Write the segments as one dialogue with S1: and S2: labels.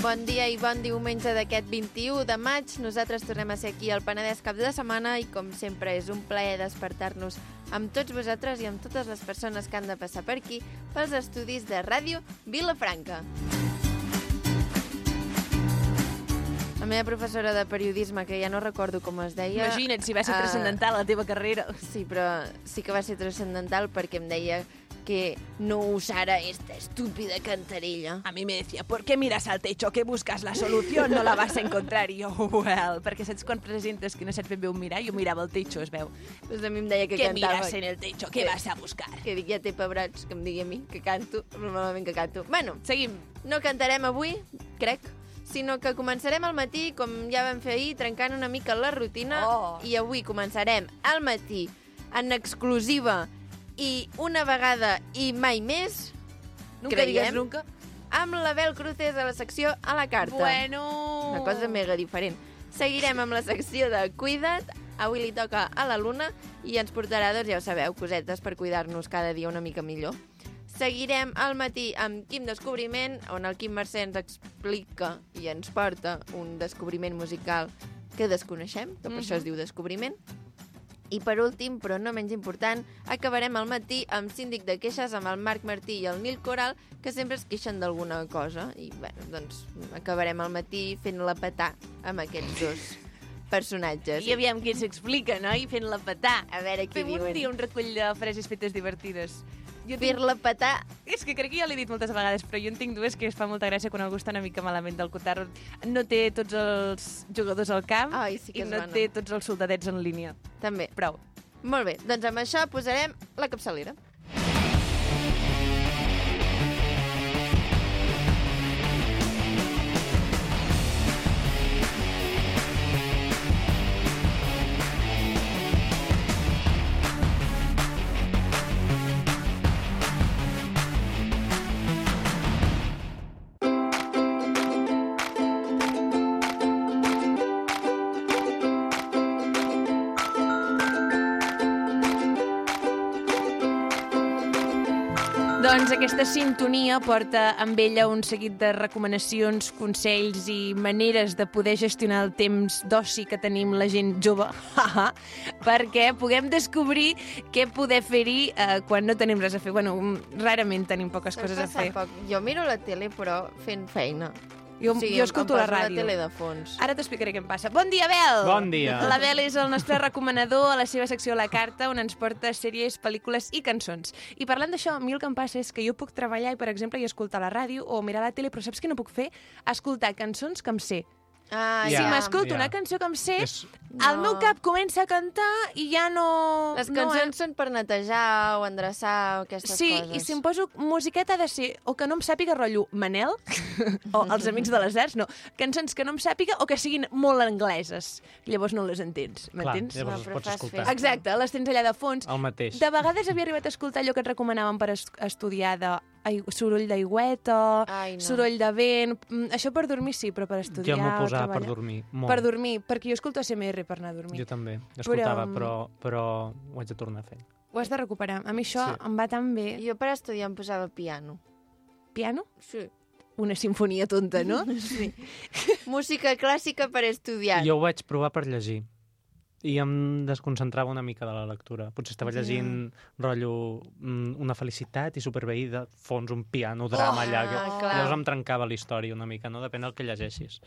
S1: Bon dia i bon diumenge d'aquest 21 de maig. Nosaltres tornem a ser aquí al Penedès cap de setmana i, com sempre, és un plaer despertar-nos amb tots vosaltres i amb totes les persones que han de passar per aquí pels estudis de ràdio Vilafranca. La meva professora de periodisme, que ja no recordo com es deia...
S2: Imagina't si va ser
S1: eh,
S2: transcendental la teva carrera.
S1: Sí, però sí que va ser transcendental perquè em deia que no usara esta estúpida cantarella.
S2: A mí me decía, ¿por qué miras al techo? ¿Qué buscas? La solución no la vas a encontrar. I jo, well, perquè saps quan presentes que no saps ben bé on mirar? Jo mirava el techo, es veu.
S1: Doncs a mi em deia que
S2: ¿Qué
S1: cantava...
S2: miras en el techo? ¿Qué
S1: Que-
S2: vas a buscar?
S1: que dic ja té pebrats que em digui a mi que canto, normalment que canto. Bueno,
S2: Seguim.
S1: no cantarem avui, crec, sinó que començarem al matí, com ja vam fer ahir, trencant una mica la rutina.
S2: Oh.
S1: I avui començarem al matí, en exclusiva i una vegada i mai més,
S2: Nunca
S1: Creiem.
S2: digues nunca.
S1: amb l'Abel Cruces a la secció A la carta.
S2: Bueno.
S1: Una cosa mega diferent. Seguirem amb la secció de Cuida't. Avui li toca a la Luna i ens portarà, doncs ja ho sabeu, cosetes per cuidar-nos cada dia una mica millor. Seguirem al matí amb Quim Descobriment, on el Quim Mercè ens explica i ens porta un descobriment musical que desconeixem, que per
S2: Mhm.
S1: això es diu Descobriment. I per últim, però no menys important, acabarem al matí amb síndic de queixes amb el Marc Martí i el Nil Coral, que sempre es queixen d'alguna cosa. I bueno, doncs acabarem al matí fent la petà amb aquests dos personatges.
S2: I aviam qui ens explica, no? I fent la petà.
S1: A veure què
S2: Fem un
S1: diuen.
S2: dia un recull de frases fetes divertides. Jo tinc-
S1: Fer la petà
S2: És que crec que ja l'he dit moltes vegades, però jo en tinc dues que es fa molta gràcia quan algú està una mica malament del cotar. No té tots els jugadors al camp
S1: Ai, sí que
S2: i
S1: és
S2: no
S1: bona.
S2: té tots els soldadets en línia.
S1: també.
S2: Prou.
S1: Molt bé, doncs amb això posarem la capçalera.
S2: Doncs aquesta sintonia porta amb ella un seguit de recomanacions, consells i maneres de poder gestionar el temps d'oci que tenim la gent jove, haha, perquè puguem descobrir què poder fer-hi eh, quan no tenim res a fer. Bueno, mm, rarament tenim poques
S1: Saps
S2: coses a
S1: passar
S2: fer.
S1: Poc. Jo miro la tele, però fent feina.
S2: Jo, jo escolto
S1: em,
S2: la
S1: em poso
S2: ràdio.
S1: la tele de fons.
S2: Ara t'explicaré què em passa. Bon dia, Bel!
S3: Bon dia.
S2: L'Abel és el nostre recomanador a la seva secció La Carta, on ens porta sèries, pel·lícules i cançons. I parlant d'això, a mi el que em passa és que jo puc treballar i, per exemple, i escoltar la ràdio o mirar la tele, però saps què no puc fer? Escoltar cançons que em sé.
S1: Ah,
S2: Si
S3: Ja.
S2: m'escolto
S3: Ja.
S2: una cançó que em sé,
S3: És,
S2: el
S1: No.
S2: meu cap comença a cantar i ja no...
S1: Les
S2: no,
S1: cançons són per netejar o endreçar o aquestes
S2: Sí,
S1: coses.
S2: i si em poso musiqueta ha de ser o que no em sàpiga rotllo Manel, o els Amics de les Arts, no, cançons que no em sàpiga o que siguin molt angleses. Llavors no les entens,
S3: clar,
S2: m'entens?
S1: No,
S3: llavors
S1: però
S3: no, pots
S1: fas
S3: escoltar.
S1: festa.
S2: Exacte, les tens allà de fons.
S3: El mateix.
S2: De vegades havia arribat a escoltar allò que et recomanaven per es- estudiar de ai, soroll d'aigüeta,
S1: Ai, no.
S2: soroll de vent... Mm, això per dormir sí, però per estudiar...
S3: jo m'ho posava
S2: treballar-
S3: per dormir. Molt.
S2: Per dormir, perquè jo escolto ASMR per anar a dormir.
S3: Jo també. Jo escoltava,
S2: mm,
S3: però, però ho haig de tornar a fer.
S2: Ho has de recuperar. A mi això
S3: Sí.
S2: em va tan bé.
S1: Jo per estudiar em posava piano.
S2: Piano?
S1: Sí.
S2: Una sinfonia tonta, no?
S1: sí. Música clàssica per estudiar.
S3: Jo ho vaig provar per llegir. I em desconcentrava una mica de la lectura. Potser estava
S2: Ja.
S3: llegint rotllo mm, una felicitat i superveí de fons, un piano,
S2: Oh,
S3: drama allà. Que...
S1: Ah, clar.
S3: Llavors em trencava la història una mica, no? Depèn del que llegeixis.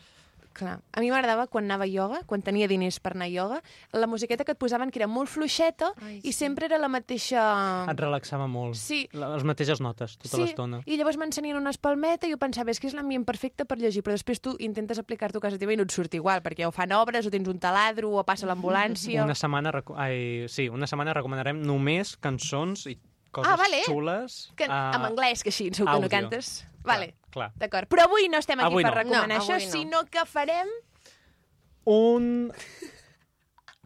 S2: Clar. A mi m'agradava quan anava a ioga, quan tenia diners per anar a ioga, la musiqueta que et posaven que era molt fluixeta
S1: Ai,
S2: i
S1: sí.
S2: sempre era la mateixa...
S3: Et relaxava
S2: Oh.
S3: molt.
S2: Sí.
S3: La- Les mateixes notes, tota
S2: sí,
S3: l'estona.
S2: i llavors m'encenien una espalmeta i jo pensava, és que és l'ambient perfecte per llegir, però després tu intentes aplicar-t'ho a casa teva i no et surt igual, perquè o fan obres, o tens un taladro, o passa l'ambulància...
S3: Una setmana, reco- ai, sí, una setmana recomanarem només cançons i coses
S2: Ah, vale.
S3: xules.
S2: Que,
S3: ah,
S2: en anglès, que així, segur que no
S3: àudio.
S2: cantes. Vale,
S3: Clar. clar.
S2: d'acord. Però avui no estem aquí
S3: Avui
S2: per
S3: no.
S2: recomanar
S1: No,
S2: això,
S1: avui no.
S2: sinó que farem...
S3: Un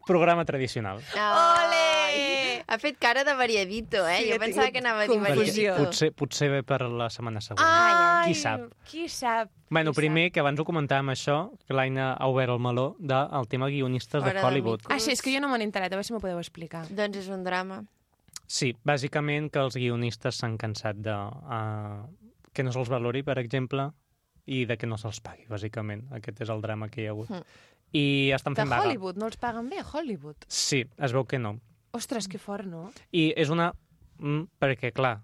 S3: programa tradicional.
S1: Ole! Ha fet cara de variadito, eh?
S2: Sí,
S1: jo
S2: he
S1: pensava
S2: tingut
S1: que anava a dir
S2: confusió.
S1: variadito.
S3: Potser, potser ve per la setmana següent.
S2: Ai,
S3: Qui sap?
S2: Qui sap?
S3: bueno,
S2: qui
S3: primer, que abans ho comentàvem això, que l'Aina ha obert el meló del de, el tema guionistes
S1: Fora
S3: de
S1: de
S3: Hollywood.
S1: mi.
S2: Ah, sí, és que jo no me n'he enterat, a veure si m'ho podeu explicar.
S1: Doncs és un drama.
S3: Sí, eh, bàsicament que els guionistes s'han cansat de... Uh, que no se'ls valori, per exemple, i de que no se'ls pagui, bàsicament. Aquest és el drama que hi ha hagut.
S1: Mm.
S3: I
S2: Hmm.
S3: estan
S2: De
S3: fent vaga.
S2: Hollywood, no els paguen bé a Hollywood.
S3: Sí, es veu que no.
S2: Ostres, que fort, no?
S3: I és una... Mm, perquè, clar,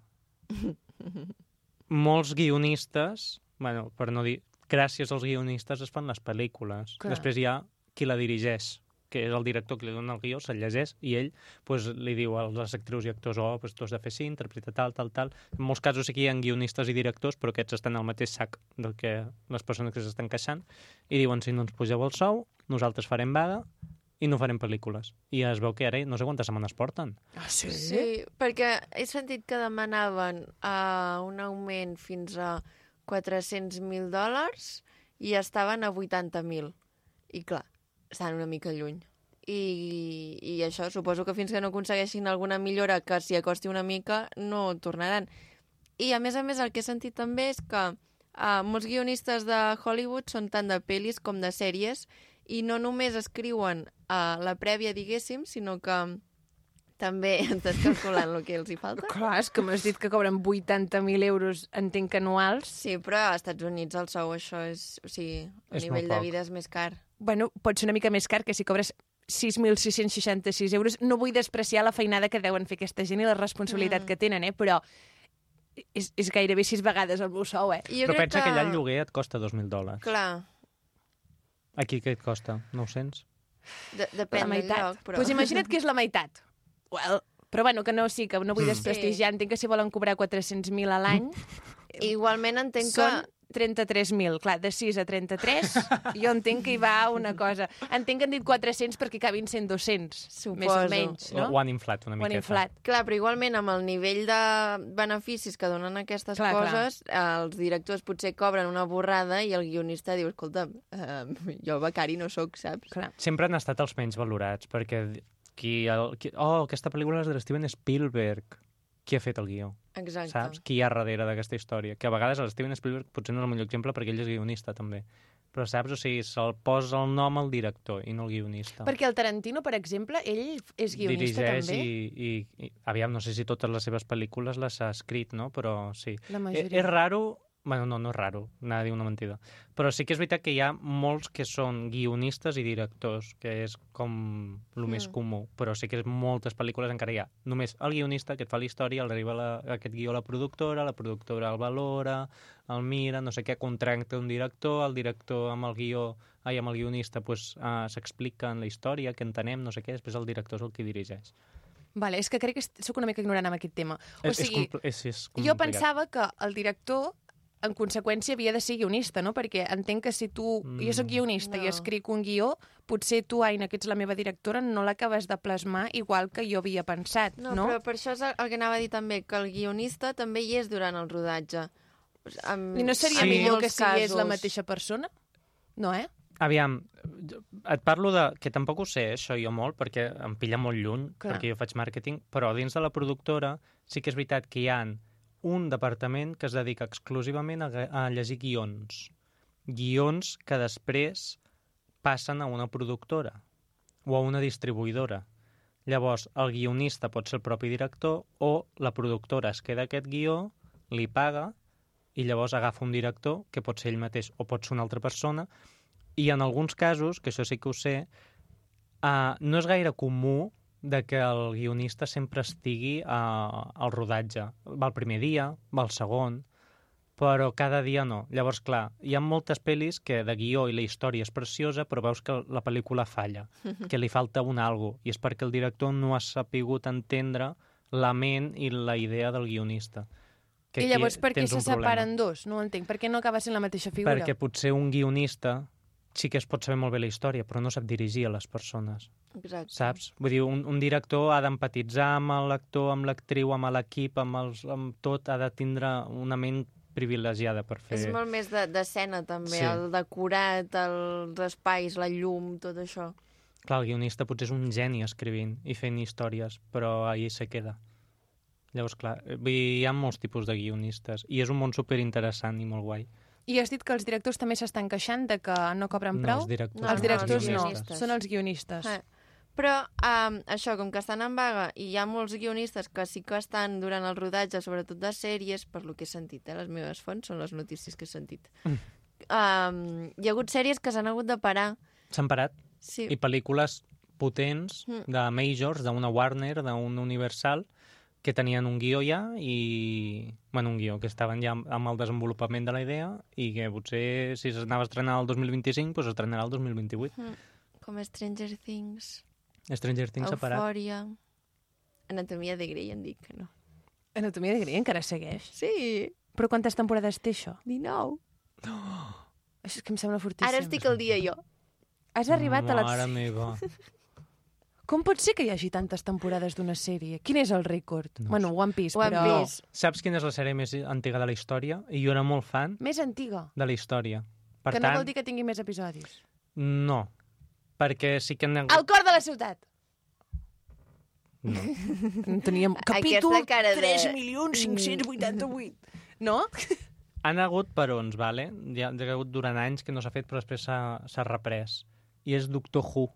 S3: molts guionistes, bueno, per no dir... Gràcies als guionistes es fan les pel·lícules.
S2: Clar.
S3: Després hi ha qui la dirigeix, que és el director que li dona el guió, se'l llegeix, i ell pues, li diu a les actrius i actors, oh, pues, tu has de fer així, interpreta tal, tal, tal. En molts casos sí que hi ha guionistes i directors, però aquests estan al mateix sac del que les persones que s'estan queixant, i diuen, si no ens pugeu el sou, nosaltres farem vaga i no farem pel·lícules. I es veu que ara no sé quantes setmanes porten.
S2: Ah, sí?
S1: Sí, perquè he sentit que demanaven uh, un augment fins a 400.000 dòlars i estaven a 80.000. I clar, estan una mica lluny. I, I això suposo que fins que no aconsegueixin alguna millora que s'hi acosti una mica no tornaran. I a més a més el que he sentit també és que uh, molts guionistes de Hollywood són tant de pel·lis com de sèries i no només escriuen uh, la prèvia, diguéssim, sinó que també estàs calculant el que els hi falta?
S2: Clar, és que m'has dit que cobren 80.000 euros, entenc que anuals.
S1: Sí, però a Estats Units el sou això és... O sigui, el
S3: És
S1: nivell
S3: molt
S1: de
S3: poc.
S1: vida és més car.
S2: Bueno, pot ser una mica més car que si cobres 6.666 euros. No vull despreciar la feinada que deuen fer aquesta gent i la responsabilitat
S1: Mm.
S2: mm. que tenen, eh? però és, és gairebé sis vegades el meu sou, eh?
S1: I Jo
S3: Però pensa que... que allà el
S1: lloc...
S3: lloguer et costa 2.000 dòlars.
S1: Clar,
S3: Aquí què et costa? 900?
S1: de
S2: La
S1: depèn del
S2: meitat.
S1: lloc, però...
S2: pues imagina't que és la meitat. Well, però bueno, que no, sí, que no vull
S3: Mm.
S2: desprestigiar. Entenc que si volen cobrar 400.000 a l'any,
S1: Igualment entenc
S2: són
S1: que...
S2: 33.000. Clar, de 6 a 33, jo entenc que hi va una cosa. Entenc que han dit 400 perquè acabin sent 200, més o
S1: Suposo.
S2: menys,
S3: No?
S2: no?
S3: Ho han inflat una
S2: Ho han
S3: miqueta.
S2: inflat.
S1: Clar, però igualment amb el nivell de beneficis que donen aquestes
S2: Clar,
S1: clar,
S2: clar.
S1: coses, clar. els directors potser cobren una borrada i el guionista diu, escolta, eh, jo becari no sóc, saps?
S2: Clar.
S3: Sempre han estat els menys valorats, perquè qui, el, qui... Oh, aquesta pel·lícula és de Steven Spielberg. Qui ha fet el guió?
S1: Exacte.
S3: Saps? Qui hi ha darrere d'aquesta història? Que a vegades el Steven Spielberg potser no és el millor exemple perquè ell és guionista, també. Però saps? O sigui, se'l posa el nom al director i no al guionista.
S2: Perquè el Tarantino, per exemple, ell és guionista
S3: Dirigeix
S2: també?
S3: I, i, i, aviam, no sé si totes les seves pel·lícules les ha escrit, no? Però sí.
S2: La
S3: Eh,
S2: majoria.
S3: És raro... Bueno, no, no és raro, anava a dir una mentida. Però sí que és veritat que hi ha molts que són guionistes i directors, que és com el més
S1: Mm.
S3: comú. Però sí que és moltes pel·lícules encara hi ha. Només el guionista que et fa la història, el arriba la, aquest guió a la productora, la productora el valora, el mira, no sé què, contracta un director, el director amb el guió, ai, amb el guionista pues, uh, s'explica en la història, que entenem, no sé què, després el director és el qui dirigeix.
S2: Vale, és que crec que est- sóc una mica ignorant amb aquest tema. O
S3: Eh, És- és
S2: sigui,
S3: compl- és, és
S2: jo
S3: complicat.
S2: pensava que el director en conseqüència havia de ser guionista, no? Perquè entenc que si tu... Mm. Jo sóc
S3: Mm.
S2: guionista no.
S1: No.
S2: i escric un guió, potser tu, Aina, que ets la meva directora, no l'acabes de plasmar igual que jo havia pensat, no?
S1: No, no, però per això és el, el que anava a dir també, que el guionista també hi és durant el rodatge. Amb,
S2: I no seria
S3: Sí.
S2: sí. millor que
S1: molts
S2: sigués la
S1: casos.
S2: mateixa persona? No, eh?
S3: Aviam, et parlo de... que tampoc ho sé, eh, això jo molt, perquè em pilla molt lluny,
S2: Clar.
S3: perquè jo faig màrqueting, però dins de la productora sí que és veritat que hi ha un departament que es dedica exclusivament a, ga- a llegir guions. Guions que després passen a una productora o a una distribuïdora. Llavors, el guionista pot ser el propi director o la productora es queda aquest guió, li paga i llavors agafa un director, que pot ser ell mateix o pot ser una altra persona, i en alguns casos, que això sí que ho sé, uh, no és gaire comú de que el guionista sempre estigui uh, al rodatge. Va el primer dia, va el segon, però cada dia no. Llavors, clar, hi ha moltes pel·lis que de guió i la història és preciosa, però veus que la pel·lícula falla, que li falta un algo, i és perquè el director no ha sapigut entendre la ment i la idea del guionista.
S2: I llavors per què
S3: tens
S2: se
S3: un problema.
S2: separen dos? No ho entenc. Per què no acaba sent la mateixa figura?
S3: Perquè potser un guionista sí que es pot saber molt bé la història, però no sap dirigir a les persones,
S1: Exacte.
S3: saps? Vull dir, un, un director ha d'empatitzar amb l'actor, amb l'actriu, amb l'equip, amb, els, amb tot, ha de tindre una ment privilegiada per fer...
S1: És molt més de- d'escena, de, també,
S3: Sí.
S1: sí. el decorat, els espais, la llum, tot això.
S3: Clar, el guionista potser és un geni escrivint i fent històries, però allí se queda. Llavors, clar, eh, vull dir, hi ha molts tipus de guionistes i és un món superinteressant i molt guai.
S2: I has dit que els directors també s'estan queixant de que no cobren prou?
S3: els directors,
S1: No,
S2: els directors no,
S1: guionistes.
S2: són els guionistes.
S1: Eh. Però um, això, com que estan en vaga i hi ha molts guionistes que sí que estan durant
S3: Mm.
S1: el rodatge, sobretot de sèries, per lo que he sentit, eh? les meves fonts són les notícies que he sentit, um, hi ha hagut sèries que s'han hagut de parar.
S3: S'han parat.
S1: Sí.
S3: I pel·lícules potents
S1: Mm.
S3: de majors, d'una Warner, d'un Universal, que tenien un guió ja i... Bueno, un guió, que estaven ja amb- amb el desenvolupament de la idea i que potser si s'anava a estrenar el 2025, doncs s'estrenarà el 2028.
S1: Com Stranger Things,
S3: Stranger Things s'ha parat.
S1: Euphoria... Anatomia de Grey, en dic que no.
S2: Anatomia de Grey encara segueix.
S1: Sí,
S2: Però quantes temporades té això?
S1: 19.
S2: Això és que em sembla fortíssim.
S1: Ara estic al dia jo.
S2: Has arribat a
S3: Mare
S2: la...
S3: meva.
S2: Com pot ser que hi hagi tantes temporades d'una sèrie? Quin és el rècord?
S3: No ho
S2: bueno, One Piece,
S1: One
S2: però...
S1: Piece.
S3: Saps quina és la sèrie més antiga de la història? I jo era molt fan
S2: Més antiga.
S3: de la història. Per
S2: que
S3: tant,
S2: no vol dir que tingui més episodis.
S3: no. Perquè sí que... n'hi ha
S2: El
S3: hagut-
S2: cor de la ciutat!
S3: No.
S2: Teníem capítol
S1: Aquesta cara de- Mm.
S2: 3.588. No?
S3: Han hagut perons, vale? Hi ha, hi ha hagut durant anys que no s'ha fet, però després s'ha s'ha reprès. I és Doctor Who.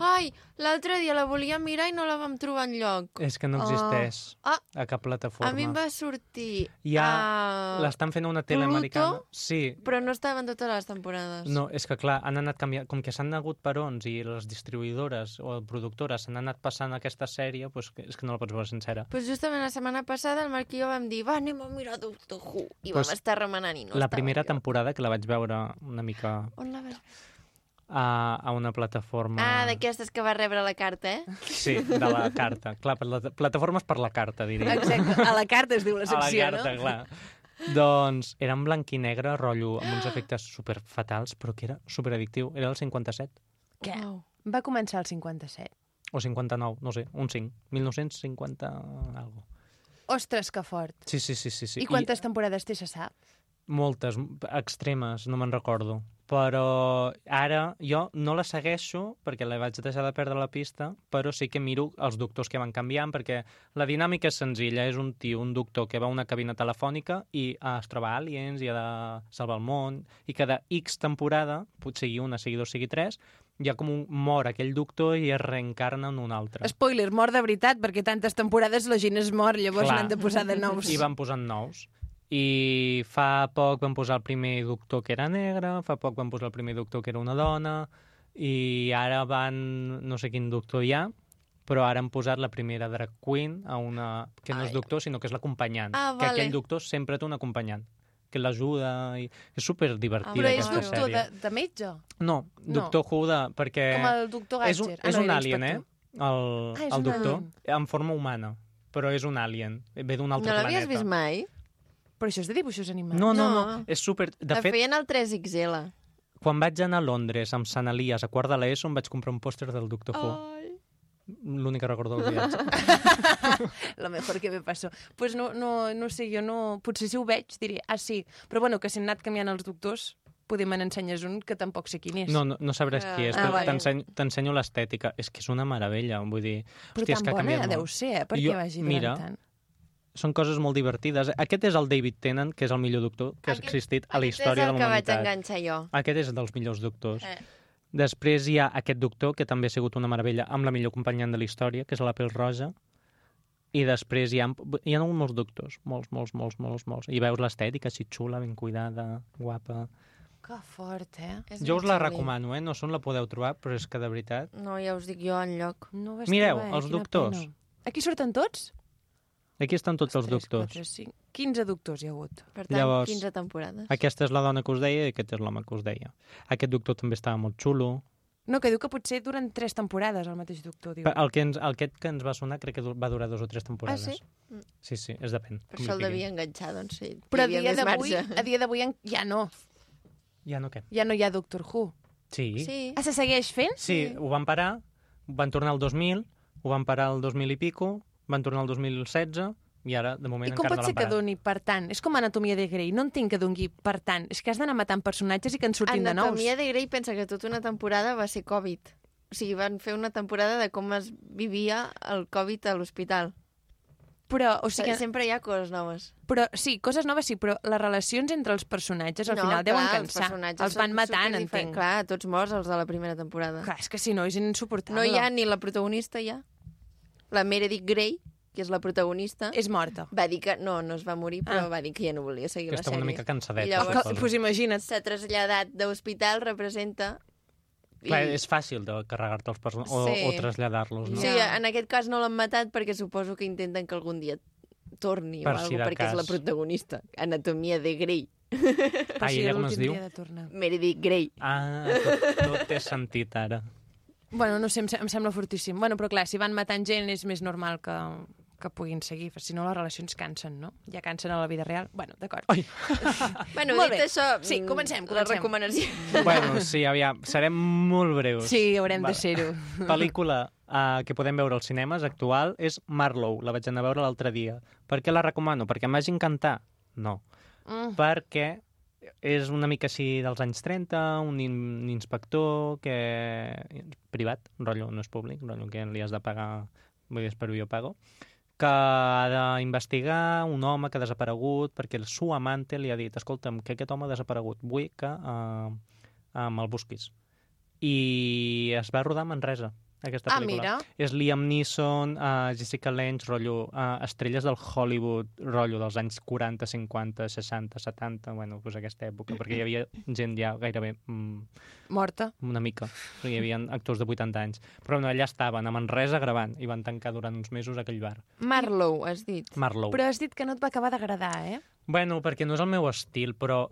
S1: Ai, l'altre dia la volia mirar i no la vam trobar en lloc.
S3: És que no
S2: Ah.
S3: existeix
S1: Ah.
S3: a cap plataforma.
S1: A mi em va sortir...
S3: Hi ha
S1: a-
S3: L'estan fent a una tele
S1: Pluto?
S3: americana. Sí,
S1: Però no estaven totes les temporades.
S3: no, és que clar, han anat canviant... Com que s'han hagut perons i les distribuïdores o productores s'han anat passant aquesta sèrie, doncs que- és que no la pots veure sencera.
S1: Pues justament la setmana passada el Marc i jo vam dir va, anem a mirar Doctor Who. I
S3: Pues
S1: vam estar remenant i no
S3: la
S1: estava
S3: primera
S1: enlloc.
S3: temporada, que la vaig veure una mica
S1: On la vas veure?
S3: a, a una plataforma...
S1: Ah, d'aquestes que va rebre la carta, eh?
S3: Sí, de la carta. Clar, per la, plataformes per la carta, diria.
S2: Exacte. A la carta es diu la
S3: a la carta, clar. Doncs era en blanc i negre, rotllo, amb uns efectes superfatals, però que era superaddictiu. Era el 57
S2: Què?
S1: Uau.
S2: Va començar el 57.
S3: o 59, no sé, un 5. 1950 algo.
S2: Ostres, que fort.
S3: Sí, sí, sí, sí. sí.
S2: I quantes temporades té, se sap?
S3: moltes, extremes, no me'n recordo. Però ara jo no la segueixo perquè la vaig deixar de perdre la pista, però sí que miro els doctors que van canviant perquè la dinàmica és senzilla, és un tio, un doctor que va a una cabina telefònica i ah, es troba aliens i ha de salvar el món i cada X temporada, potser sigui una, sigui dos, sigui tres, ja com un, mor aquell doctor i es reencarna en un altre.
S2: Spoiler, mort de veritat, perquè tantes temporades la gent es mor, llavors
S3: Clar.
S2: n'han de posar de nous.
S3: I van posant nous. I fa poc van posar el primer doctor que era negre, fa poc van posar el primer doctor que era una dona, i ara van... no sé quin doctor hi ha, però ara han posat la primera drag queen a una... que no és
S1: Ai.
S3: doctor, sinó que és l'acompanyant.
S1: Ah,
S3: Que
S1: vale.
S3: aquell doctor sempre té un acompanyant que l'ajuda... I... És superdivertida
S1: Ah,
S2: Però és
S3: aquesta
S2: doctor de,
S3: sèrie.
S2: de metge,
S3: No, doctor no. Who de... perquè...
S2: com el doctor
S3: És
S2: Gatcher.
S3: un, és
S2: Ah, no,
S3: un
S2: era
S3: alien, eh?
S2: inspector.
S3: El,
S2: Ah, és
S3: el
S2: un
S3: doctor,
S2: alien.
S3: en forma humana, però és un alien, ve d'un
S1: No
S3: altre planeta.
S1: l'havies vist mai?
S2: Però això és de dibuixos animats.
S3: No, no,
S1: No.
S3: no, és super... De
S1: la
S3: fet,
S1: feien al 3XL.
S3: quan vaig anar a Londres amb Sant Elias a quart de l'ESO em vaig comprar un pòster del Doctor Who.
S1: Ai.
S3: L'únic que recordo del viatge.
S2: Lo mejor que me pasó. Pues no, no, no sé, jo no... Potser si ho veig diré, ah, sí. Però bueno, que si han anat canviant els doctors, poder me n'ensenyes un que tampoc sé quin és.
S3: No, no, no sabràs qui és,
S1: Ah,
S3: però
S2: vale.
S3: t'ensenyo- t'ensenyo l'estètica. És que és una meravella, vull dir...
S2: Però
S3: hòstia, és
S2: tan
S3: que ha
S2: bona
S3: canviat molt.
S2: deu ser, eh? Perquè
S3: Jo-
S2: vagi
S3: mira,
S2: durant tant.
S3: Són coses molt divertides. Aquest és el David Tennant, que és el millor doctor que ha
S1: Aquest-
S3: existit a la història
S1: és
S3: de
S1: el
S3: la
S1: que vaig
S3: humanitat.
S1: enganxar jo.
S3: Aquest és dels millors doctors.
S1: Eh.
S3: Després hi ha aquest doctor, que també ha sigut una meravella, amb la millor acompanyant de la història, que és la Pell Roja. I després hi ha, hi ha molts doctors, molts, molts, molts, molts, molts. I veus l'estètica així xula, ben cuidada, guapa.
S2: Que fort, eh?
S1: És
S3: Jo us
S1: molt
S3: la
S1: xuli.
S3: recomano, eh? No són la podeu trobar, però és que de veritat...
S1: No, ja us dic jo en lloc.
S2: No ho vaig
S3: Mireu,
S2: trobar, eh?
S3: els
S2: Quina
S3: doctors.
S2: pena. Aquí surten tots?
S3: Aquí estan tots els
S2: Tres,
S3: doctors.
S2: quatre, cinc, 15 doctors hi ha hagut.
S1: Per tant,
S3: Llavors,
S1: 15 temporades.
S3: Aquesta és la dona que us deia i aquest és l'home que us deia. Aquest doctor també estava molt xulo.
S2: No, que diu que potser duren 3 temporades el mateix doctor, diu.
S3: Pe- El que ens, el, aquest que ens va sonar crec que du- va durar dues o tres temporades.
S1: sí? Mm.
S3: Sí, sí, és depèn.
S1: Per
S3: com
S1: això
S3: li fiquin.
S1: el devia enganxar, doncs sí.
S2: Però a
S1: hi havia
S2: dia
S1: més
S2: d'avui
S1: marge.
S2: a dia d'avui en- ja no.
S3: Ja no què?
S2: Ja no hi ha Doctor Who.
S3: Sí.
S1: Sí.
S2: Ah, se segueix fent?
S3: Sí, ho van parar, van tornar al 2000, ho van parar al 2000 i pico, van tornar al 2016 i ara, de moment,
S2: I com pot
S3: encara no
S2: ser
S3: l'han
S2: que
S3: parat.
S2: doni per tant? És com Anatomia de Grey. No entenc que dongui per tant. És que has d'anar matant personatges i que en surtin
S1: Anatomia
S2: de nous.
S1: de Grey pensa que tota una temporada va ser Covid. O sigui, van fer una temporada de com es vivia el Covid a l'hospital.
S2: Però, o
S1: O sigui,
S2: sigui,
S1: sempre hi ha coses noves.
S2: però, sí, coses noves sí, però les relacions entre els personatges al
S1: no,
S2: final deuen
S1: clar,
S2: cansar.
S1: personatges
S2: Els van
S1: són
S2: matant,
S1: superdifer-
S2: entenc.
S1: Clar, tots morts els de la primera temporada.
S2: Clar, és que si no, és insuportable.
S1: No hi ha ni la protagonista ja. La Meredith Grey, que és la protagonista,
S2: És morta.
S1: va dir que no, no es va morir, però
S2: Ah.
S1: va dir que ja no volia seguir
S3: que
S1: la
S3: estava
S1: sèrie.
S3: una mica cansadeta.
S1: Llavors-
S2: Doncs pues imagina't.
S1: S'ha traslladat d'hospital, representa...
S3: Clar, és fàcil de carregar-te els personatges o,
S1: Sí.
S3: o traslladar-los, no? Ah,
S1: Sí,
S2: Ja.
S1: en aquest cas no l'han matat perquè suposo que intenten que algun dia torni
S3: Per
S1: o
S3: si
S1: alguna
S3: de
S1: perquè és la
S3: cas.
S1: protagonista. Anatomia de Grey.
S3: Ah, i ella com es diu?
S1: Meredith Grey.
S3: Ah, tot, tot té sentit ara.
S2: Bueno, no sé, em, se- em sembla fortíssim. Bueno, però clar, si van matant gent és més normal que, que puguin seguir, perquè si no les relacions cansen, no? Ja cansen a la vida real. Bueno, d'acord.
S1: Bueno,
S2: Molt
S1: dit
S2: bé.
S1: això...
S2: Sí,
S1: mm,
S2: comencem,
S1: La
S2: comencem.
S1: recomanació...
S3: bueno, sí, aviam, serem molt breus.
S2: Sí, haurem
S3: Vale.
S2: de ser-ho.
S3: Pel·lícula uh, que podem veure als cinemes actual és Marlowe, la vaig anar a veure l'altre dia. Per què la recomano? Perquè em vaig encantar? No.
S2: Mm.
S3: Perquè és una mica així dels anys 30, un, in un inspector que... privat, rotllo, no és públic, rotllo que li has de pagar, vull dir, espero jo pago, que ha d'investigar un home que ha desaparegut perquè el seu amante li ha dit escolta'm, que aquest home ha desaparegut, vull que eh, eh, me'l busquis. I es va rodar a Manresa, aquesta
S2: Ah,
S3: pel·lícula.
S2: mira.
S3: És Liam Neeson, eh, Jessica Lange, rotllo, eh, estrelles del Hollywood, rotllo dels anys 40, 50, 60, 70, bueno, pues aquesta època, perquè hi havia gent ja gairebé mm,
S2: Morta.
S3: una mica. O sigui, hi havia actors de 80 anys. Però no, allà estaven, a Manresa, gravant, i van tancar durant uns mesos aquell bar.
S1: Marlowe, has dit.
S3: Marlowe.
S2: Però has dit que no et va acabar d'agradar, eh?
S3: Bueno, perquè no és el meu estil, però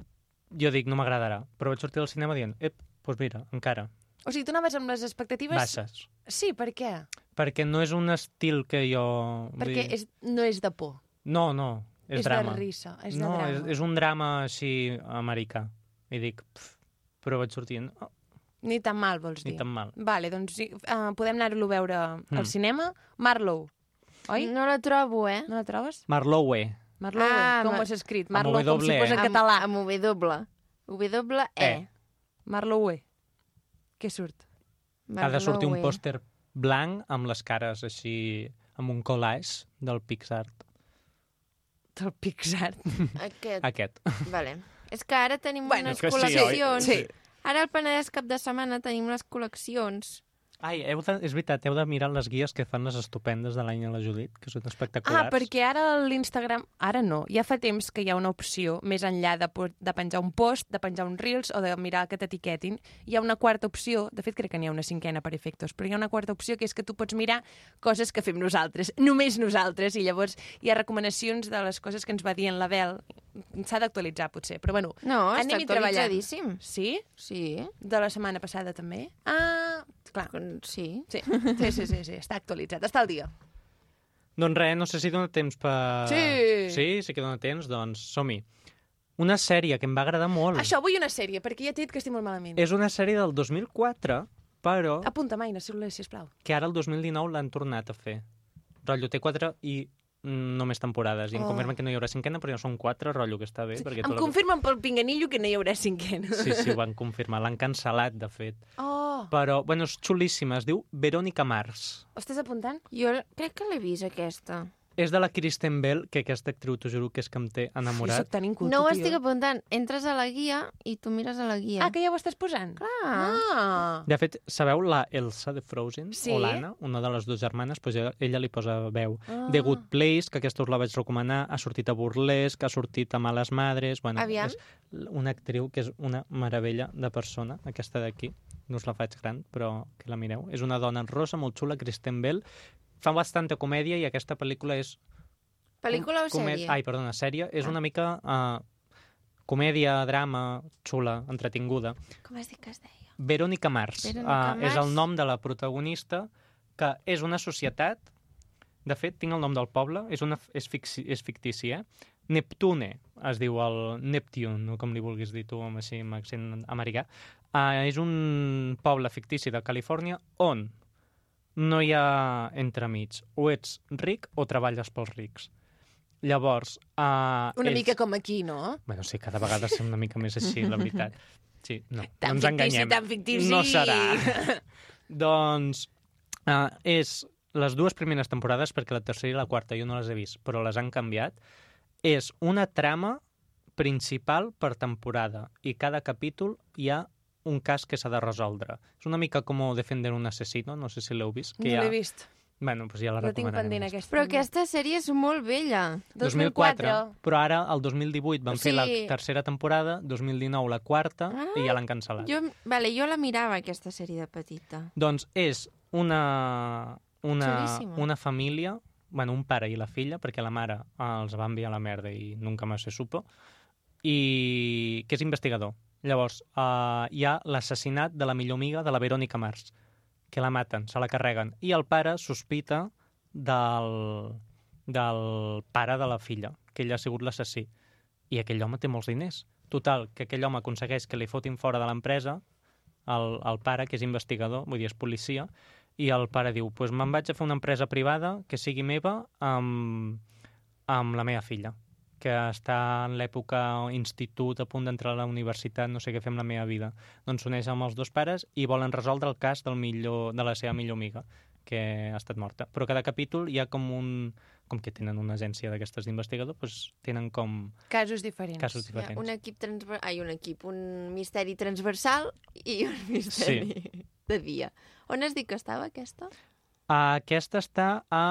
S3: jo dic, no m'agradarà. Però vaig sortir del cinema dient, ep, doncs mira, encara,
S2: O sigui, tu anaves amb les expectatives...
S3: basses.
S2: Sí, per què?
S3: Perquè no és un estil que jo... vull
S2: Perquè
S3: dir-
S2: és, no és de por.
S3: No, no, és,
S2: és
S3: drama.
S2: de risa. És
S3: no,
S2: de drama.
S3: és, és un drama així americà. I dic, pf, però vaig sortir, oh,
S2: Ni tan mal, vols dir.
S3: ni tan mal.
S2: Vale, doncs sí, uh, podem anar-lo a veure
S3: Mm.
S2: al cinema. Marlowe, oi?
S1: No la trobo, eh?
S2: No la trobes?
S3: Marlowe.
S2: Marlowe,
S1: Ah,
S2: ah, com
S1: ma-
S2: ho has escrit?
S3: Amb
S2: Marlowe, com
S3: W,
S2: s'hi posa en
S1: Amb-
S2: català.
S1: Amb W. W, E.
S3: Eh.
S2: Marlowe. Què surt?
S3: Ha de sortir un
S1: Marlowe.
S3: pòster blanc amb les cares així, amb un collage del Pixar.
S2: Del Pixar.
S1: Aquest,
S3: Aquest.
S1: vale. És que ara tenim
S2: Bueno,
S1: unes
S3: que sí, oi?
S1: col·leccions.
S3: Sí.
S1: Ara al Penedès cap de setmana tenim les col·leccions.
S3: Ai, heu de, és veritat, heu de mirar les guies que fan les estupendes de l'any a la Judit, que són espectaculars.
S2: Ah, perquè ara l'Instagram... Ara no, ja fa temps que hi ha una opció més enllà de, po- de penjar un post, de penjar un Reels o de mirar que t'etiquetin. Hi ha una quarta opció, de fet crec que n'hi ha una cinquena per efectos, però hi ha una quarta opció que és que tu pots mirar coses que fem nosaltres, només nosaltres, i llavors hi ha recomanacions de les coses que ens va dir en l'Abel. S'ha d'actualitzar, potser, però bueno,
S1: No, està
S2: anem hi treballant.
S1: actualitzadíssim.
S2: Sí?
S1: Sí,
S2: De la setmana passada també? Ah, clar.
S1: con- sí.
S2: Sí, sí, sí, sí, sí. està actualitzat, està al dia.
S3: Doncs res, no sé si dona temps per...
S2: Sí.
S3: Sí, sí que dona temps, doncs som-hi. Una sèrie que em va agradar molt. Eh.
S2: Això, vull una sèrie, perquè ja t'he dit que estic molt malament.
S3: És una sèrie del 2004, però
S2: Apunta, Maina, si voleu, sisplau.
S3: que ara el 2019 l'han tornat a fer. Rotllo té 4 i mm, només temporades. I em
S2: Oh.
S3: confirmen que no hi haurà cinquena, però ja són 4, rotllo que està bé. Sí. Perquè
S2: Em
S3: tota la-
S2: confirmen pel pinganillo que no hi haurà cinquena.
S3: Sí, sí, ho van confirmar. L'han cancel·lat, de fet.
S2: Oh,
S3: Però, bueno, és xulíssima. Es diu Verònica Mars.
S2: ho estàs apuntant?
S1: Jo crec que l'he vist, aquesta.
S3: És de la Kristen Bell, que aquesta actriu, t'ho juro, que és que em té
S2: Jo
S3: enamorat.
S2: soc tan inculta,
S1: no ho
S2: tio.
S1: estic apuntant. Entres a la guia i tu mires a la guia.
S2: Ah, que ja ho estàs posant?
S1: Clar.
S2: Ah.
S3: De fet, sabeu la Elsa de Frozen?
S2: Sí.
S3: O l'Anna, una de les dues germanes, doncs ella, ella li posa veu.
S2: ah.
S3: The Good Place, que aquesta us la vaig recomanar, ha sortit a Burlesc, ha sortit a Males Madres... Bueno,
S1: Aviam.
S3: És una actriu que és una meravella de persona, aquesta d'aquí. No us la faig gran, però que la mireu. És una dona rosa, molt xula, Kristen Bell. Fa bastanta comèdia i aquesta pel·lícula és...
S1: Pel·lícula o
S3: comè-
S1: sèrie? Ah.
S3: Ai, perdona, sèrie. És una mica... Uh, comèdia, drama, xula, entretinguda.
S1: Com has dit que es deia?
S3: Verònica Mars.
S1: Verónica
S3: eh, És
S1: Mars.
S3: el nom de la protagonista, que és una societat... De fet, tinc el nom del poble, és, una, és, fixi, és fictici, eh? Neptune, es diu el Neptune, o com li vulguis dir tu amb, així, amb accent americà. Uh, és un poble fictici de Califòrnia on no hi ha entremig. O ets ric o treballes pels rics. Llavors... Uh,
S2: Una
S3: ells...
S2: mica com aquí, no?
S3: Bueno, sí, cada vegada ser una mica més així, la veritat. Sí, no,
S2: Tan
S3: no ens
S2: fictici,
S3: enganyem.
S2: tan fictici.
S3: No serà. doncs uh, és les dues primeres temporades, perquè la tercera i la quarta jo no les he vist, però les han canviat, és una trama principal per temporada i cada capítol hi ha un cas que s'ha de resoldre. És una mica com Defender un assassino, no sé si l'heu vist.
S2: no
S3: Que hi ha
S2: l'he vist.
S3: Bueno, doncs ja la
S2: La tinc pendent,
S3: recomanarem.
S2: aquesta.
S1: Però aquesta sèrie és molt vella.
S3: 2004, però ara el 2018 van
S1: O
S3: fer la
S1: sigui-
S3: tercera temporada, 2019 la quarta
S1: Ah,
S3: i ja l'han cancel·lat.
S1: Jo, vale, jo la mirava, aquesta sèrie de petita.
S3: Doncs és una, una,
S1: Xulíssima.
S3: una família, bueno, un pare i la filla, perquè la mare eh, els va enviar a la merda i nunca más se supo, i que és investigador. Llavors, eh, hi ha l'assassinat de la millor amiga de la Verònica Mars, que la maten, se la carreguen, i el pare sospita del, del pare de la filla, que ell ha sigut l'assassí. I aquell home té molts diners. Total, que aquell home aconsegueix que li fotin fora de l'empresa el, el pare, que és investigador, vull dir, és policia, i el pare diu, doncs pues me'n vaig a fer una empresa privada que sigui meva amb, amb la meva filla, que està en l'època institut, a punt d'entrar a la universitat, no sé què fer amb la meva vida. Doncs s'uneix amb els dos pares i volen resoldre el cas del millor, de la seva millor amiga, que ha estat morta. Però cada capítol hi ha com un... Com que tenen una agència d'aquestes d'investigador, doncs tenen com
S2: Casos diferents.
S3: casos
S1: Hi ha
S3: diferents.
S1: un equip transversal... Ai, un equip, un misteri transversal i un misteri de dia. On has dit que estava aquesta?
S3: Aquesta està a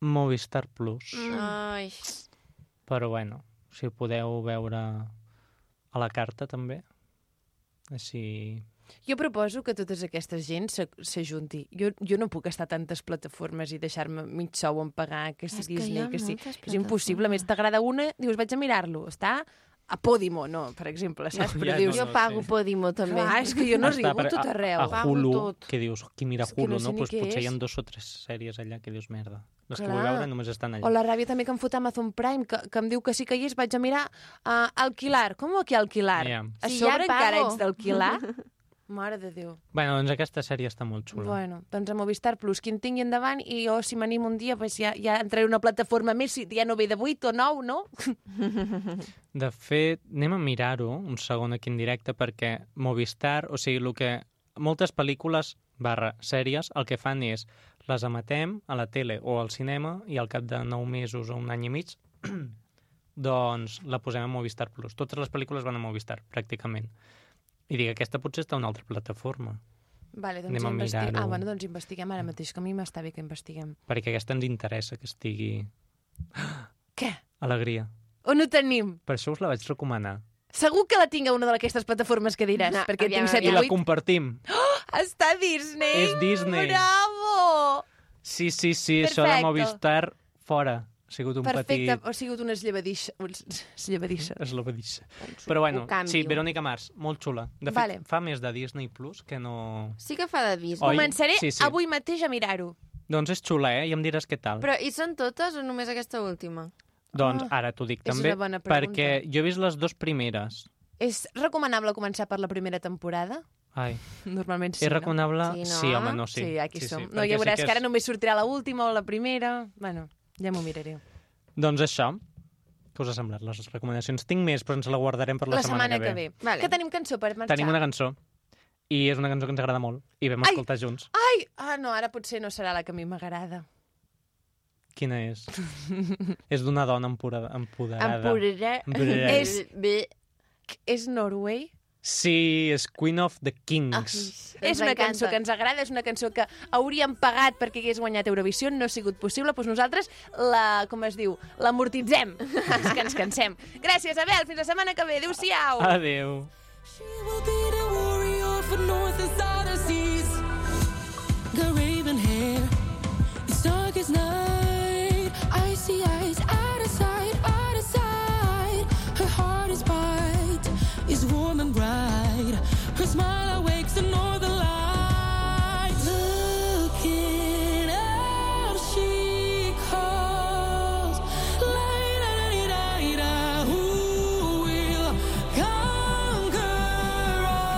S3: Movistar Plus.
S2: Mm.
S1: Ai,
S3: Però bueno, si ho podeu veure a la carta també. Així...
S2: Jo proposo que totes aquestes gent se- s'ajunti. Jo, jo no puc estar a tantes plataformes i deixar-me mig sou en pagar, que si
S1: És que hi ha
S2: Disney, que si...
S1: moltes
S2: És impossible. A més, t'agrada una, dius, vaig a mirar-lo. Està a Podimo, no, per exemple, saps?
S3: No,
S2: Però
S3: ja
S2: dius,
S1: jo
S3: no,
S1: pago
S3: sí.
S1: Podimo, també.
S2: clar, és que jo no
S3: Està
S2: arribo a
S3: per-
S2: tot arreu.
S3: A, a
S1: Pago
S3: Hulu,
S1: tot.
S3: que dius, qui mira
S2: És que
S3: Hulu,
S2: no sé
S3: no?
S2: ni
S3: Pues
S2: què
S3: potser hi ha
S2: és.
S3: dos o tres sèries allà que dius, merda. Les que
S2: Clar.
S3: vull veure només estan allà.
S2: O la ràbia també que em fot Amazon Prime, que, que em diu que sí que hi és, vaig a mirar uh, alquilar. Com que alquilar?
S3: Ja.
S2: A
S1: Sí,
S2: sobre
S1: ja
S2: encara
S1: pago.
S2: ets d'alquilar? Mare de Déu.
S3: Bueno, doncs aquesta sèrie està molt xula.
S2: Bueno, doncs a Movistar Plus, qui en tingui endavant, i jo, si m'animo un dia, pues ja, ja entraré a una plataforma més, si ja no ve de 8 o 9, no?
S3: De fet, anem a mirar-ho un segon aquí en directe perquè Movistar, o sigui, el que moltes pel·lícules barra sèries el que fan és les emetem a la tele o al cinema i al cap de nou mesos o un any i mig doncs la posem a Movistar Plus. Totes les pel·lícules van a Movistar, pràcticament. I dic, aquesta potser està a una altra plataforma,
S2: Vale, doncs
S3: Anem a
S2: investi-
S3: mirar-ho.
S2: Ah, bueno, doncs investiguem ara mateix, que a mi m'està bé que investiguem.
S3: perquè aquesta ens interessa que estigui
S2: Què?
S3: alegria.
S2: On ho tenim?
S3: Per això us la vaig recomanar.
S2: Segur que la tinc a una d'aquestes plataformes que diràs,
S1: No,
S2: perquè
S1: aviam,
S2: tinc 7
S3: I
S2: o
S3: la
S2: 8.
S3: compartim.
S2: Està a Disney!
S3: És Disney.
S2: Bravo!
S3: Sí, sí, sí, això de
S2: Perfecte.
S3: Movistar, fora. Ha sigut un
S2: Perfecte,
S3: petit...
S2: ha sigut una llevadissa. Llevadissa.
S3: És la mateixa. Però bueno,
S1: ho canvio.
S3: sí, Verónica Mars, molt xula. De fet,
S2: Vale.
S3: fa més de Disney Plus que no...
S1: Sí que fa de Disney.
S3: Oi?
S2: Començaré
S3: Sí, sí.
S2: avui mateix a mirar-ho.
S3: Doncs és xula, eh? I em diràs què tal.
S1: Però hi són totes o només aquesta última?
S3: Doncs ara t'ho dic
S2: Ah, és
S3: també,
S2: una bona pregunta.
S3: perquè jo he vist les dues primeres.
S2: És recomanable començar per la primera temporada?
S3: Ai,
S2: Normalment sí,
S3: és recomanable?
S1: Sí, no?
S3: Sí, home, no,
S2: no?
S3: sí.
S2: sí, aquí som. no,
S3: perquè
S2: ja veuràs
S3: sí
S2: que,
S3: és-
S2: ara només sortirà la última o la primera. Bueno, ja m'ho miraré.
S3: Doncs això, què us ha semblat, les recomanacions? Tinc més, però ens la guardarem per la,
S2: setmana que ve.
S1: Vale.
S2: Que tenim cançó per marxar.
S3: Tenim una cançó, i és una cançó que ens agrada molt, i vam
S2: Ai!
S3: escoltar junts.
S2: Ai, ah, no, ara potser no serà la que a mi m'agrada.
S3: Quina és? és d'una dona empurada- empoderada.
S1: Empuraré.
S3: Empoderada.
S1: És... Bé.
S2: És Norway?
S3: Sí, és Queen of the Kings.
S2: és una cançó que ens agrada, és una cançó que hauríem pagat perquè hagués guanyat Eurovisió, no ha sigut possible, doncs nosaltres la, com es diu, l'amortitzem. és que ens cansem. Gràcies, Abel, fins la setmana que ve. Adéu-siau.
S3: Adéu.
S4: She will be the warrior for north and southern seas. The raven hair, it's dark as night. Icy eyes, out of sight, out of sight. Her heart is bright, is warm and bright. Her smile awakes the northern lights. Looking out, she calls. La-di-da-di-da-di-da. Who will conquer all?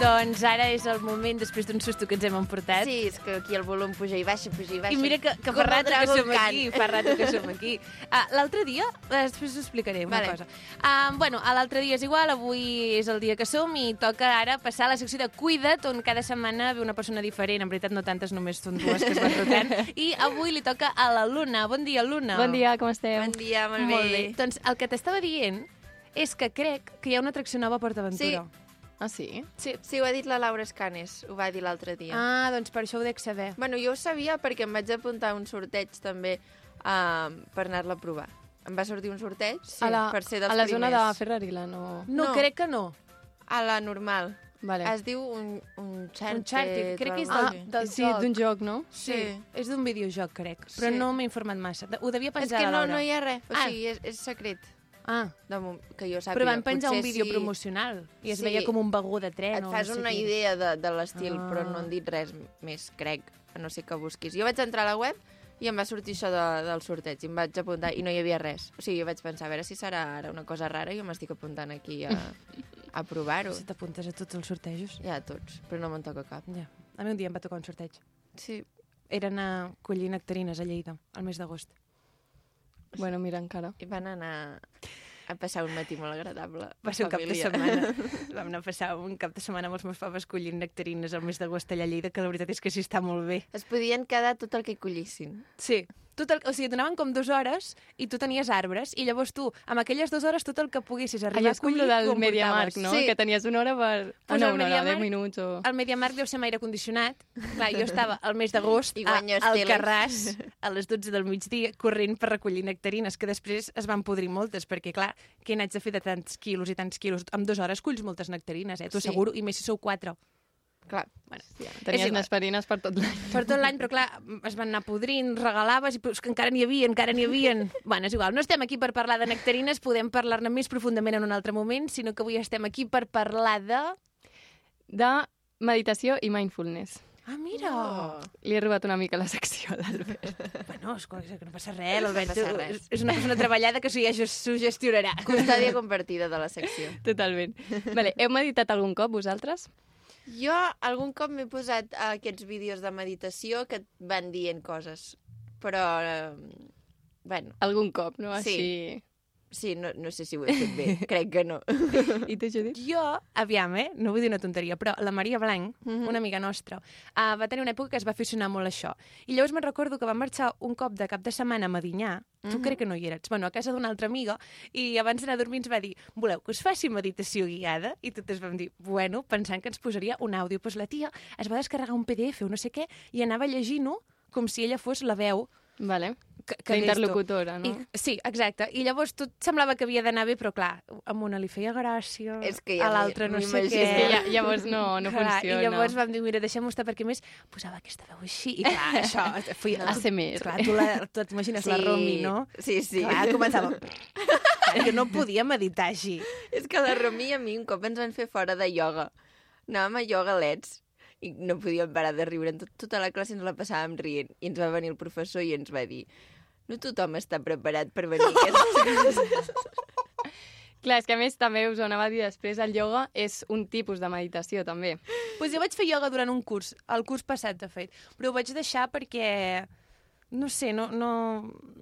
S2: Doncs ara és el moment, després d'un susto que ens hem emportat.
S1: Sí, és que aquí el volum puja i baixa, puja i
S2: I
S1: baixa.
S2: mira que, que
S1: Com
S2: fa
S1: el
S2: rato que
S1: Dragon
S2: som
S1: Khan.
S2: aquí, fa rato que som aquí. Ah, l'altre dia, després us explicaré una
S1: Vale.
S2: cosa. Ah, bueno, a l'altre dia és igual, avui és el dia que som i toca ara passar a la secció de Cuida't, on cada setmana ve una persona diferent, en veritat no tantes, només són dues que es van rotant, i avui li toca a la Luna. Bon dia, Luna.
S5: Bon dia, com esteu?
S1: Bon dia, molt,
S2: Molt bé. Doncs el que t'estava dient és que crec que hi ha una atracció nova a PortAventura.
S5: Ah, sí?
S1: Sí. sí, ho ha dit la Laura Escanes, ho va dir l'altre dia.
S2: Ah, doncs per això ho dec saber.
S1: Bueno, jo ho sabia perquè em vaig apuntar a un sorteig també uh, per anar-la a provar. Em va sortir un sorteig sí. per ser
S5: a
S1: dels
S5: la
S1: primers.
S5: zona de Ferrarila, no...
S2: No,
S1: No.
S2: no. crec que no.
S1: A la normal.
S5: Vale.
S1: Es diu un, un xartet.
S2: Uncharted, crec que és
S5: Ah,
S2: del-
S5: del sí, d'un joc, no?
S1: Sí.
S2: És d'un videojoc, crec, però
S1: Sí.
S2: no m'he informat massa. De- Ho devia
S1: És
S2: penjar
S1: que
S2: la
S1: no,
S2: Laura.
S1: no hi ha res. O
S2: Ah.
S1: sigui, és, és secret.
S2: Ah,
S1: De mom- que jo sàpiga.
S2: però van penjar un
S1: Potser
S2: vídeo
S1: si
S2: promocional i es
S1: Sí.
S2: veia com un vagó de tren.
S1: Et
S2: o
S1: fas
S2: no sé
S1: una
S2: què.
S1: idea de, de l'estil,
S2: Ah.
S1: però no han dit res m- més, crec, a no sé que busquis. Jo vaig entrar a la web i em va sortir això de, del sorteig, i em vaig apuntar i no hi havia res. O sigui, jo vaig pensar, a veure si serà ara una cosa rara, i jo m'estic apuntant aquí a, a provar-ho.
S2: Si t'apuntes a tots els sortejos.
S1: Ja, tots, però no me'n toca cap.
S2: Ja. A mi un dia em va tocar un sorteig.
S1: Sí,
S2: Era anar collint nectarines a Lleida, al mes d'agost.
S5: Bueno, mira, encara.
S1: i van anar a passar un matí molt agradable.
S2: Va ser un cap de
S1: Família.
S2: setmana. Vam anar a passar un cap de setmana amb els meus pares collint nectarines al mes d'agost allà a Lleida, que la veritat és que sí està molt bé.
S1: Es podien quedar tot el que collissin.
S2: Sí. Tot el, o sigui, et donaven com dues hores i tu tenies arbres i llavors tu, amb aquelles dues hores, tot el que poguessis arribar
S5: Allò
S2: a
S5: és com lo
S2: collir,
S5: del
S2: ho
S5: Mediamarkt,
S2: emportaves.
S5: no?
S1: Sí.
S5: Que tenies una hora per... Ah,
S2: Pues
S5: no,
S2: el
S5: una hora, 10
S2: Mediamarkt-
S5: minuts o...
S2: El Mediamarkt deu ser amb aire condicionat. Clar, jo estava al mes d'agost
S1: I
S2: a-
S1: guanyes
S2: al
S1: teles.
S2: Carràs a les 12 del migdia corrent per recollir nectarines, que després es van podrir moltes, perquè, clar, què n'haig de fer de tants quilos i tants quilos? Amb dues hores culls moltes nectarines, eh? T'ho
S1: Sí.
S2: asseguro, i més si sou quatre.
S1: Clar,
S2: Bueno, és
S5: Tenies
S2: igual.
S5: nesperines per tot l'any.
S2: Per tot l'any, però clar, es van anar podrint, regalaves, i però és que encara n'hi havia, encara n'hi havia. Bueno, és igual, no estem aquí per parlar de nectarines, podem parlar-ne més profundament en un altre moment, sinó que avui estem aquí per parlar de...
S5: De meditació i mindfulness.
S2: Ah, mira!
S1: Oh.
S5: Li he robat una mica la secció a l'Albert.
S2: Bueno, és cosa que no passa res, l'Albert.
S1: passa
S2: tu-
S1: res.
S2: és- És una persona treballada que s'ho ja sugestionarà.
S1: custòdia compartida de la secció.
S5: Totalment. Vale, heu meditat algun cop vosaltres?
S1: Jo algun cop m'he posat a aquests vídeos de meditació que et van dient coses, però... Eh, bueno,
S5: Algun cop, no?
S1: Sí.
S5: Així...
S1: sí, no, no sé si ho he fet bé, crec que no.
S5: I tu, Judit?
S2: Jo, aviam, eh? no vull dir una tonteria, però la Maria Blanc,
S1: Mhm.
S2: una amiga nostra, uh, va tenir una època que es va aficionar molt a això. I llavors me'n recordo que va marxar un cop de cap de setmana a Medinyà,
S5: Mhm.
S2: tu crec que no hi eres, bueno, a casa d'una altra amiga, i abans d'anar a dormir ens va dir voleu que us faci meditació guiada? I totes vam dir, bueno, pensant que ens posaria un àudio. Doncs la tia es va descarregar un PDF o no sé què i anava llegint-ho com si ella fos la veu
S5: Vale.
S2: que, que
S5: Que
S2: hagués tu.
S5: interlocutora, no?
S2: I, sí, exacte. I llavors tot semblava que havia d'anar bé, però clar, a una li feia gràcia,
S1: És que ja
S2: a l'altra
S1: m'hi-
S2: no sé
S1: m'imagino.
S2: què...
S5: És que ja, llavors no, no
S2: clar, I
S5: funciona.
S2: llavors vam dir, mira, deixem-ho estar, perquè a més posava aquesta veu així. I clar, això... Fui,
S5: No. ASMR.
S2: Clar, tu, la, tu et imagines la Romi, no?
S1: Sí, sí.
S2: Clar, començava... Perquè no podia meditar així.
S1: És que la Romi i a mi un cop ens van fer fora de ioga. Anàvem a ioga leds i no podíem parar de riure. Tot, tota la classe ens la passàvem rient. I ens va venir el professor i ens va dir no tothom està preparat per venir a aquestes coses.
S5: Clar, és que a més també us ho anava a dir després, el ioga és un tipus de meditació també.
S2: Doncs pues jo vaig fer ioga durant un curs, el curs passat, de fet, però ho vaig deixar perquè, no sé, no, no,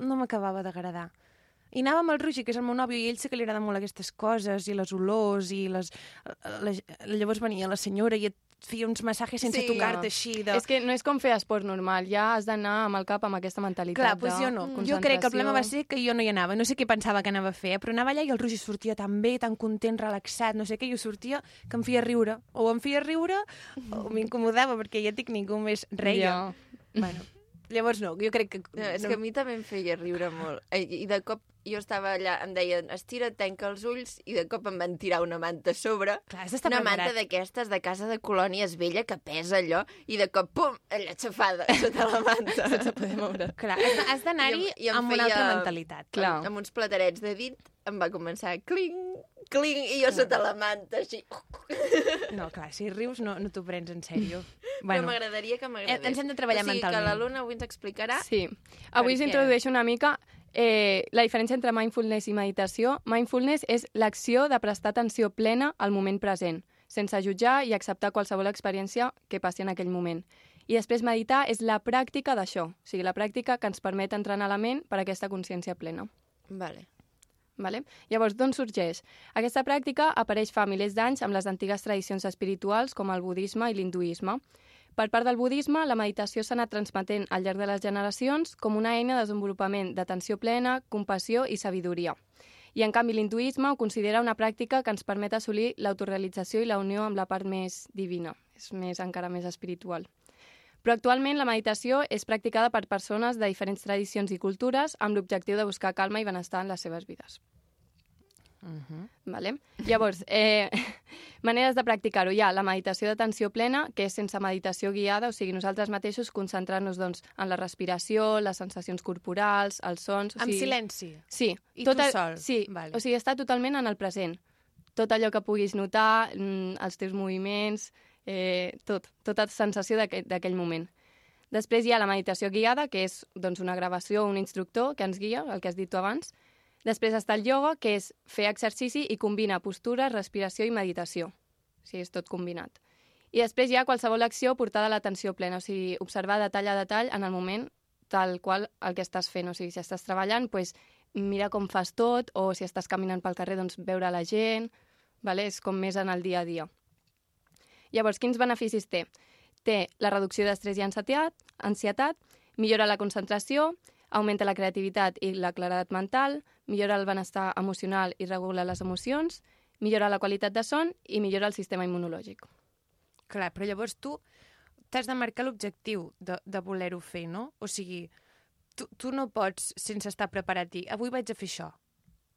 S2: no m'acabava d'agradar. I anava amb el Rugi, que és el meu nòvio, i a ell sí que li agraden molt aquestes coses, i les olors, i les... La, llavors venia la senyora i et feia uns massatges sense
S1: Sí.
S2: sí, tocar-te així de...
S5: És que no és com fer esport normal, ja has d'anar amb el cap amb aquesta mentalitat
S2: Clar,
S5: de
S2: doncs jo no. Jo crec que el problema va ser que jo no hi anava. No sé què pensava que anava a fer, eh, però anava allà i el Roger sortia tan bé, tan content, relaxat, no sé què, i jo sortia que em feia riure. O em feia riure o m'incomodava, perquè ja et dic, ningú més reia.
S5: Ja.
S2: Bueno, llavors no, jo crec que...
S1: No, és que a mi també em feia riure molt. Eh, I, i de cop jo estava allà, em deien, estira, tanca els ulls, i de cop em van tirar una manta a sobre.
S2: Clar, has d'estar
S1: una manta
S2: preparat.
S1: d'aquestes de casa de colònies vella que pesa allò, i de cop, pum, allà xafada sota la manta. Sense poder moure.
S2: Clar, has de- has d'anar-hi
S1: I em- i em
S2: amb una
S1: feia-
S2: altra mentalitat.
S5: Clar.
S1: Amb, amb uns platerets de dit em va començar a cling, cling, i jo sota la manta, així. uh,
S2: No, clar, si rius no, no t'ho prens en sèrio.
S1: Bueno,
S2: Bueno,
S1: Però m'agradaria que m'agradés.
S2: Eh, ens hem de treballar
S1: o sigui,
S2: mentalment.
S1: que l'alumne avui ens explicarà...
S5: Sí. Avui us
S1: Perquè-
S5: introdueixo una mica eh, la diferència entre mindfulness i meditació. Mindfulness és l'acció de prestar atenció plena al moment present, sense jutjar i acceptar qualsevol experiència que passi en aquell moment. I després meditar és la pràctica d'això, o sigui, la pràctica que ens permet entrenar la ment per a aquesta consciència plena.
S1: Vale.
S5: Vale? Llavors, d'on sorgeix? Aquesta pràctica apareix fa milers d'anys amb les antigues tradicions espirituals com el budisme i l'hinduisme. Per part del budisme, la meditació s'ha anat transmetent al llarg de les generacions com una eina de desenvolupament d'atenció plena, compassió i sabidoria. I, en canvi, l'hinduisme ho considera una pràctica que ens permet assolir l'autorealització i la unió amb la part més divina. És més encara més espiritual. Però actualment la meditació és practicada per persones de diferents tradicions i cultures amb l'objectiu de buscar calma i benestar en les seves vides. Vale? Llavors, eh, maneres de practicar-ho. Hi ha la meditació d'atenció plena, que és sense meditació guiada, o sigui, nosaltres mateixos concentrar-nos doncs, en la respiració, les sensacions corporals, els sons... O
S2: Amb
S5: sigui,
S2: silenci.
S5: Sí.
S2: I
S5: tot
S2: tu
S5: el-
S2: sol.
S5: Sí,
S2: Vale.
S5: o sigui, estar totalment en el present. Tot allò que puguis notar, mm, els teus moviments, eh, tot, tota sensació d'aquell d'aquell moment. Després hi ha la meditació guiada, que és doncs, una gravació, un instructor que ens guia, el que has dit tu abans. Després està el ioga, que és fer exercici i combina postura, respiració i meditació. O sigui, és tot combinat. I després hi ha qualsevol acció portada a l'atenció plena, o sigui, observar detall a detall en el moment tal qual el que estàs fent. O sigui, si estàs treballant, doncs mira com fas tot, o si estàs caminant pel carrer, doncs veure la gent, vale? és com més en el dia a dia. Llavors, quins beneficis té? Té la reducció d'estrès i ansietat, ansietat, millora la concentració, augmenta la creativitat i la claredat mental, millora el benestar emocional i regula les emocions, millora la qualitat de son i millora el sistema immunològic.
S2: Clar, però llavors tu t'has de marcar l'objectiu de, de voler-ho fer, no? O sigui, tu, tu no pots, sense estar preparat, dir avui vaig a fer això.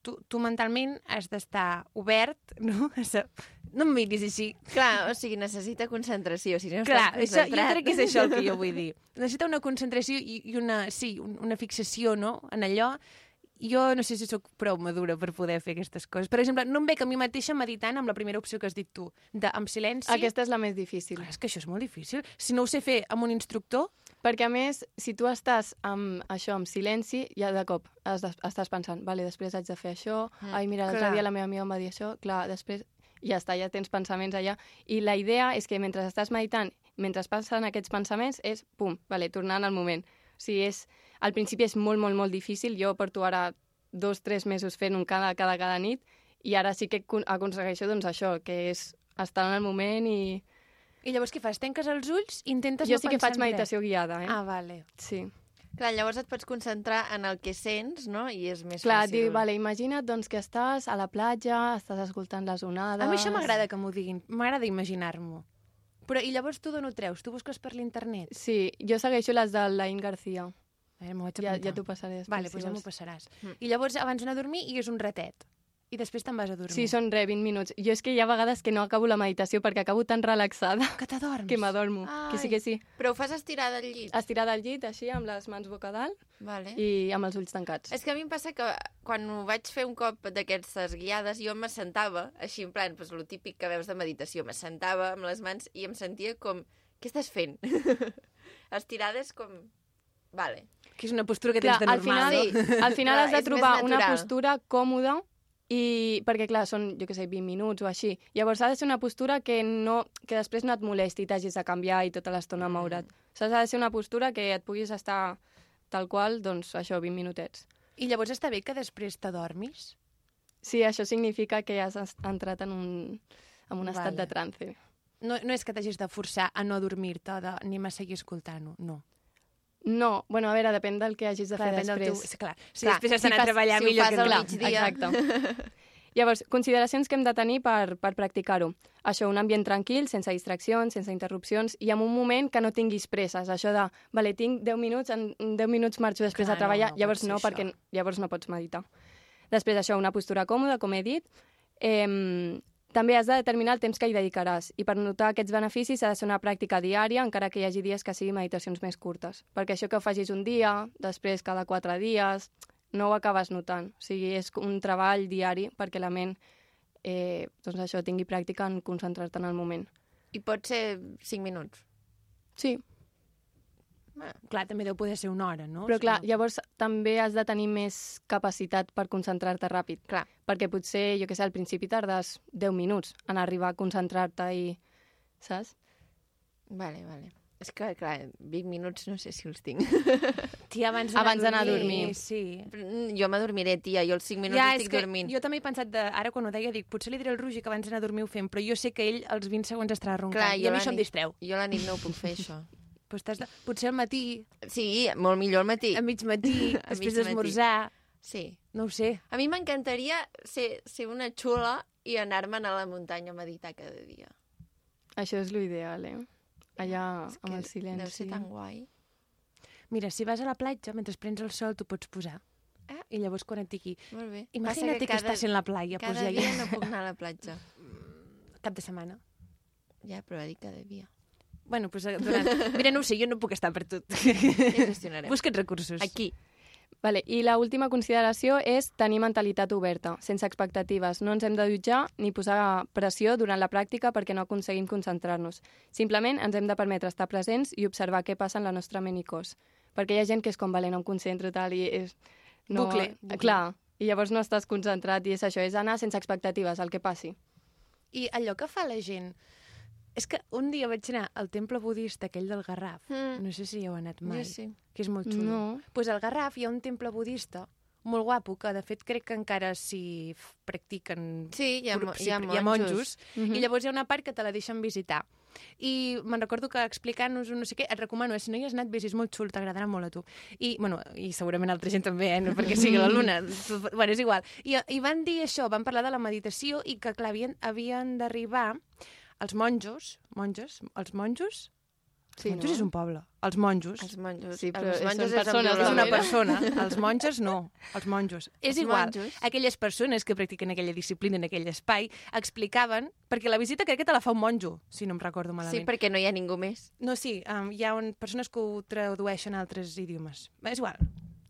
S2: Tu, tu mentalment has d'estar obert, no? A sa- No em miris així.
S1: Clar, o sigui, necessita concentració. Si no
S2: Clar, això,
S1: estàs
S2: jo crec que és
S1: concentrat-
S2: això el que jo vull dir. Necessita una concentració i, i una, sí, un- una fixació, no?, en allò. Jo no sé si sóc prou madura per poder fer aquestes coses. Per exemple, no em veig a mi mateixa meditant amb la primera opció que has dit tu, de, amb silenci.
S5: Sí? Aquesta és la més difícil.
S2: Clar, és que això és molt difícil. Si no ho sé fer amb un instructor,
S5: Perquè, a més, si tu estàs amb això, amb silenci, ja de cop has de, estàs pensant, vale, després haig de fer això, mm, ai, mira, l'altre
S2: clar.
S5: dia la meva amiga em va dir això, clar, després ja està, ja tens pensaments allà. I la idea és que mentre estàs meditant, mentre passen aquests pensaments, és, pum, vale, tornar en el moment. O sigui, és, al principi és molt, molt, molt difícil. Jo porto ara dos, tres mesos fent un cada, cada, cada nit i ara sí que acon- aconsegueixo, doncs, això, que és estar en el moment i...
S2: i llavors què fas? Tanques els ulls i intentes
S5: Jo
S2: no
S5: sí que
S2: pensar
S5: faig
S2: en res.
S5: meditació guiada, eh?
S2: Ah, vale.
S5: Sí.
S1: Clar, llavors et pots concentrar en el que sents, no? I és més
S5: Clar, et
S1: fàcil.
S5: diu, vale, imagina't doncs, que estàs a la platja, estàs escoltant les onades...
S2: A mi això m'agrada que m'ho diguin. M'agrada imaginar-m'ho. Però i llavors tu d'on ho treus? Tu busques per l'internet?
S5: Sí, jo segueixo les de l'Ain García.
S2: A veure, Eh, m'ho vaig
S5: Ja,
S2: apuntar.
S5: ja t'ho passaré després.
S2: Vale, doncs ja m'ho passaràs.
S5: Mm.
S2: I llavors, abans d'anar a dormir, hi és un ratet. I després te'n vas a dormir.
S5: Sí, són re, 20 minuts. Jo és que hi ha vegades que no acabo la meditació perquè acabo tan relaxada
S2: Que t'adorms.
S5: que m'adormo. Que sí,
S2: Ai.
S5: que sí.
S1: Però ho fas estirada al llit.
S5: Estirada al llit, així, amb les mans boca dalt
S1: Vale.
S5: i amb els ulls tancats.
S1: És que a mi em passa que quan ho vaig fer un cop d'aquestes guiades, jo me sentava, així en plan, doncs, el típic que veus de meditació, me sentava amb les mans i em sentia com, què estàs fent? Estirades com... Vale.
S2: Que és una postura que
S5: Clar,
S2: tens de
S5: al final,
S2: normal.
S1: Sí.
S5: al final
S1: Clar,
S5: has de
S1: és més
S5: trobar una
S1: natural.
S5: postura còmoda i perquè, clar, són, jo què sé, 20 minuts o així. Llavors ha de ser una postura que, no, que després no et molesti, t'hagis de canviar i tota l'estona
S2: Mm.
S5: moure't. Saps? Ha de ser una postura que et puguis estar tal qual, doncs això, 20 minutets.
S2: I llavors està bé que després t'adormis?
S5: Sí, això significa que has es- entrat en un, en un estat
S2: Vale.
S5: de trance.
S2: No, no és que t'hagis de forçar a no dormir-te, de, ni a seguir escoltant-ho, no.
S5: No, bueno, a veure, depèn del que hagis de fer
S2: del
S5: després.
S2: teu... Sí, clar, si
S1: Clar,
S2: després has
S1: si
S2: d'anar
S1: fas-
S2: a treballar
S1: si ho
S2: millor
S1: fas
S2: que
S1: al
S2: clar.
S1: migdia.
S5: Exacte. Llavors, consideracions que hem de tenir per, per practicar-ho. Això, un ambient tranquil, sense distraccions, sense interrupcions, i en un moment que no tinguis presses. Això de, vale, tinc 10 minuts, en 10 minuts marxo després
S2: Clar,
S5: de
S2: no,
S5: treballar,
S2: no
S5: no, llavors
S2: pot ser
S5: no, perquè
S2: això.
S5: llavors no pots meditar. Després, això, una postura còmoda, com he dit. Eh, també has de determinar el temps que hi dedicaràs i per notar aquests beneficis ha de ser una pràctica diària, encara que hi hagi dies que siguin meditacions més curtes. Perquè això que ho facis un dia, després cada quatre dies, no ho acabes notant. O sigui, és un treball diari perquè la ment eh, doncs això tingui pràctica en
S2: Eh,
S5: concentrar-te en el moment.
S1: I pot ser 5 minuts.
S5: Sí,
S2: Ah, Clar, també deu poder ser una hora, no?
S5: Però clar,
S2: ja...
S5: llavors també has de tenir més capacitat per concentrar-te ràpid.
S1: Clar.
S5: Perquè potser, jo què sé, al principi tardes 10 minuts en arribar a concentrar-te i... Saps?
S1: Vale, vale. És que, clar, 20 minuts no sé si els tinc.
S2: Tia, abans
S5: Abans d'anar a dormir.
S2: Sí.
S1: Mm, Jo m'adormiré, tia, jo els 5 minuts ja,
S2: Ja, és
S1: estic
S2: que
S1: dormint. Jo...
S2: jo també he pensat, de, ara quan ho deia, dic, potser li diré al Rugi que abans d'anar a dormir ho fem, però jo sé que ell als 20 segons estarà roncant.
S1: Clar,
S2: I
S1: jo
S2: a mi
S1: la
S2: això em
S1: nit-
S2: distreu.
S1: Jo a la nit no ho puc fer, això.
S2: Però estàs de... Potser al matí,
S1: Sí, molt millor al matí.
S2: a mig matí,
S1: A mig
S2: després
S1: matí.
S2: d'esmorzar,
S1: Sí.
S2: no ho sé.
S1: A mi m'encantaria ser, ser una xula i anar-me'n a la muntanya a meditar cada dia.
S5: Això és l'ideal, eh? Allà,
S1: És
S5: amb
S1: que
S5: el silenci.
S1: Deu ser tan guai.
S2: Mira, si vas a la platja, mentre prens el sol, t'ho pots posar.
S1: Ah.
S2: I llavors quan et digui...
S1: Molt bé.
S2: Imagina't que, que estàs en la playa,
S1: Cada
S2: doncs ja, Mm,
S1: dia no puc anar a la platja.
S2: cap de setmana.
S1: Ja, però ha dit cada dia.
S2: Bueno, pues, eh, durant... Mira, no ho sé, jo no puc estar per tot.
S1: Ja gestionarem.
S2: Busca't recursos.
S1: Aquí.
S5: Vale, I la última consideració és tenir mentalitat oberta, sense expectatives. No ens hem de jutjar ni posar pressió durant la pràctica perquè no aconseguim concentrar-nos. Simplement ens hem de permetre estar presents i observar què passa en la nostra ment i cos. Perquè hi ha gent que és com, vale, no em concentro, tal, i és... No,
S2: Bucle, bucle.
S5: Clar, i llavors no estàs concentrat i és això, és anar sense expectatives, el que passi.
S2: I allò que fa la gent... És que un dia vaig anar al temple budista, aquell del Garraf,
S1: Mm.
S2: no sé si hi heu anat mai,
S1: Jo sí.
S2: que és molt xulo.
S5: No.
S2: pues al Garraf hi ha un temple budista molt guapo, que de fet crec que encara s'hi f- practiquen
S1: Sí, hi ha, mo-
S2: grups,
S1: hi ha
S2: hi
S1: monjos.
S2: ha monjos.
S5: Mhm.
S2: I llavors hi ha una part que te la deixen visitar. I me'n recordo que explicant-nos un no sé què, et recomano, eh, si no hi has anat, vés, és molt xul, t'agradarà molt a tu. I, bueno, i segurament altra gent també, eh, no perquè sigui la Luna. bueno, és igual. I, I van dir això, van parlar de la meditació i que, clar, havien, havien d'arribar els monjos, monges, els monjos?
S5: Sí,
S2: monjos
S5: no?
S2: és un poble. Els monjos.
S1: Els monjos.
S5: Sí, però
S1: els
S5: són
S1: monjos
S5: persones,
S2: És
S5: Però
S2: una
S5: mira.
S2: persona. Els monges no, els monjos. És
S1: Els
S2: igual.
S1: monjos.
S2: Aquelles persones que practiquen aquella disciplina en aquell espai explicaven... Perquè la visita crec que te la fa un monjo, si no em recordo
S1: Sí,
S2: malament.
S1: perquè no hi ha ningú més.
S2: No, sí, um, hi ha un, persones que ho tradueixen a altres idiomes. És igual.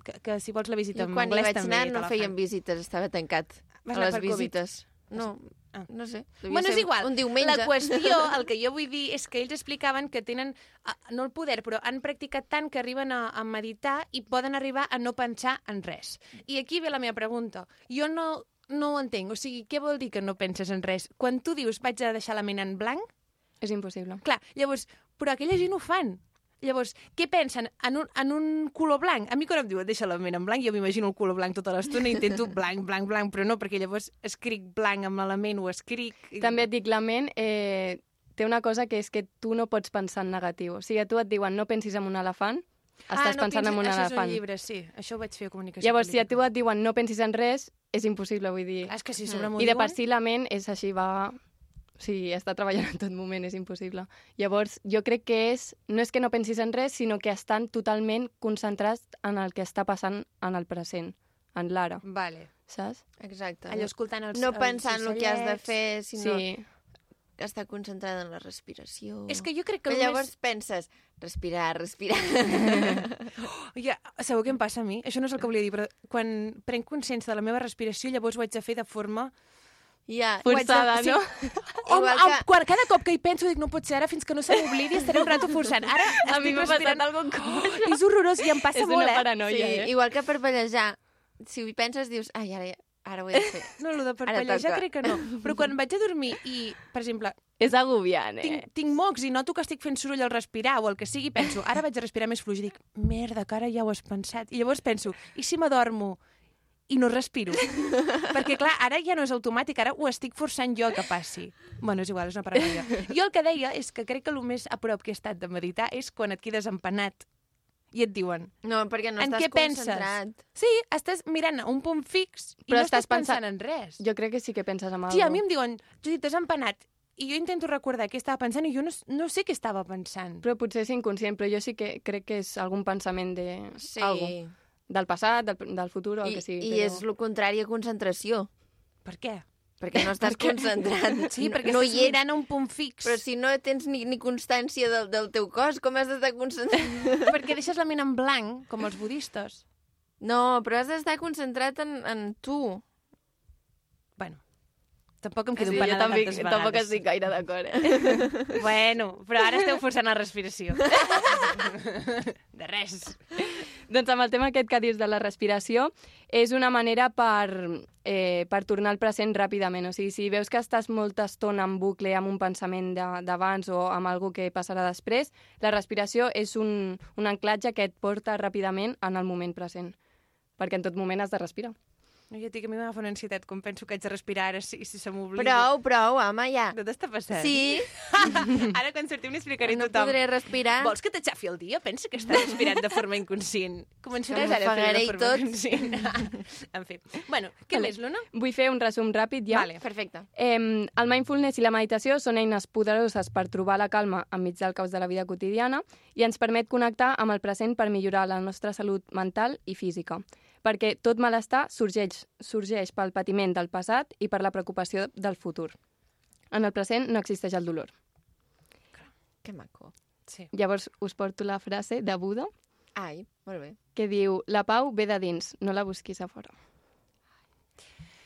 S2: Que, que si vols la visita
S1: Jo
S2: en
S1: quan hi
S2: anglès
S1: vaig
S2: també
S1: anar
S2: te
S1: no
S2: la
S1: feien
S2: fan.
S1: visites, estava tancat
S2: Vas
S1: a
S2: anar
S1: les
S2: per Covid.
S1: visites. No,
S2: Ah.
S1: no sé. devia
S2: Bueno, és
S1: ser
S2: igual.
S1: Un diumenge.
S2: La qüestió, el que jo vull dir, és que ells explicaven que tenen, ah, no el poder, però han practicat tant que arriben a, a meditar i poden arribar a no pensar en res. I aquí ve la meva pregunta. Jo no, no ho entenc. O sigui, què vol dir que no penses en res? Quan tu dius vaig a deixar la ment en blanc,
S5: És impossible.
S2: clar, llavors, però aquella gent ho fan. Llavors, què pensen? En un, en un color blanc? A mi quan em diuen deixa la ment en blanc, jo m'imagino el color blanc tota l'estona i intento blanc, blanc, blanc, però no, perquè llavors escric blanc amb l'element, ho escric... i-
S5: També et dic, la ment eh, té una cosa que és que tu no pots pensar en negatiu. O sigui, a tu et diuen no pensis en un elefant, estàs pensant en un
S2: Ah, això Això és
S5: elefant.
S2: un llibre, sí. Això ho vaig fer a comunicació
S5: Llavors, si a tu
S2: política.
S5: et diuen no pensis en res, és impossible, vull dir. Mm.
S2: Clar, Ah, és que si a sobre m'ho
S5: I de per
S2: diuen,
S5: si la ment és així, va... O sigui, està treballant en tot moment, és impossible. Llavors, jo crec que és... No és que no pensis en res, sinó que estan totalment concentrats en el que està passant en el present, en l'ara,
S2: Vale.
S5: saps?
S1: Exacte.
S2: Allò escoltant els
S1: no
S2: els
S1: pensar en el que has de
S2: ocellets.
S1: fer,
S5: Sí,
S1: sinó estar concentrada en la respiració.
S2: És que jo crec que
S1: Però
S2: només...
S1: llavors penses, respirar, respirar.
S2: Ja, sabeu què em passa a mi? Això no és el que volia dir, però quan prenc consciència de la meva respiració, llavors ho haig de fer de forma...
S1: ja,
S2: Ho haig de-
S5: forçada,
S2: sí.
S5: no?
S2: O,
S1: Igual
S2: o,
S1: que-
S2: quan, cada cop que hi penso, dic, no pot ser, ara fins que no se m'oblidi estaré un rato forçant. Ara
S5: A mi
S2: estic
S5: m'ha passat
S2: respirant...
S5: algun cop.
S2: Oh, és horrorós i em passa
S5: És
S2: molt,
S5: una
S2: eh?
S5: paranoia,
S1: sí,
S5: eh?
S1: Igual que per ballejar, si ho penses dius, ai, ara, ara ho he de fer.
S2: No, el de per
S1: Ara
S2: ja
S1: toca.
S2: crec que no. Però quan vaig a dormir i, per exemple,
S5: És agobiant, eh?
S2: tinc, tinc mocs i noto que estic fent soroll al respirar o el que sigui, penso, ara vaig a respirar més fluix i dic, merda, que ara ja ho has pensat. I llavors penso, i si m'adormo i no respiro? Perquè, clar, ara ja no és automàtic, ara ho estic forçant jo a que passi. Bueno, és igual, és una paranoia. Jo el que deia és que crec que el més a prop que he estat de meditar és quan et quedes empanat i et diuen,
S1: No, perquè no
S2: En
S1: estàs
S2: què penses?
S1: concentrat.
S2: sí, estàs mirant a un punt fix i
S5: Però
S2: no estàs
S5: estàs pensant-
S2: pensant en res.
S5: Jo crec que sí que penses en
S2: Tia, a
S5: alguna
S2: mi em diuen, Judit, t'has empanat. I jo intento recordar què estava pensant i jo no, no sé què estava pensant.
S1: Mm.
S5: Però potser és inconscient, però jo sí que crec que és algun pensament de...
S1: Sí.
S5: Algo. Del passat, del, del futur o el
S1: I,
S5: que sigui.
S1: i
S5: però...
S1: és el contrari a concentració.
S2: Per què?
S1: Perquè no estàs concentrat.
S2: Sí, perquè
S1: no
S2: estàs
S1: hi ets.
S2: mirant a un punt fix.
S1: Però si no tens ni, ni constància del, del teu cos, com has d'estar concentrat?
S2: Perquè deixes la ment en blanc, com els budistes.
S1: No, però has d'estar concentrat en, en tu.
S2: Bueno, Tampoc em quedo
S1: Sí,
S2: sí,
S1: jo
S2: empanada
S1: també,
S2: tantes vegades.
S1: tampoc estic gaire d'acord. Eh?
S2: Bueno, però ara esteu forçant la respiració. De res.
S5: Doncs amb el tema aquest que dius de la respiració, és una manera per, eh, per tornar al present ràpidament. O sigui, si veus que estàs molta estona en bucle amb un pensament de- d'abans o amb algú que passarà després, la respiració és un, un anclatge que et porta ràpidament en el moment present. Perquè en tot moment has de respirar.
S2: No, jo dic, a mi m'agafa una ansietat quan penso que haig de respirar ara si, si se m'oblida.
S1: Prou, Oh, prou, home, ja.
S2: Tot està passant.
S1: Sí,
S2: ara quan sortim n'explicaré a
S1: no
S2: tothom.
S1: podré respirar.
S2: Vols que t'aixafi el dia? Pensa que estàs respirant de forma inconscient. Començaràs ara a fer de
S1: M'ofegaré i
S2: forma
S1: tot.
S2: inconscient. en fi. Bueno, què
S5: Vale.
S2: més, Luna?
S5: Vull fer un resum ràpid ja.
S2: Vale.
S1: Perfecte.
S5: Eh, el mindfulness i la meditació són eines poderoses per trobar la calma enmig del caos de la vida quotidiana i ens permet connectar amb el present per millorar la nostra salut mental i física. Perquè tot malestar sorgeix, sorgeix pel patiment del passat i per la preocupació del futur. En el present no existeix el dolor.
S1: Que maco.
S2: Sí.
S5: Llavors us porto la frase de Buda
S1: Ai, molt bé.
S5: que diu «La pau ve de dins, no la busquis a fora».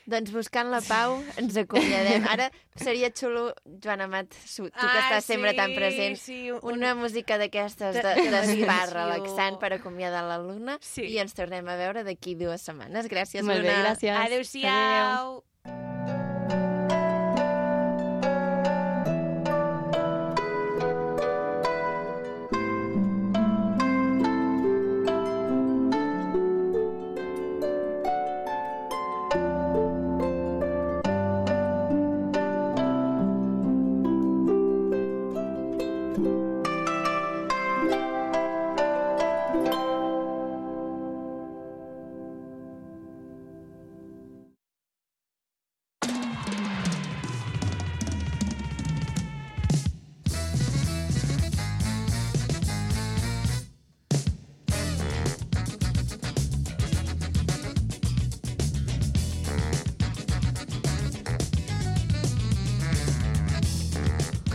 S1: Doncs buscant la pau ens acomiadem. Ara seria xulo, Joan Amat, su- tu que estàs sempre tan present,
S2: Ah, Sí, un...
S1: una música d'aquestes
S2: De-
S1: de-
S2: de
S1: d'espa
S2: meditació.
S1: relaxant per acomiadar la Luna
S2: Sí.
S1: i ens tornem a veure d'aquí dues setmanes. Gràcies,
S5: Molt bé,
S1: Luna.
S5: gràcies.
S2: Adéu-siau.
S5: Adéu.
S2: Adéu.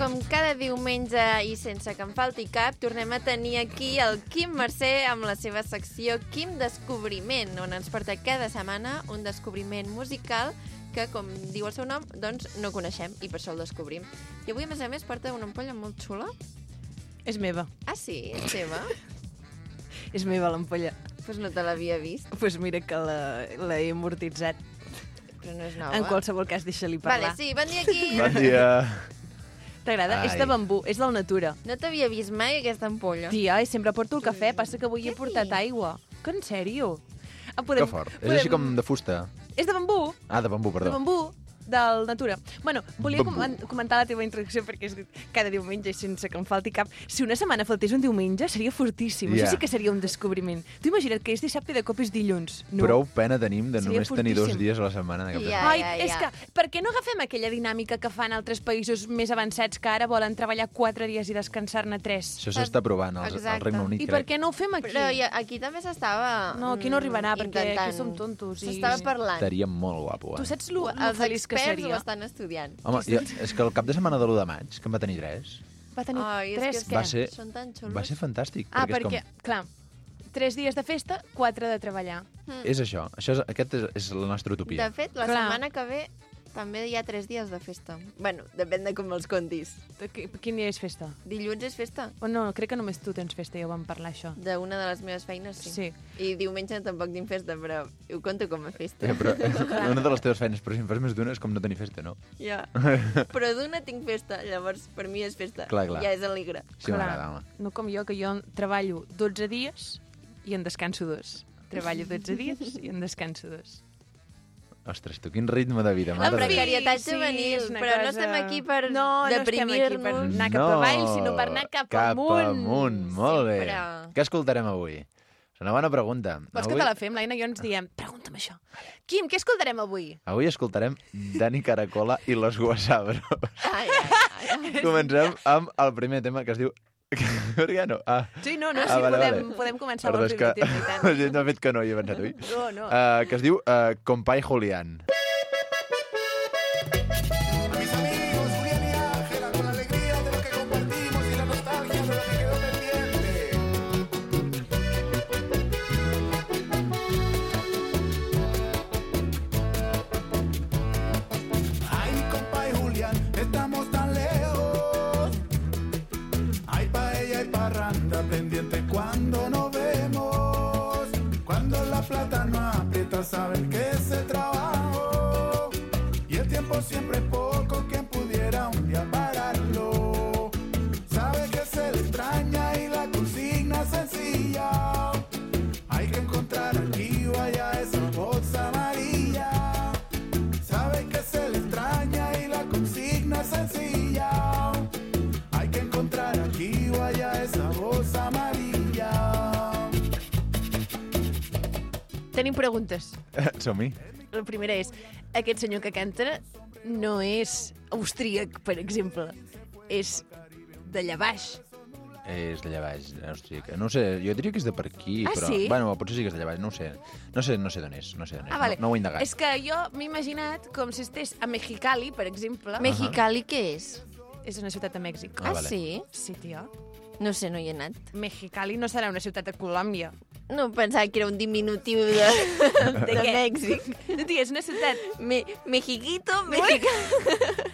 S1: Com cada diumenge i sense que en falti cap, tornem a tenir aquí el Quim Mercè amb la seva secció Quim Descobriment, on ens porta cada setmana un descobriment musical que, com diu el seu nom, doncs no coneixem i per això el descobrim. I avui, a més a més, porta una ampolla molt xula.
S2: És meva.
S1: Ah, sí? És teva?
S2: És meva l'ampolla.
S1: Doncs pues no te l'havia vist,
S2: Doncs pues mira que la- l'he amortitzat.
S1: però no és nova.
S2: En qualsevol cas, deixa-li
S1: Vale,
S2: parlar.
S1: sí, bon dia, Quim!
S6: Bon dia.
S2: T'agrada?
S6: Ai.
S2: És de bambú, és del Natura.
S1: No t'havia vist mai aquesta ampolla. Mm.
S2: Tia, i sempre porto el cafè, passa que avui he portat aigua. Que en sèrio? Ah, podem,
S6: Que fort. És així com de fusta.
S2: És de bambú,
S6: Ah, de bambú,
S2: de
S6: perdó.
S2: bambú, del Natura. Bueno, volia
S6: Bambú.
S2: comen- comentar la teva introducció perquè és cada diumenge i sense que em falti cap. Si una setmana faltés un diumenge seria fortíssim. Yeah.
S6: Ja.
S2: Això sí que seria un descobriment. Tu imagina't que és dissabte i de cop és dilluns. No.
S6: Prou pena tenim de
S2: Seria
S6: només tenir dos
S2: fortíssim.
S6: dies a la setmana de cap de
S1: Ja.
S2: Ai, és que per què no agafem aquella dinàmica que fan altres països més avançats que ara volen treballar quatre dies i descansar-ne tres?
S6: Això s'està provant al,
S1: Exacte.
S6: al Regne Unit,
S2: I per
S6: crec.
S2: què no ho fem aquí?
S1: Però i aquí també s'estava...
S2: No, aquí no arribarà,
S1: mm,
S2: perquè aquí
S1: intentant.
S2: som tontos i-
S1: S'estava parlant.
S6: Estaria molt guapo,
S2: Tu
S6: eh?
S2: saps lo, lo
S1: Els
S2: feliç que
S1: experts ho
S2: seria?
S1: estan estudiant.
S6: Home, jo, és que el cap de setmana de l'1 de maig, que en va tenir tres,
S2: Va tenir
S1: Ai, és
S2: tres,
S1: que
S2: què?
S6: Va ser-
S1: són tan xulos.
S6: va ser fantàstic.
S2: Ah,
S6: perquè,
S2: perquè,
S6: és,
S2: com... clar, tres dies de festa, quatre de treballar.
S6: com, és això. això és, aquest és, és la nostra
S1: Hmm. De
S6: utopia.
S1: fet, la
S2: Clar.
S1: setmana que ve també hi ha tres dies de festa. Bueno, depèn de com els contis.
S2: Qui- Quin dia és festa?
S1: Dilluns és festa
S2: O no, crec que només tu tens festa, ja ho vam parlar, això.
S1: d'una de les meves feines, sí.
S2: Sí.
S1: I diumenge tampoc tinc festa, però ho conto com a festa.
S6: Ja, Eh, però, una de les teves feines, però si en fas més d'una és com no tenir festa, no?
S1: Ja. Però d'una tinc festa, llavors per mi és festa.
S6: Clar, clar.
S1: Ja és alegre.
S6: Sí, m'agrada, home.
S2: No com jo, que jo treballo 12 dies i en descanso dos. Treballo 12 dies i en descanso dos.
S6: Ostres, tu, quin ritme de vida,
S1: La
S6: mare de Déu.
S1: precarietat
S2: Sí, sí,
S1: juvenil,
S2: és una
S1: però no
S2: cosa-
S1: estem aquí per
S2: No, no estem aquí per-
S1: deprimir-nos.
S2: anar cap avall, sinó per anar cap amunt.
S6: Cap amunt, molt bé.
S1: Sempre.
S6: Què escoltarem avui? És una bona pregunta.
S2: Vols que
S6: avui,
S2: te la fem, l'Aina i jo ens diem, pregunta'm això. Quim, què escoltarem avui?
S6: avui escoltarem Dani Caracola i los Guasabros.
S1: Ai, ai, ai.
S6: Comencem amb el primer tema que es diu... Per què no? Ah,
S2: Sí, no, no,
S6: Ah,
S2: sí,
S6: vale,
S2: podem,
S6: vale.
S2: podem començar
S6: perdó,
S2: amb el
S6: és que
S2: primer tema, i tant.
S6: la gent m'ha fet que no hi he pensat, ui.
S2: No, no.
S6: Uh, que es diu uh, Compay Julián.
S7: A mis amigos, Julián y Ángela, con la alegría de lo que compartimos y la nostalgia de lo que quedó pendiente. Ay, con
S2: Tenim preguntes.
S6: Som-hi.
S2: La primera és, aquest senyor que canta no és austríac, per exemple. És d'allà baix.
S6: És d'allà baix, austríac. No ho sé, jo diria que és de per aquí,
S2: Ah,
S6: però...
S2: sí?
S6: Bueno, potser sí que és d'allà baix, no ho sé. No sé, no sé d'on és, no sé d'on és.
S2: Ah, vale.
S6: no, no ho he indagat.
S2: És que jo m'he imaginat com si estés a Mexicali, per exemple.
S1: Mexicali què és?
S2: És una ciutat de Mèxic.
S1: Ah,
S6: vale.
S1: sí?
S2: Sí, tio.
S1: No sé, no hi he anat.
S2: Mexicali no serà una ciutat de Colòmbia.
S1: No pensava que era un diminutiu de, de,
S2: què?
S1: Mèxic.
S2: No, tia, és una ciutat...
S1: Me, Mexiquito, Mexicali.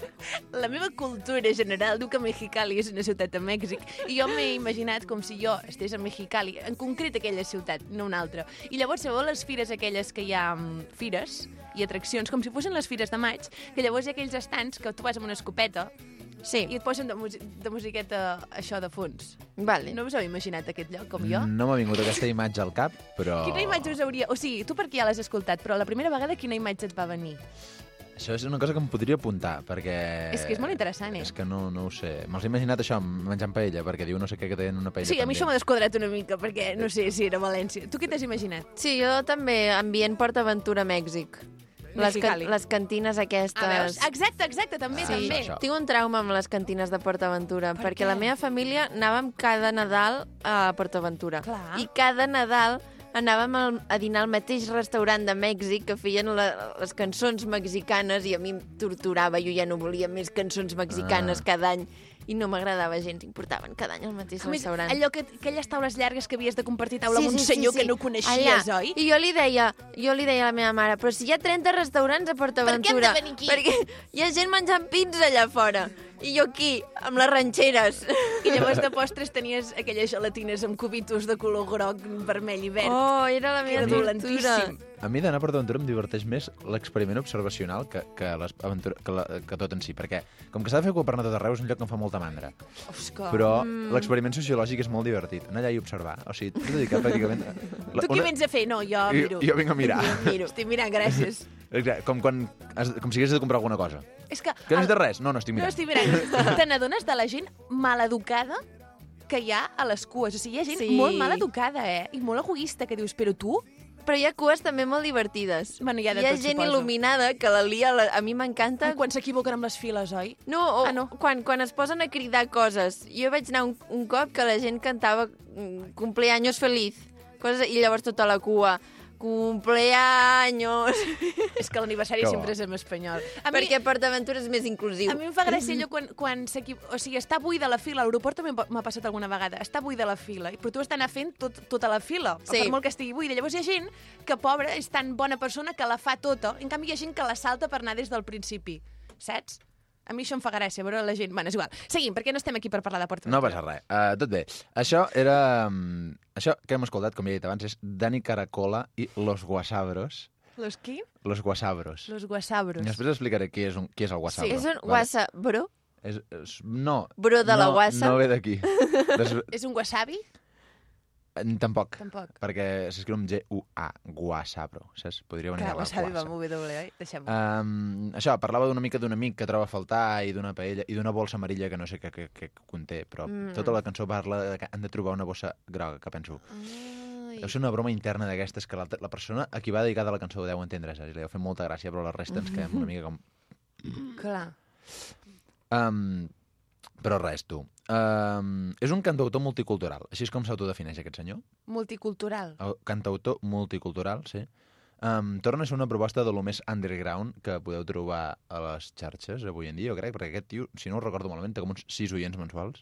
S2: La meva cultura general diu que Mexicali és una ciutat de Mèxic i jo m'he imaginat com si jo estés a Mexicali, en concret aquella ciutat, no una altra. I llavors, sabeu les fires aquelles que hi ha mm, fires i atraccions, com si fossin les fires de maig, que llavors hi ha aquells estants que tu vas amb una escopeta
S1: Sí,
S2: i et posen de, musi de musiqueta això de fons.
S1: vale.
S2: No us heu imaginat aquest lloc com jo?
S6: No m'ha vingut aquesta imatge al cap, però...
S2: Quina imatge us hauria... O sigui, tu perquè ja l'has escoltat, però la primera vegada quina imatge et va venir?
S6: Això és una cosa que em podria apuntar, perquè...
S2: És que és molt interessant, eh?
S6: És que no, no ho sé. Me'ls he imaginat això, menjant paella, perquè diu no sé què que tenen una paella
S2: Sí, a mi això m'ha
S6: pendent.
S2: desquadrat una mica, perquè no sé si era València. Tu què t'has imaginat?
S1: Sí, jo també ambient PortAventura, Mèxic. Les, can
S2: Mexicali.
S1: les cantines aquestes...
S2: Ah, veus? Exacte, exacte, també,
S6: Ah,
S2: també.
S6: això.
S1: Tinc un trauma amb les cantines de PortAventura,
S2: Per
S1: per perquè
S2: què?
S1: la meva família anàvem cada Nadal a PortAventura.
S2: Clar.
S1: I cada Nadal anàvem al, a dinar al mateix restaurant de Mèxic que feien la, les cançons mexicanes i a mi em torturava, jo ja no volia més cançons mexicanes
S6: Ah.
S1: cada any i no m'agradava gens, em portaven cada any al mateix
S2: A més,
S1: restaurant.
S2: allò que, aquelles taules llargues que havies de compartir taula amb un senyor que no coneixies,
S1: Allà.
S2: oi?
S1: I jo li deia, jo li deia a la meva mare, però si hi ha 30 restaurants a PortAventura...
S2: Per què hem de venir aquí?"
S1: Perquè hi ha gent menjant pizza allà fora. I jo aquí, amb les ranxeres.
S2: I llavors de postres tenies aquelles gelatines amb cubitos de color groc, vermell i verd.
S1: Oh, era la
S2: que
S1: meva
S2: era
S1: tortura.
S2: dolentíssim.
S6: A mi d'anar per aventura em diverteix més l'experiment observacional que, que, aventura, que, la, que tot en si, perquè com que s'ha de fer cua per anar tot arreu és un lloc que em fa molta mandra.
S2: Osca.
S6: Però
S2: Mm.
S6: l'experiment sociològic és molt divertit. Anar allà i observar. O sigui, t'has dedicat pràcticament... La,
S2: Tu què vens a fer? No, jo miro.
S6: Jo, jo vinc a mirar.
S2: Jo miro. Estic mirant, gràcies.
S6: Exacte, com, quan has, com si hagués de comprar alguna cosa.
S2: És que...
S6: Que no
S2: el-
S6: és de res. No, no, estic
S2: No
S6: mirant.
S2: estic mirant. Te n'adones de la gent maleducada que hi ha a les cues. O sigui, hi ha gent
S1: Sí.
S2: molt mal educada, eh? I molt egoista, que dius, però tu?
S1: Però hi ha cues també molt divertides.
S2: Bueno, hi ha de
S1: hi ha
S2: tot,
S1: gent
S2: suposo.
S1: il·luminada que la lia... La... A mi m'encanta...
S2: Quan s'equivoquen amb les files, oi?
S1: No, o
S2: Ah, no.
S1: Quan, quan es posen a cridar coses. Jo vaig anar un, un cop que la gent cantava mm, cumpleaños feliz. Coses, I llavors tota la cua cumpleaños...
S2: És que l'aniversari
S6: Que bo.
S2: sempre és en espanyol. A mi,
S1: perquè PortAventura és més inclusiu.
S2: a mi em fa gràcia
S6: "Mm-hmm."
S2: allò quan, quan s'equip... O sigui, està buida la fila. A l'aeroport també m'ha passat alguna vegada. Està buida la fila, però tu has d'anar fent tot, tota la fila,
S1: Sí.
S2: per molt que estigui buida. Llavors hi ha gent que, pobra, és tan bona persona que la fa tota. En canvi, hi ha gent que la salta per anar des del principi, saps? A mi això em fa gràcia, veure la gent... Bueno, és igual. Seguim, perquè no estem aquí per parlar de Porta
S6: No passa res. Uh, tot bé. Això era... mm, Això que hem escoltat, com ja he dit abans, és Dani Caracola i Los Guasabros.
S2: Los qui?
S6: Los Guasabros.
S2: Los guasabros.
S6: I després explicaré qui és, un, qui és el guasabro.
S1: Sí, és un
S6: vale?
S1: guassa, bro.
S6: És, és, no.
S1: Bro de
S6: no,
S1: la guassa.
S6: No ve d'aquí. Des- eh,
S2: És un wasabi?
S6: Tampoc.
S2: Tampoc.
S6: Perquè s'escriu amb G-U-A, guasabro, saps? Podria venir
S2: Clar,
S6: a la
S2: wasabi va
S6: guasa.
S2: amb W, oi? Deixem-ho.
S6: Um, això, parlava d'una mica d'un amic que troba a faltar i d'una paella i d'una bolsa amarilla que no sé què, què, què conté, però
S1: Mm.
S6: mm. tota la cançó parla de que han de trobar una bossa groga, que penso...
S2: Ai.
S6: Deu ser una broma interna d'aquestes que l'altra- la persona a qui va dedicada la cançó ho deu entendre, saps? I Li deu fer molta gràcia, però la resta ens quedem una mica com...
S2: Clar.
S6: Um, però res, tu. Um, és un cantautor multicultural. Així és com s'autodefineix aquest senyor.
S2: Multicultural.
S6: El Cantautor multicultural, sí. Um, torna a ser una proposta de lo més underground que podeu trobar a les xarxes avui en dia, jo crec, perquè aquest tio, si no ho recordo malament, té com uns 6 oients mensuals.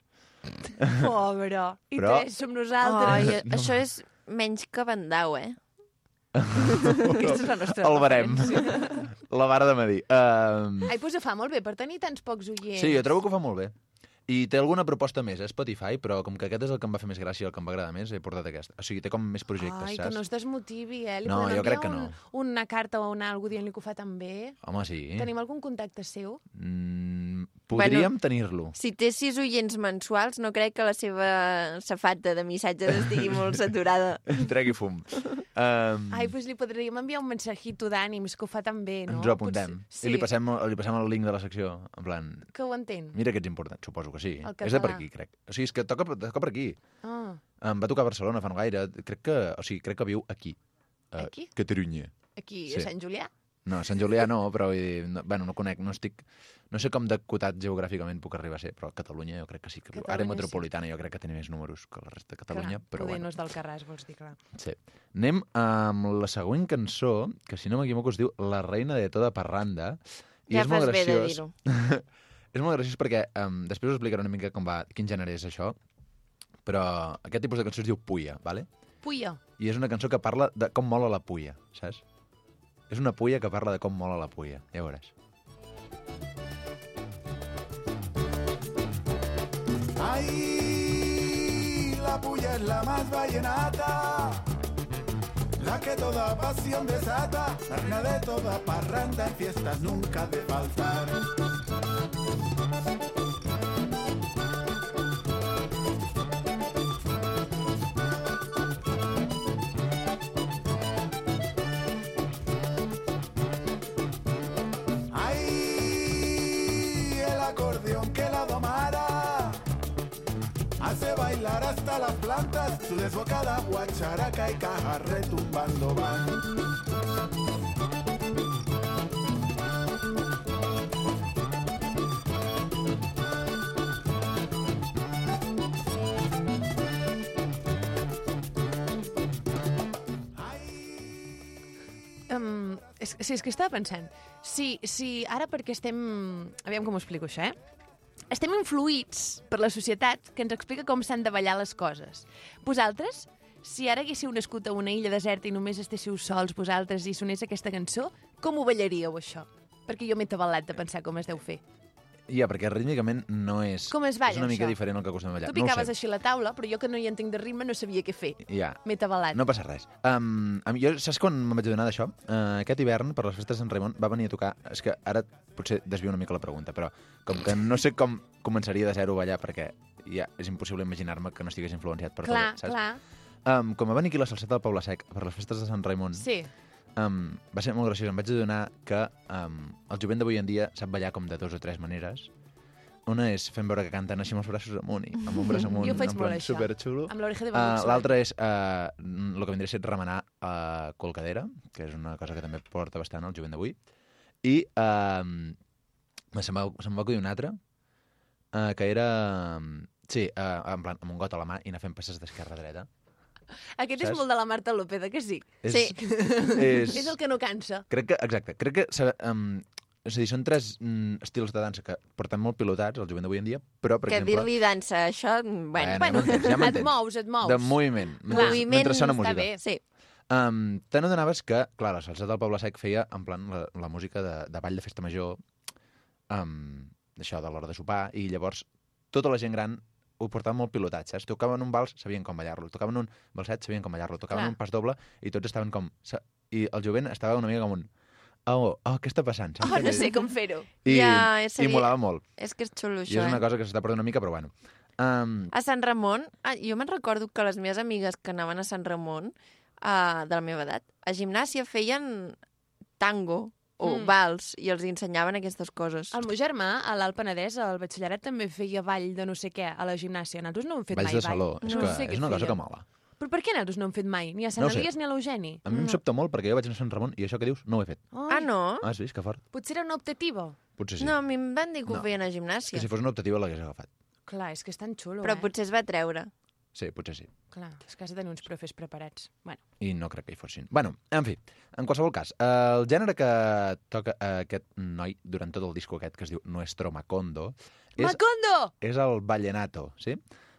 S2: Pobre. I
S6: Però-
S2: tres som
S1: Ai,
S2: nosaltres.
S6: No.
S1: Això és menys que bandau, eh?
S2: Aquesta és la nostra
S6: El barem.
S2: referència.
S6: La vara de medir. Um,
S2: Ai, doncs ho fa molt bé per tenir tants pocs oients.
S6: sí, jo trobo que ho fa molt bé. I té alguna proposta més, eh, Spotify, però com que aquest és el que em va fer més gràcia i el que em va agradar més, he portat aquest. O sigui, té com més projectes,
S2: Ai, que
S6: saps?
S2: no es desmotivi, eh? Li
S6: No,
S2: podem
S6: jo crec
S2: enviar
S6: que
S2: un, una carta o una algú dient-li que ho fa tan bé.
S6: Home, sí.
S2: Tenim algun contacte seu?
S6: Mm, podríem bueno... tenir-lo.
S1: Si té sis oients mensuals, no crec que la seva safata de missatges estigui molt saturada.
S6: Tregui fum. Um,
S2: Ai, doncs li podríem enviar un mensajito d'ànims, que ho fa tan bé, no?
S6: Ens ho apuntem.
S2: Potser- Sí,
S6: I li passem, li passem el link de la secció, en plan...
S2: que ho entén.
S6: Mira que ets important, suposo que sí.
S2: El
S6: És de per
S2: català.
S6: aquí, crec. O sigui, és que toca, toca per aquí.
S2: Ah.
S6: Em va tocar a Barcelona fa no gaire. Crec que, o sigui, crec que viu aquí. a
S1: Aquí?
S6: Catalunya.
S1: Aquí,
S6: Sí.
S1: a Sant Julià.
S6: No, a Sant Julià no, però vull dir, no, bueno, no conec, no estic... No sé com decotat geogràficaament puc arribar a ser, però Catalunya jo crec que sí que... Catalunya,
S2: Catalunya
S6: àrea
S2: sí.
S6: metropolitana jo crec que té més números que la resta de Catalunya,
S2: clar,
S6: però
S2: poder
S6: bueno.
S2: no és del Carràs, vols dir, clar.
S6: Sí. Anem amb la següent cançó, que si no m'equivoco es diu La reina de tota parranda. I
S1: ja
S6: és molt
S1: fas bé de
S6: graciós.
S1: dir-ho.
S6: és molt graciós perquè um, després us explicaré una mica com va, quin gènere és això, però aquest tipus de cançó es diu Puya, vale?
S2: Puya.
S6: i és una cançó que parla de com mola la puya, saps? És una puya que parla de com mola la puya, ja veuràs.
S7: Ay, la puya es la más vallenata, la que toda pasión desata, la reina de toda parranda, en fiestas nunca de faltar. Ay, el acordeón que la domara hace bailar hasta las plantas, su desbocada guacharaca y caja retumbando van.
S2: Um, és, sí, és que estava pensant. Si, si ara perquè estem... Aviam com ho explico, això, eh? Estem influïts per la societat que ens explica com s'han de ballar les coses. Vosaltres, si ara haguéssiu nascut a una illa deserta i només estéssiu sols vosaltres i sonés aquesta cançó, com ho ballaríeu, això? Perquè jo m'he tabalat de pensar com es deu fer.
S6: Ja, perquè rítmicament no és...
S2: Com es balla,
S6: És una mica
S2: això?
S6: diferent al que acostumem a ballar.
S2: tu picaves
S6: no ho sé.
S2: així la taula, però jo que no hi entenc de ritme no sabia què fer.
S6: Ja,
S2: M'he tabalat.
S6: no passa res. Um, a mi, jo, saps quan me'n vaig adonar d'això? Uh, aquest hivern, per les festes de Sant Raimon, va venir a tocar... És que ara potser desvio una mica la pregunta, però com que no sé com començaria de zero a ballar, perquè ja és impossible imaginar-me que no estigués influenciat per
S2: clar,
S6: tot, saps?
S2: clar.
S6: Um, quan va venir aquí la salseta del Poble Sec per les festes de Sant Raimon,
S2: Sí.
S6: Um, va ser molt graciós. Em vaig adonar que um, el jovent d'avui en dia sap ballar com de dos o tres maneres. Una és fent veure que canten així amb els braços amunt i amb un braç amunt,
S2: Jo ho faig
S6: en
S2: molt,
S6: plan
S2: això.
S6: superxulo.
S2: Amb l'oreja de
S6: Uh,
S2: Bambuxola.
S6: L'altra és uh, el que vindria a ser remenar a uh, colcadera, que és una cosa que també porta bastant el jovent d'avui. I uh, se'm va, se'm va acudir una altra, uh, que era... um, Sí, uh, en plan, amb un got a la mà i anar fent passes d'esquerra a dreta.
S2: Aquest
S6: saps?
S2: és molt de la Marta López, eh, que sí?
S6: És,
S1: Sí.
S6: És,
S2: És el que no cansa.
S6: Crec que, exacte, crec que s'ha- em, és a dir, són tres mm, estils de dansa que porten molt pilotats al jovent d'avui en dia, però, per
S1: Que
S6: exemple...
S1: dir-li dansa, això... Bueno,
S6: Bueno,
S1: bueno,
S6: m'entens, ja
S2: et
S6: m'entens.
S2: mous, et mous.
S6: De moviment, mentre,
S1: moviment
S6: mentre sona
S1: està
S6: música.
S2: bé.
S1: sí.
S6: Um, Te n'adonaves que, clar, la salsa del Poble Sec feia, en plan, la, la música de, de ball de festa major, um, això de l'hora de sopar, i llavors tota la gent gran ho portava molt pilotat, saps? Tocaven un vals, sabien com ballar-lo, tocaven un balset, sabien com ballar-lo, tocaven
S2: Clar.
S6: un pas doble i tots estaven com... sa- I el jovent estava una mica com un... Oh, oh, què està passant? saps?
S2: Oh, no sé com fer-ho.
S6: I,
S1: Ja, és a
S6: i
S1: dir,
S6: molava molt.
S1: És que és xulo,
S6: I
S1: això,
S6: és una
S1: eh?
S6: cosa que s'està perdent una mica, però bueno. Um,
S1: A Sant Ramon, ah, jo me'n recordo que les meves amigues que anaven a Sant Ramon, uh, de la meva edat, a gimnàsia feien tango o
S2: Mm.
S1: vals i els ensenyaven aquestes coses.
S2: El meu germà, a l'Alt Penedès, al batxillerat, també feia ball de no sé què a la gimnàsia. Nosaltres no hem fet
S6: Valls
S2: mai
S6: de saló.
S2: ball.
S6: És,
S2: no
S6: que
S2: sé
S6: és una cosa que
S2: feia.
S6: mola.
S2: Però per què nosaltres no hem fet mai? Ni a Sant
S6: No
S2: no
S6: ho sé.
S2: Elias ni a l'Eugeni.
S6: A mi
S1: No.
S6: em sobta molt perquè jo vaig anar a Sant Ramon i això que dius no ho he fet.
S2: Oh,
S1: Ah, no?
S6: Has vist, que fort?
S2: Potser era una optativa.
S6: Potser sí.
S1: No, a mi em van dir que
S6: No.
S1: ho feien a
S6: Que
S1: gimnàsia.
S6: si fos una optativa l'hagués agafat.
S2: Clar, és que és tan xulo,
S1: Però
S2: eh?
S1: potser es va treure.
S6: Sí, potser sí.
S2: Clar, és que has de tenir uns profes preparats. Bueno,
S6: I no crec que hi fossin. Bueno, en fi, en qualsevol cas, eh, el gènere que toca eh, aquest noi durant tot el disco aquest que es diu Nuestro Macondo és,
S2: Macondo!
S6: és el vallenato, sí?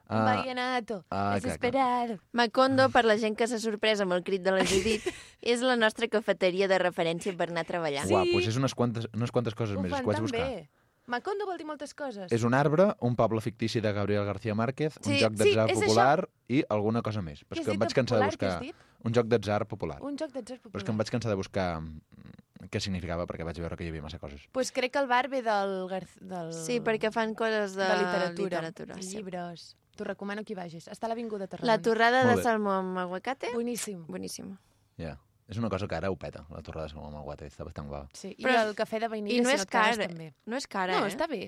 S2: Uh, Vallenato,
S6: ah,
S2: uh,
S6: exacte.
S2: desesperado.
S1: Macondo, per la gent que s'ha sorprès amb el crit de la Judit, és la nostra cafeteria de referència per anar a treballar.
S6: Uau,
S2: Sí.
S6: doncs és unes quantes, unes quantes coses
S2: Ho
S6: més.
S2: fan
S6: Ho vaig
S2: tan
S6: buscar.
S2: bé. Macondo vol dir moltes coses.
S6: És un arbre, un poble fictici de Gabriel García Márquez, un
S1: Sí,
S6: joc
S2: sí,
S6: d'atzar
S2: és això.
S6: popular i alguna cosa més. Però
S2: Què
S6: és
S2: has
S6: que
S2: dit
S6: em vaig cansar de
S2: popular? Què
S6: buscar...
S2: has dit?
S6: Un joc d'atzar popular.
S2: Un joc d'atzar popular.
S6: Però és que em vaig cansar de buscar mm, què significava perquè vaig veure que hi havia massa coses.
S2: Pues crec que el bar ve del... Gar... del...
S1: Sí, perquè fan coses de,
S2: de literatura,
S1: literatura sí.
S2: llibres. T'ho recomano que hi vagis. Està a l'Avinguda Tarragona.
S1: La torrada
S6: Molt
S1: de
S6: bé.
S1: salmó amb aguacate,
S2: Boníssim.
S1: boníssima.
S6: Ja. És una cosa que ara ho peta, la torre de Salmó amb el guate. Està bastant guapa.
S2: Sí. I
S1: Però-
S2: el cafè de
S1: I
S2: vainilla,
S1: no
S2: si
S1: és
S2: et
S1: car,
S2: cases,
S1: eh?
S2: també.
S1: no és cara,
S2: no,
S1: eh?
S2: està bé.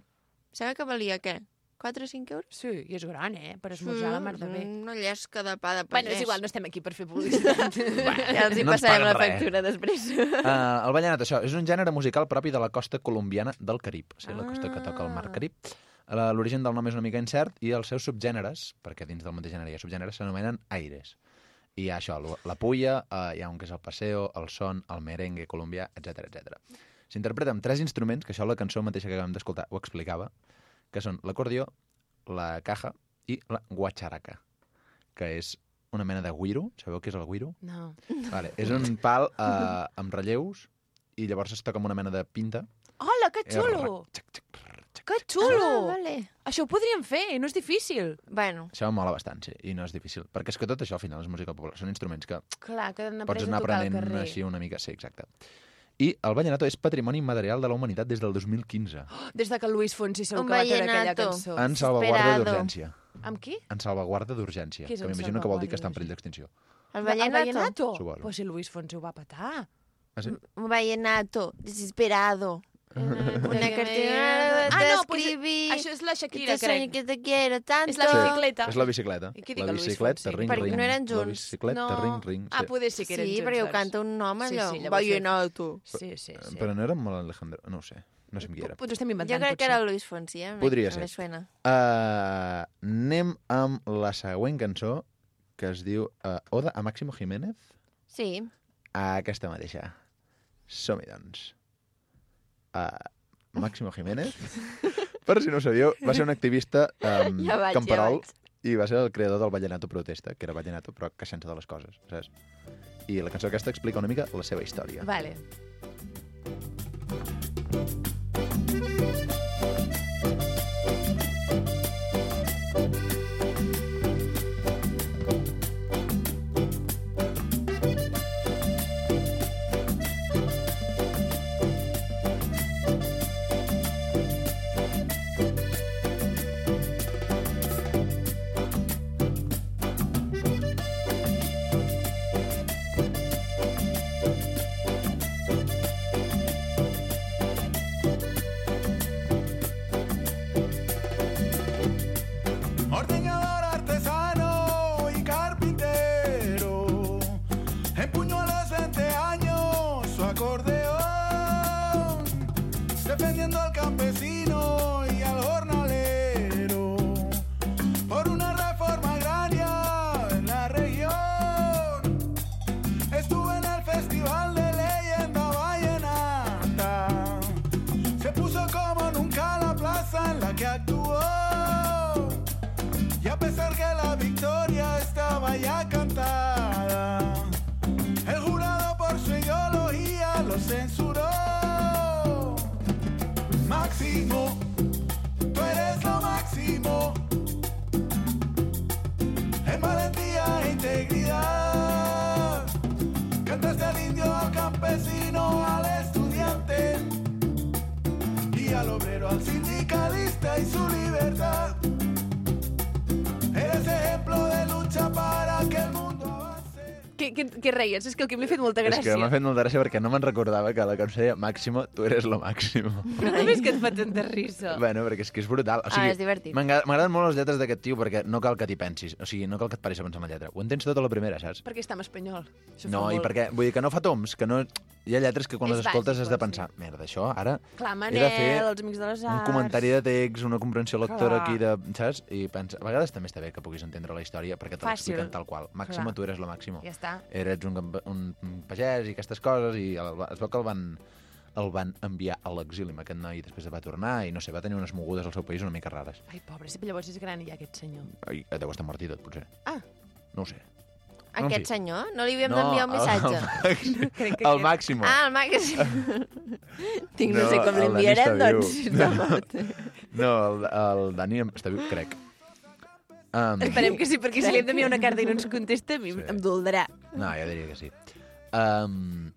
S1: Sembla que valia, què? 4 o 5 euros?
S2: Sí, i és gran, eh? Per esmorzar mm, la mar de bé.
S1: Una llesca de pa de pagès.
S2: Bueno, és igual, no estem aquí per fer publicitat.
S1: Ja els hi
S6: No ens
S1: passarem
S6: paguen
S1: la
S6: res.
S1: factura després.
S6: Uh, el ballanat, això, és un gènere musical propi de la costa colombiana del Carib, o sigui, la costa que toca el mar Carib. Eh, La- L'origen del nom és una mica incert i els seus subgèneres, perquè dins del mateix gènere hi ha subgèneres, s'anomenen aires. I hi ha això, lo- la puya, uh, hi ha un que és el paseo, el son, el merengue colombià, etc etc. S'interpreta amb tres instruments, que això la cançó mateixa que acabem d'escoltar ho explicava, que són l'acordió, la caja i la guacharaca, que és una mena de guiro. Sabeu què és el guiro?
S2: No.
S6: Vale, és un pal eh, amb relleus i llavors es toca amb una mena de pinta.
S2: Hola, que
S6: I
S2: xulo!
S6: rac, xac, xac, rac, xac.
S2: Que xulo!
S1: Ah, vale.
S2: Això ho podríem fer, eh? no és difícil.
S1: Bueno,
S6: Això mola bastant, sí, i no és difícil. Perquè és que tot això, al final, és música popular. Són instruments que
S2: Clar, que han
S6: pots
S2: après a
S6: anar
S2: tocar al
S6: aprenent
S2: carrer.
S6: així una mica. Sí, exacte. I el vallenato és patrimoni immaterial de la humanitat des del 2015.
S2: Des de que Luis Fonsi segur
S1: Un
S2: que va treure aquella
S1: vallenato.
S2: cançó.
S6: en salvaguarda
S1: desesperado.
S6: d'urgència.
S2: Amb qui?
S6: En salvaguarda d'urgència.
S2: Què és
S6: Que
S2: en
S6: m'imagino que vol dir
S2: salvaguarda
S6: que està en perill d'extinció.
S1: el
S2: Va- El
S1: vallenato.
S2: vallenato?
S6: Suposo.
S2: Pues si Luis Fonsi ho va patar.
S6: Ah,
S2: Mm,
S6: sí?
S1: Un vallenato, desesperado. Una cartera
S2: Ah,
S1: de
S2: no, pues,
S1: escribir.
S2: Això és la
S1: Que
S2: Shakira,
S1: te sueño
S2: crec.
S1: que te quiero tanto.
S2: És la bicicleta.
S6: És la bicicleta.
S2: I què dic
S6: La
S2: el Luis
S6: bicicleta,
S2: Fonsi?
S6: ring,
S1: Perquè
S6: ring.
S1: no eren
S6: La
S1: junts.
S6: bicicleta, ring, ring.
S2: Ah, poder ser que eren
S1: Sí,
S2: junts,
S1: perquè ho
S2: doncs.
S1: canta un home,
S2: Sí,
S1: allò.
S2: sí, llavors-
S1: vallenato.
S2: Sí, sí, sí.
S6: Però no era amb l'Alejandro... No ho sé. No sé amb qui era.
S2: Potser estem
S1: Jo
S2: inventant,
S1: crec que
S2: potser.
S1: era Luis Fonsi, eh?
S6: Podria ser.
S1: Me suena.
S6: Uh, anem amb la següent cançó, que es diu uh, Oda a Máximo Jiménez.
S1: Sí.
S6: Aquesta mateixa. Som-hi, doncs. Uh, Máximo Jiménez, per si no ho sabíeu, va ser un activista um,
S1: Ja vaig,
S6: camperol
S1: ja vaig.
S6: i va ser el creador del Vallenato Protesta, que era Vallenato, però queixant-se de les coses, saps? I la cançó aquesta explica una mica la seva història.
S2: Vale.
S7: Ordeñador artesano y carpintero, empuñó a los 20 años su acordeón, defendiendo al campesino y al jornalero, por una reforma agraria en la región. Estuvo en el Festival de Leyenda Vallenata, se puso como nunca la plaza en la que actuó. Y a pesar que la victoria estaba ya cantada, el jurado por su ideología lo censuró. Máximo, tú eres lo máximo. En valentía e integridad, cantaste al indio, al campesino, al estudiante y al obrero, al sindicalista y su libertad. Eres ejemplo de lucha para que el mundo avance.
S2: Què, què, què reies? És que el Quim li ha fet molta
S6: És
S2: gràcia.
S6: que m'ha fet molta gràcia perquè no me'n recordava que la cançó deia Máximo, tu eres lo máximo.
S2: Però com és que et fa tanta risa?
S6: Bueno, perquè és que és brutal. O
S1: Ah,
S6: sigui,
S1: és divertit.
S6: m'enga- M'agraden molt les lletres d'aquest tio perquè no cal que t'hi pensis. O sigui, no cal que et paris a pensar en la lletra. Ho entens tot a la primera, saps?
S2: Perquè està en espanyol. Això
S6: No,
S2: fa
S6: i
S2: molt.
S6: perquè, vull dir que no fa toms, que no... Hi ha lletres que quan
S2: És
S6: les escoltes
S2: bàsic,
S6: has de
S2: però sí.
S6: pensar, merda, això ara
S2: Clar,
S6: He
S2: Manel,
S6: de fer
S2: els amics de les arts...
S6: un comentari de text, una comprensió lectora
S2: Clar.
S6: aquí de... Saps? I pensa... A vegades també està bé que puguis entendre la història perquè te
S2: Fàcil.
S6: l'expliquen tal qual. Màximo,
S2: Clar.
S6: tu eres lo màximo.
S2: Ja està.
S8: Eh,
S6: Eres un, camp- un un pagès i aquestes coses i el, va- es veu que el van el van enviar a l'exili amb aquest noi i després va tornar i no sé, va tenir unes mogudes al seu país una mica rares.
S2: Ai, pobre, sempre llavors és gran ja aquest senyor.
S6: Ai, deu estar mort i tot, potser.
S2: Ah.
S6: No ho sé. No en fi.
S1: Aquest senyor? No li havíem d'enviar un missatge?
S6: El,
S2: Crec que
S6: el, el màxim.
S1: Ah, el màxim. Tinc, no,
S6: No,
S1: sé com
S6: el Dani
S1: l'enviarem,
S6: està
S1: doncs,
S6: viu.
S1: si està mort.
S6: No, el, el Dani està viu, crec. Um,
S2: Esperem que sí, perquè si li hem d'enviar una carta i no ens contesta, a mi
S6: Sí.
S2: em doldrà.
S6: No, jo diria que sí. Um,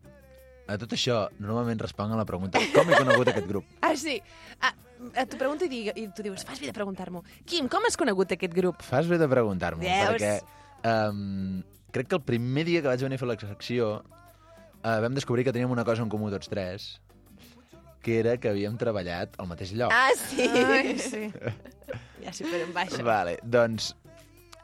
S6: a tot això, normalment responc a la pregunta com he conegut aquest grup?
S2: Ah, sí. Ah, ah, t'ho pregunto i, digue, i tu dius, fas bé de preguntar-m'ho. Quim, com has conegut aquest grup?
S6: Fas bé de preguntar-m'ho,
S2: Veus?
S6: perquè um, crec que el primer dia que vaig venir a fer la secció uh, vam descobrir que teníem una cosa en comú tots tres, Oh. que era que havíem treballat al mateix lloc.
S1: Ah, sí.
S2: Ah, sí. Ja sé per on baixa.
S6: Vale, doncs...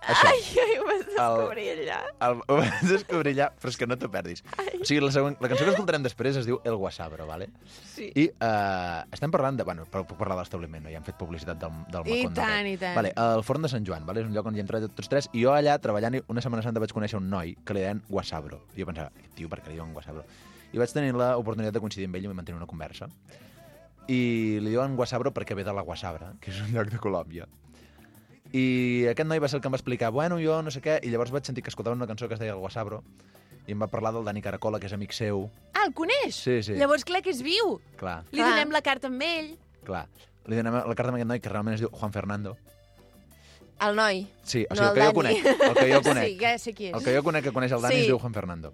S6: Això,
S1: Ai, ai, ho vas descobrir allà.
S6: el, ho vas descobrir ja, però és que no t'ho perdis. O sigui, la, següent, la cançó que escoltarem després es diu El Guasabro, vale?
S2: Sí.
S6: I eh, estem parlant de... Bueno, però puc parlar de l'establiment, no? Ja han fet publicitat del, del
S2: I
S6: Macondo.
S2: tant,
S6: aquest.
S2: i tant.
S6: Vale, el forn de Sant Joan, vale? és un lloc on hi hem treballat tots tres, i jo allà, treballant, una setmana santa vaig conèixer un noi que li deien Guasabro. I jo pensava, "Aquest tio, per què li diuen Guasabro? I vaig tenir l'oportunitat de coincidir amb ell i vam mantenir una conversa. I li diuen Guasabro perquè ve de la Guasabra, que és un lloc de Colòmbia. I aquest noi va ser el que em va explicar, bueno, jo no sé què, i llavors vaig sentir que escoltaven una cançó que es deia El Guasabro, i em va parlar del Dani Caracola, que és amic seu.
S2: Ah, el coneix?
S6: Sí, sí.
S2: Llavors, clar que és viu.
S6: Clar.
S2: Li
S1: Clar.
S2: donem la carta amb ell.
S6: Clar. Li donem la carta a aquest noi que realment es diu Juan Fernando.
S1: El noi.
S6: Sí, o
S1: No,
S6: sigui, el que
S1: el
S6: jo
S1: Dani.
S6: conec. El que jo
S2: Sí,
S6: conec.
S2: ja sé qui
S6: El
S2: és.
S6: que jo conec que coneix el Dani
S1: Sí.
S6: es diu Juan Fernando.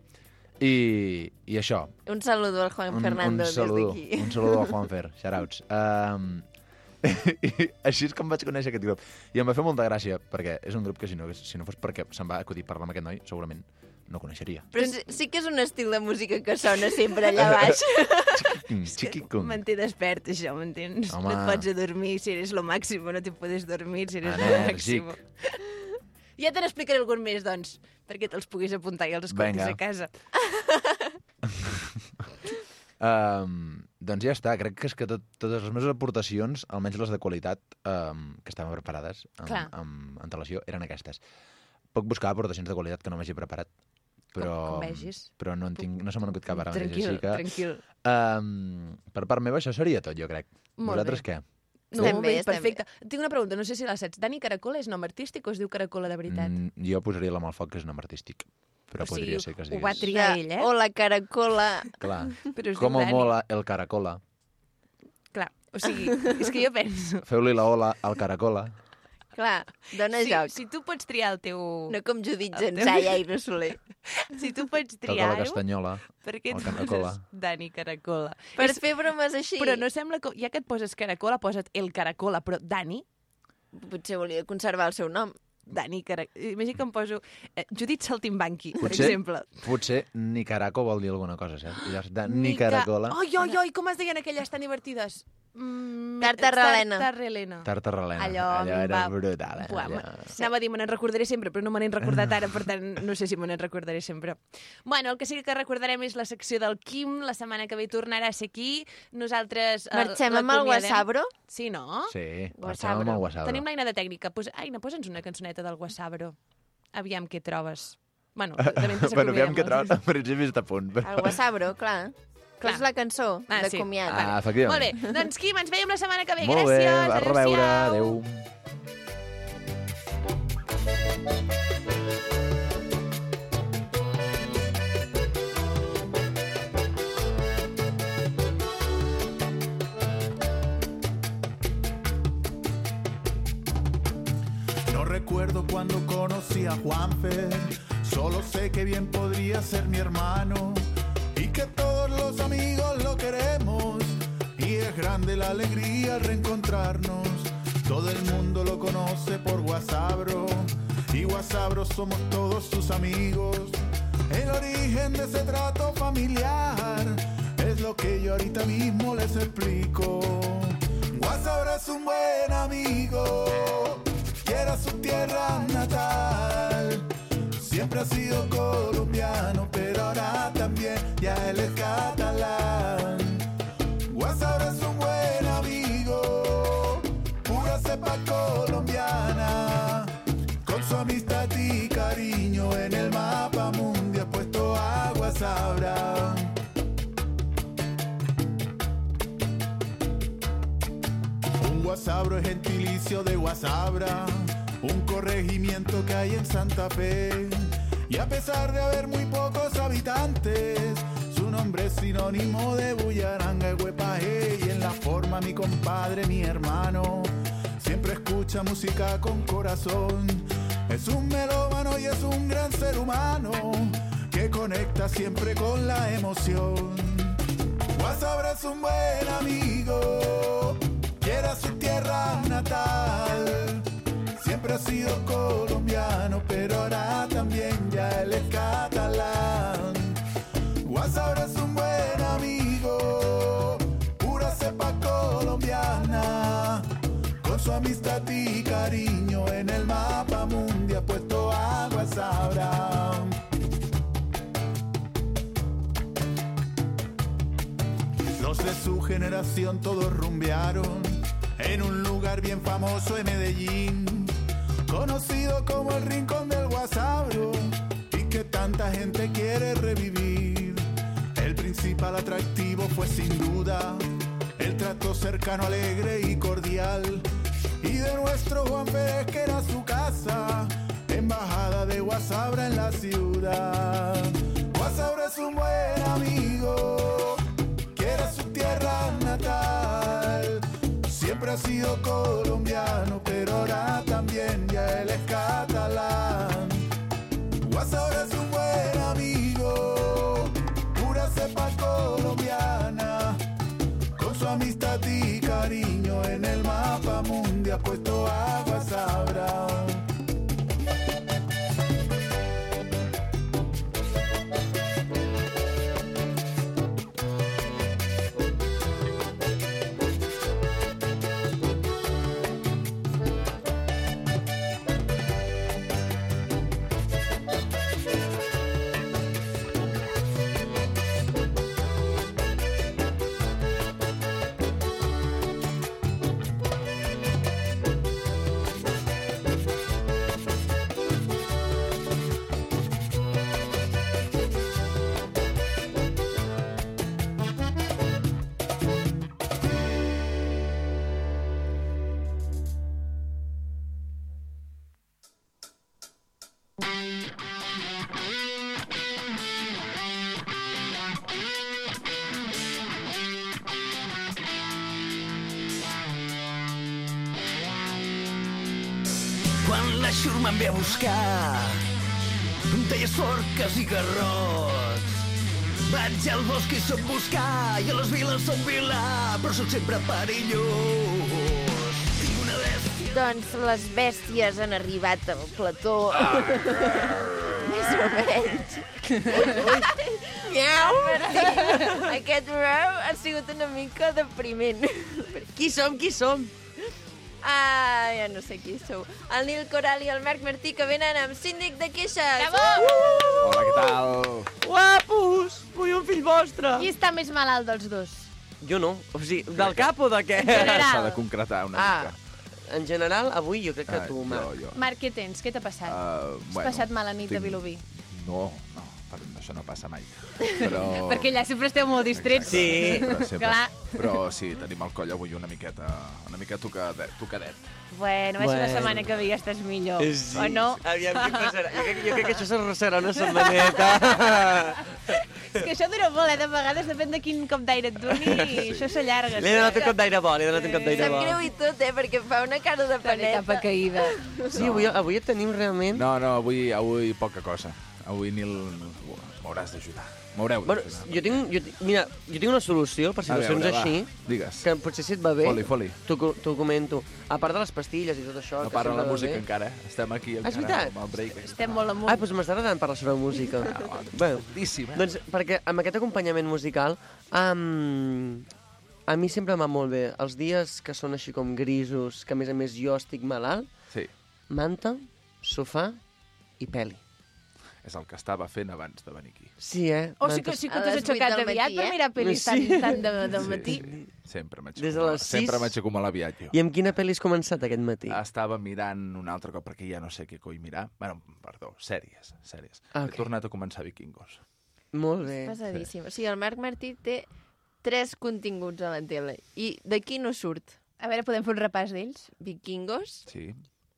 S6: I, i això,
S1: Un saludo al Juan Fernando
S6: un saludo,
S1: des d'aquí.
S6: Un saludo a Juanfer, shoutouts. Um, i així és com vaig conèixer aquest grup. I em va fer molta gràcia, perquè és un grup que si no, si no fos perquè se'n va acudir parlar amb aquest noi, segurament no coneixeria.
S1: Però sí, sí que és un estil de música que sona sempre allà
S6: Eh,
S1: baix.
S6: Mm, Chiquicum.
S2: Manté despert, això, m'entens? No
S6: Home.
S2: et pots adormir si eres lo màximo, no te podes dormir si
S6: Ah,
S2: eres lo
S6: Enèrgic.
S2: màximo. Ja te n'explicaré algun més, doncs, perquè te'ls puguis apuntar i els escoltis
S6: Vinga.
S2: a casa.
S6: Um, doncs ja està, crec que és que tot, totes les meves aportacions, almenys les de qualitat um, que estaven preparades amb,
S2: Clar.
S6: amb antelació, eren aquestes. Puc buscar aportacions de qualitat que no m'hagi preparat, però,
S2: Com- com vegis.
S6: però no, en tinc, no se m'ha angut cap ara. mateix,
S2: tranquil,
S6: així que,
S2: tranquil.
S6: Um, per part meva això seria tot, jo crec.
S2: Molt
S6: Vosaltres què?
S2: No,
S1: Estem
S2: estem
S1: bé,
S2: bé,
S1: estem
S2: perfecte. Tinc una pregunta, no sé si la saps. Dani Caracola és nom artístic o es diu Caracola de veritat?
S6: Mm, jo posaria la mà al foc, que és un nom artístic.
S2: O
S6: Però
S2: sigui,
S6: podria ser que es
S2: ho
S6: digués...
S2: va triar ell, eh?
S1: O la caracola.
S6: Clar.
S2: Però es diu
S6: Com
S2: Dani.
S6: mola el caracola.
S2: Clar, o sigui, és que jo penso...
S6: Feu-li la ola al caracola.
S1: Clar, dona
S2: Si,
S1: joc.
S2: si tu pots triar el teu...
S1: No com Judit
S2: El
S1: Gensà i
S2: tema.
S1: Aire Soler.
S2: Si tu pots
S6: Toca la
S2: triar-ho,
S6: castanyola.
S2: per què
S6: el
S2: et
S6: Caracola.
S2: poses Dani Caracola?
S1: Per
S2: És-
S1: fer bromes així,
S2: Però no sembla que... Ja que et poses Caracola, posa't el Caracola, però Dani...
S1: potser volia conservar el seu nom.
S2: Dani Caracola... Imagina que em poso eh, Judit Saltimbanqui, per
S6: Potser-
S2: exemple.
S6: Potser ni caraco vol dir alguna cosa, saps? I llavors, de, ni caracola,
S2: Oi, oi, oi, com es deien aquelles tan divertides? Mm,
S1: Tartarrelena.
S2: Tartarrelena.
S6: tartarrelena.
S2: Allò, a mi em
S6: era
S2: va-
S6: brutal, eh?
S2: Buah,
S6: Allò...
S2: me- Anava a dir, me n'en recordaré sempre, però no me n'he recordat ara, per tant, no sé si me n'en recordaré sempre. Bueno, el que sí que recordarem és la secció del Quim, la setmana que ve tornarà a ser aquí. Nosaltres... eh,
S1: Marxem amb el
S2: l'acomiadem.
S1: Guasabro?
S2: Sí, no?
S6: Sí, marxem
S1: Guasabro.
S6: amb el guasabro.
S2: Tenim l'eina de tècnica. Pues, Aina, posa'ns una cançoneta del Guasabro. Aviam què trobes. Bueno, de de mentre
S6: bueno, aviam que
S2: acomiadem-nos.
S6: trobes. Per exemple, està a punt. Però...
S1: El Guasabro, clar.
S2: Clar.
S1: És la cançó
S2: Ah,
S1: de
S2: sí.
S1: comiat.
S6: Ah,
S2: Molt bé,
S6: efectivament.
S2: doncs Quim, ens veiem la setmana que ve.
S6: Molt bé,
S2: Gràcies,
S6: a reveure.
S2: adéu-siau.
S6: Adéu.
S7: No recuerdo cuando conocí a Juanfer, solo sé que bien podría ser mi hermano y que todos los amigos lo queremos y es grande la alegría al reencontrarnos. Todo el mundo lo conoce por Guasabro y Guasabro somos todos sus amigos. El origen de ese trato familiar es lo que yo ahorita mismo les explico. Guasabro es un buen amigo, quiera su tierra natal. Siempre ha sido colombiano, pero ahora también ya él es catalán. Guasabro es un buen amigo, pura cepa colombiana. Con su amistad y cariño en el mapa mundial puesto a Guasabra. Un guasabro es gentilicio de Guasabra, un corregimiento que hay en Santa Fe. Y a pesar de haber muy pocos habitantes, su nombre es sinónimo de Bullaranga y Huepaje. Y en la forma, mi compadre, mi hermano, siempre escucha música con corazón. Es un melómano y es un gran ser humano que conecta siempre con la emoción. Guasabra es un buen amigo, quiera su tierra natal. Siempre ha sido colombiano, pero ahora también ya él es catalán. Guasabra es un buen amigo, pura cepa colombiana. Con su amistad y cariño. Los de su generación todos rumbearon en un lugar bien famoso en Medellín, conocido como el Rincón del Guasabro y que tanta gente quiere revivir. El principal atractivo fue sin duda el trato cercano, alegre y cordial. Y de nuestro Juan Pérez, que era su casa, embajada de Guasabra en la ciudad. Guasabra es un buen amigo, quiere su tierra natal. Siempre ha sido colombiano, pero ahora también ya él es catalán. Guasabra es un buen amigo, pura cepa colombiana. Con su amistad y cariño en el mapa mundial puesto a Guasabra.
S9: quan la xurma em ve a buscar. Em Deia forques i garrots. Vaig al bosc i soc buscar, i a les viles soc vilà, però soc sempre perillós. Tinc una bèstia...
S1: Doncs les bèsties han arribat al plató. Ah. Més o menys. Miau! Aquest rau ha sigut una mica depriment.
S10: Qui som, qui som?
S1: Ah, ja no sé qui sou. El Nil Coral i el Marc Martí que venen amb síndic de queixes. Uh!
S10: Bravo!
S8: Hola, què tal?
S10: Guapos! Vull un fill vostre!
S11: Qui està més malalt dels dos?
S10: Jo no. O sigui, del cap o de què?
S8: S'ha
S11: General.
S8: de concretar una
S10: Ah,
S8: mica.
S10: en general, avui jo crec que
S8: Ah,
S10: tu, Marc.
S8: Jo, jo.
S11: Marc, què tens? Què t'ha passat?
S6: Ah,
S8: Uh,
S11: Has passat mala nit a Vilobí.
S8: No, no, per, això no passa mai. Però...
S11: Perquè allà sempre esteu molt distrets.
S8: Exacte,
S10: Sí.
S8: sempre, sempre.
S11: Clar.
S8: Però sí, tenim el coll avui una miqueta, una mica tocadet. tocadet.
S11: Bueno, bueno, la
S10: Bueno.
S11: setmana que ve ja estàs millor. O no?
S10: Aviam què passarà. Jo crec, jo crec que això serà- serà una setmaneta.
S11: És que això dura molt, eh? De vegades depèn de quin cop d'aire et doni i això s'allarga.
S10: L'he donat un cop d'aire bo, l'he donat un cop d'aire
S1: Sap
S10: bo.
S1: greu i tot, eh, perquè fa una cara de paneta.
S2: Etapa caïda.
S10: Sí, avui, avui et tenim realment...
S8: No, no, avui, avui poca cosa. Avui, Nil, m'hauràs d'ajudar. M'haureu
S10: Bueno,
S8: d'ajudar.
S10: jo tinc, jo, ti- mira, jo tinc una solució per
S8: A
S10: situacions
S8: veure, va,
S10: així,
S8: Digues.
S10: que potser si et va bé,
S8: Foli, foli.
S10: t'ho co- t'ho comento. A part de les pastilles i tot això...
S8: No
S10: que
S8: parla
S10: sempre
S8: la
S10: va
S8: música
S10: bé. Ah,
S8: encara, eh? Estem aquí encara.
S10: veritat?
S8: amb el break.
S11: Estem molt amunt.
S10: Ah, doncs m'està agradant parlar sobre música. Bé,
S8: Moltíssim, eh?
S10: doncs perquè amb aquest acompanyament musical um, a mi sempre m'ha molt bé. Els dies que són així com grisos, que a més a més jo estic malalt,
S8: Sí,
S10: manta, sofà i peli.
S8: és el que estava fent abans de venir aquí.
S10: Sí, eh?
S11: O sí que,
S10: Mantes-
S11: sí
S1: A
S11: que t'has
S1: les vuit
S11: aixecat
S1: del matí,
S11: aviat per
S1: eh?
S11: mirar pel·lis tan,
S10: Sí.
S11: tan de, del
S8: Sí,
S11: matí.
S8: sí. Sempre m'aixeco
S10: Des de
S8: molt-
S10: les
S8: Sempre
S10: sis-
S8: m'aixeco molt aviat, jo.
S10: I amb quina pel·li has començat aquest matí?
S8: Estava mirant un altre cop, perquè ja no sé què coi mirar. Bueno, perdó, sèries, sèries.
S10: Ah,
S8: He
S10: ok.
S8: tornat a començar Vikingos.
S10: Molt bé.
S1: Pesadíssim. O sigui, el Marc Martí té tres continguts a la tele i d'aquí no surt.
S11: A veure, podem fer un repàs d'ells?
S1: Vikingos,
S8: Sí?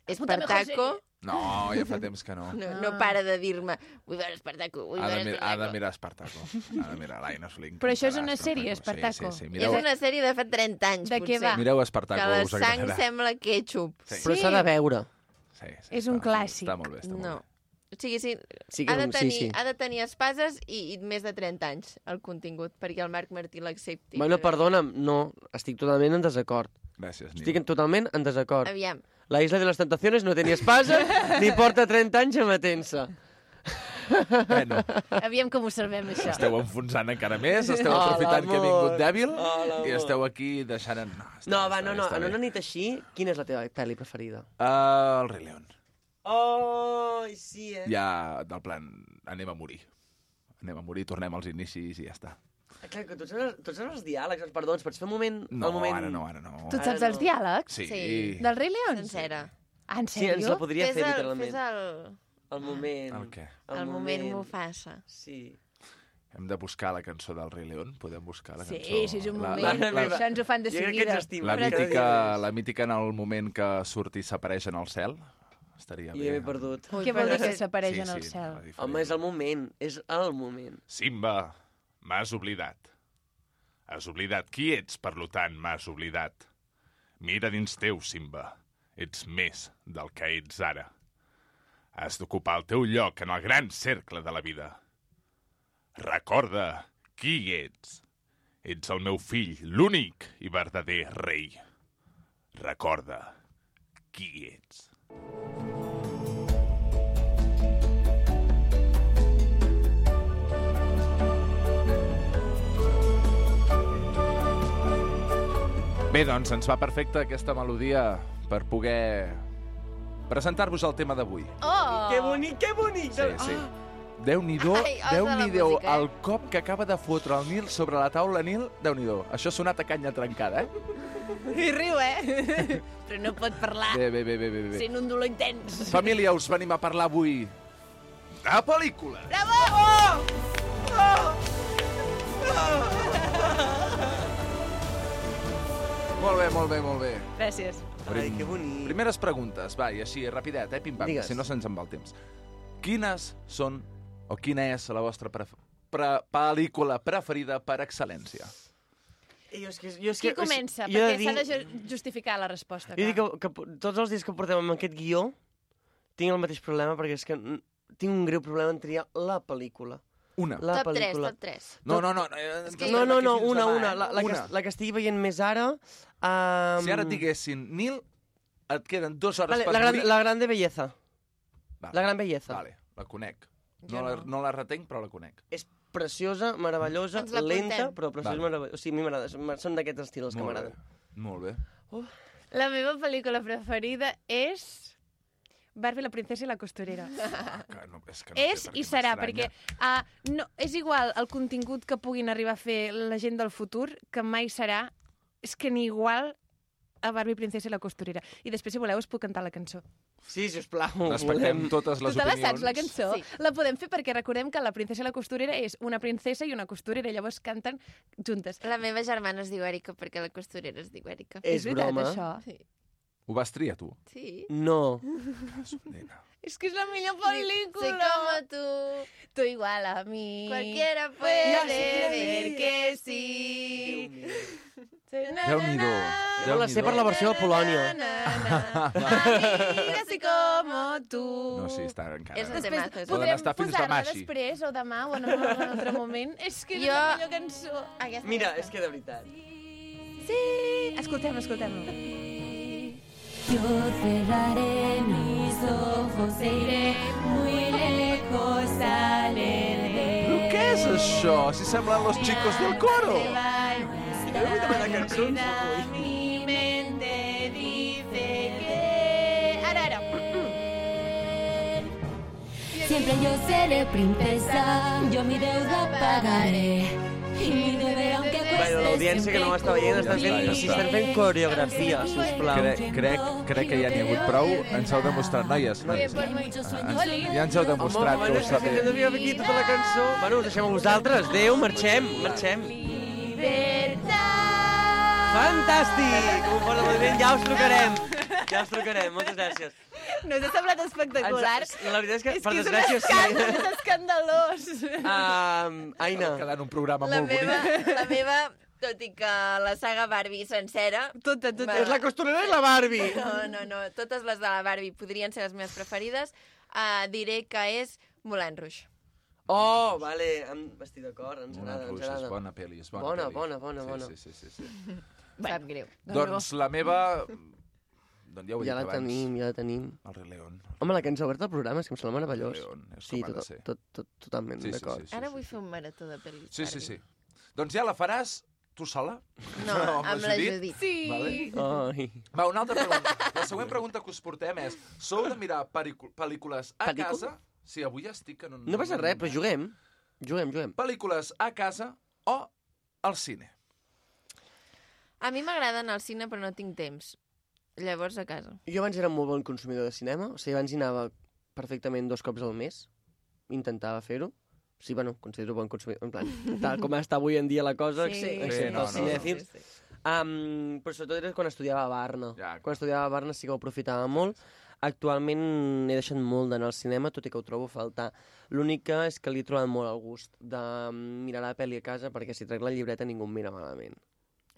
S1: Espartaco...
S8: No, ja fa temps que no.
S1: No,
S11: Ah.
S1: no para de dir-me, vull veure Espartaco, vull
S8: Ha Ah, de,
S1: veure
S8: mir ha de
S1: Espartaco.
S8: mirar Espartaco. Ha de mirar l'Aina Soling.
S11: Però això és una sèrie, Espartaco.
S8: Sí, sí, sí.
S1: És
S8: Mireu,
S1: una sèrie de fa 30 anys,
S11: De què
S1: potser.
S11: va?
S8: mireu
S1: Que
S8: Espartaco,
S1: la
S8: us
S1: sang
S8: agradarà.
S1: sembla ketchup.
S8: Sí.
S10: Però s'ha de veure.
S8: Sí, sí,
S11: És un
S8: està-
S11: clàssic.
S8: Està molt bé, està molt
S1: No.
S8: bé.
S1: O sigui, sí,
S10: Sí que
S1: ha, de
S10: no-
S1: tenir,
S10: sí, sí.
S1: ha de tenir espases i, i més de 30 anys, el contingut, perquè el Marc Martí l'accepti.
S10: Bueno,
S1: Però-
S10: perdona'm, no, estic totalment en desacord.
S8: Gràcies, Nil.
S10: Estic en- totalment en desacord.
S1: Aviam,
S10: La Isla de les Tentaciones no tenia espasa ni porta 30 anys amatent-se.
S8: Bueno,
S11: Aviam com ho servem, això.
S8: esteu enfonsant encara més, esteu
S10: Ah,
S8: aprofitant que he
S10: l'amor.
S8: vingut dèbil
S10: Ah, l'amor.
S8: i esteu aquí deixant... en- No, està,
S10: No,
S8: bé,
S10: va,
S8: està
S10: no,
S8: bé,
S10: no.
S8: està
S10: En
S8: bé.
S10: una nit així, quina és la teva pel·li preferida?
S8: Ah, el Rei León.
S10: Oh, sí, eh?
S8: Ja, del plan, anem a morir. Anem a morir, tornem als inicis i ja està.
S10: Ah, Clar, que tots saps, tots saps els diàlegs, els perdons, pots fer un moment...
S8: No,
S10: el moment...
S8: ara no, ara no.
S12: Tu et saps els diàlegs?
S8: Sí.
S12: Del Rei León?
S1: Sencera.
S12: Ah, en
S10: Sí, ens
S12: sèrio?
S10: la podria
S1: Fes
S10: fer,
S1: el-
S10: literalment.
S1: Fes el...
S10: El moment...
S8: El què?
S1: El, moment, Mufasa.
S10: Sí.
S8: Hem de buscar la cançó del Rei León? Podem buscar la
S3: Sí,
S8: cançó?
S3: sí, és un
S8: La-
S3: moment.
S8: La, la,
S3: Això ens ho fan de
S10: Jo crec que
S3: seguida.
S10: ens estima.
S2: eh,
S8: la,
S10: eh, Cada dia
S8: mítica,
S10: més.
S8: la mítica en el moment que surt i s'apareix en el cel? Estaria
S10: Jo
S8: bé.
S10: ja m'he perdut.
S3: Què vol dir
S1: perdó.
S3: que s'apareix
S8: Sí,
S3: en el
S8: sí,
S3: cel?
S8: la diferent.
S10: Home, és el moment, és el moment.
S8: Simba, m'has oblidat. Has oblidat qui ets, per lo tant, m'has oblidat. Mira dins teu, Simba. Ets més del que ets ara. Has d'ocupar el teu lloc en el gran cercle de la vida. Recorda qui ets. Ets el meu fill, l'únic i verdader rei. Recorda qui ets. Bé, doncs, ens va perfecta aquesta melodia per poder presentar-vos el tema d'avui.
S10: Oh. Que bonic, que bonic!
S8: Sí, sí. Déu-n'hi-do,
S1: Ai, osa la
S8: Déu-n'hi-do,
S1: música, eh?
S8: el cop que acaba de fotre el Nil sobre la taula, Nil, Déu-n'hi-do. Això ha sonat a canya trencada, eh?
S3: I riu, eh? Però no pot parlar
S2: Ah!
S8: Bé, bé, bé, bé, bé. bé.
S3: sent un dolor intens.
S8: Família, us venim a parlar avui de pel·lícules.
S10: Oh!
S8: Molt bé, molt bé, molt bé.
S2: Gràcies.
S10: Ai, que bonic.
S8: Primeres preguntes, va, i així, rapidet, eh, pim-pam,
S10: Digues.
S8: si no se'ns en va el temps. Quines són, o quina és la vostra pref pre pel·lícula preferida per excel·lència?
S10: Jo és que, jo és
S3: Qui
S10: que,
S3: comença?
S10: Jo he
S3: Perquè
S10: de
S3: s'ha
S10: dir-
S3: de ju- justificar la resposta.
S10: Jo dic que,
S3: clar.
S10: que po- tots els dies que portem amb aquest guió tinc el mateix problema perquè és que mm, tinc un greu problema en triar la pel·lícula.
S8: Una.
S10: La
S1: top
S10: pel·lícula.
S1: 3, top 3.
S8: No, no, no. Eh,
S1: que-
S10: No, no, no,
S8: d'aquí fins
S10: una,
S8: demà,
S10: una.
S8: eh?
S10: La, la,
S8: una.
S10: Que, la que estigui veient més ara... Um...
S8: Si ara et diguessin, Nil, et queden dues hores
S10: Vale,
S8: per
S10: la, gran,
S8: morir...
S10: la gran de belleza.
S8: Vale,
S10: La gran belleza.
S8: Vale, la conec. No, la, no la retenc, però la conec.
S10: És preciosa, meravellosa,
S1: Ens la
S10: lenta,
S1: apuntem.
S10: però preciosa,
S8: Vale.
S10: vale. meravellosa. O sigui, a mi m'agrada. m- Són d'aquests estils els que
S8: Molt bé.
S10: m'agraden.
S8: Molt bé.
S2: La meva pel·lícula preferida és... Barbie, la princesa i la costurera.
S8: Ah, que no, és que no
S2: és
S8: sé per
S2: i
S8: què
S2: serà, perquè
S8: m'estranya.
S2: uh, no, és igual el contingut que puguin arribar a fer la gent del futur, que mai serà, és que ni igual a Barbie, princesa i la costurera. I després, si voleu, us puc cantar la cançó.
S10: Sí, sisplau,
S8: Respectem totes les
S2: tu te la
S8: opinions.
S2: saps, la cançó?
S1: Sí.
S2: Sí. La podem fer perquè recordem que la princesa i la costurera és una princesa i una costurera, llavors canten juntes.
S1: La meva germana es diu Erika perquè la costurera es diu Erika.
S10: És
S2: veritat,
S10: broma.
S2: això?
S1: Sí.
S8: Ho vas triar, tu?
S1: Sí.
S10: No.
S8: Nena.
S2: És que és la millor
S1: Soy
S2: pel·lícula!
S1: como tú,
S2: Tu igual a mi.
S1: cualquiera
S2: Ja
S1: puede
S2: sé.
S1: ver que sí.
S8: Déu-n'hi-do.
S10: Jo me la sé per la versió de Polònia.
S2: Amiga, soy como tu.
S8: No, sí, està encara.
S1: És el
S8: Després...
S1: temazo. és
S8: Poden
S1: el
S2: Podrem
S8: estar fins
S2: posar-la
S8: demà així.
S2: després o demà o en un, en un altre moment. És que és
S1: Jo-
S2: la millor cançó.
S1: Aquesta
S10: Mira,
S1: cançó.
S10: és que de veritat.
S2: Sí! Escoltem, escoltem.
S4: Yo cerraré mis ojos e iré muy lejos al Edén.
S8: Però què és això? Si semblen los chicos del coro.
S2: Mi mente dice que... Ara, ara.
S4: Siempre yo seré princesa, yo mi deuda pagaré. Y mi deber, aunque cueste,
S10: Bueno, l'audiència que no m'està veient està
S8: Ja està,
S10: fent,
S8: ja està.
S10: estan fent coreografia, sisplau.
S8: Crec, crec, crec que ja n'hi ha hagut prou. Ens heu demostrat, noies. noies. Ah, Ja ens heu demostrat que ho sabeu.
S10: devia haver aquí tota la cançó. Bueno, us deixem a vosaltres. Adéu, marxem, marxem. Fantàstic! Un bon aplaudiment, ja us trucarem. Ja us trucarem, moltes gràcies.
S2: No us ha semblat espectacular?
S10: Ens- La veritat és que,
S2: És
S10: per
S2: que és un
S10: desgràcia,
S2: escàndol,
S10: sí.
S2: és escandalós.
S10: Um, Aina,
S8: Està quedant un programa
S1: La
S8: molt
S1: meva,
S8: bonic.
S1: la meva, tot i que la saga Barbie sencera...
S2: Tota, tota.
S1: va-
S10: és la costurera i la Barbie.
S1: No, no, no. Totes les de la Barbie podrien ser les meves preferides. Uh, diré que és Moulin Rouge.
S10: Oh, vale, em estic d'acord, ens
S8: Una
S10: agrada, ens
S8: bruixa, és
S10: agrada.
S8: bona pel·li, és bona
S10: Bona,
S8: pel·li.
S10: bona, bona,
S8: sí,
S10: bona.
S8: Sí, sí, sí, sí.
S1: Bueno. Sap greu.
S8: Doncs la meva... Doncs ja ho he
S10: Ja
S8: dit
S10: la
S8: abans.
S10: tenim, ja la tenim.
S8: El Rei León.
S10: Home, la que ens ha obert el programa és que em sembla
S8: El
S10: meravellós.
S8: Rei León, és
S10: Sí,
S8: com ha
S10: tot,
S8: de ser.
S10: tot, tot, totalment
S8: Sí, sí,
S10: d'acord.
S8: sí, sí,
S1: Ara
S8: sí,
S1: vull
S8: sí.
S1: fer un marató de pel·lis.
S8: Sí, sí,
S1: Barbie.
S8: sí. Doncs ja la faràs tu sola?
S1: No,
S8: No, amb
S1: amb,
S8: la
S1: la
S8: Judit.
S1: Judit.
S2: Sí.
S8: Vale.
S10: Ai.
S8: Va, una altra pregunta. La següent pregunta que us portem és... Sou de mirar pericu- pel·lícules a
S10: Pel·lícula?
S8: casa... Sí, avui ja estic en un...
S10: No passa res, però juguem. Juguem, juguem.
S8: Pel·lícules a casa o al cine?
S1: A mi m'agrada anar al cine, però no tinc temps. Llavors, a casa.
S10: Jo abans era molt bon consumidor de cinema, o sigui, abans hi anava perfectament dos cops al mes, intentava fer-ho, sí, bueno, considero bon consumidor, en plan, tal com està avui en dia la cosa,
S13: Sí.
S10: excepte
S13: Sí, no,
S10: els
S13: no, no.
S10: cinèfils. Um, però sobretot era quan estudiava a Barna. Ja, quan estudiava a Barna sí que ho aprofitava molt. Actualment he deixat molt d'anar al cinema, tot i que ho trobo a faltar. L'únic que és que li he trobat molt el gust de mirar la pel·li a casa, perquè si trec la llibreta ningú em mira malament.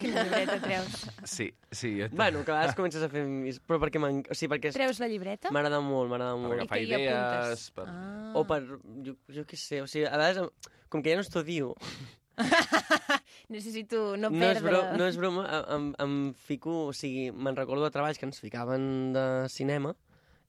S2: Llibreta treus.
S8: Sí, sí.
S10: Bueno, que a vegades comences a fer... mis- Però perquè m'en- o sigui, perquè és-
S2: Treus la llibreta?
S10: M'agrada molt, m'agrada molt.
S2: agafar I que hi idees, apuntes. per- Ah.
S10: O per... Jo, jo què sé, o sigui, a vegades, em- com que ja no estudio,
S2: Necessito no
S10: no és,
S2: perdre...
S10: broma, no és broma, em- em, em fico... O sigui, me'n recordo de treballs que ens ficaven de cinema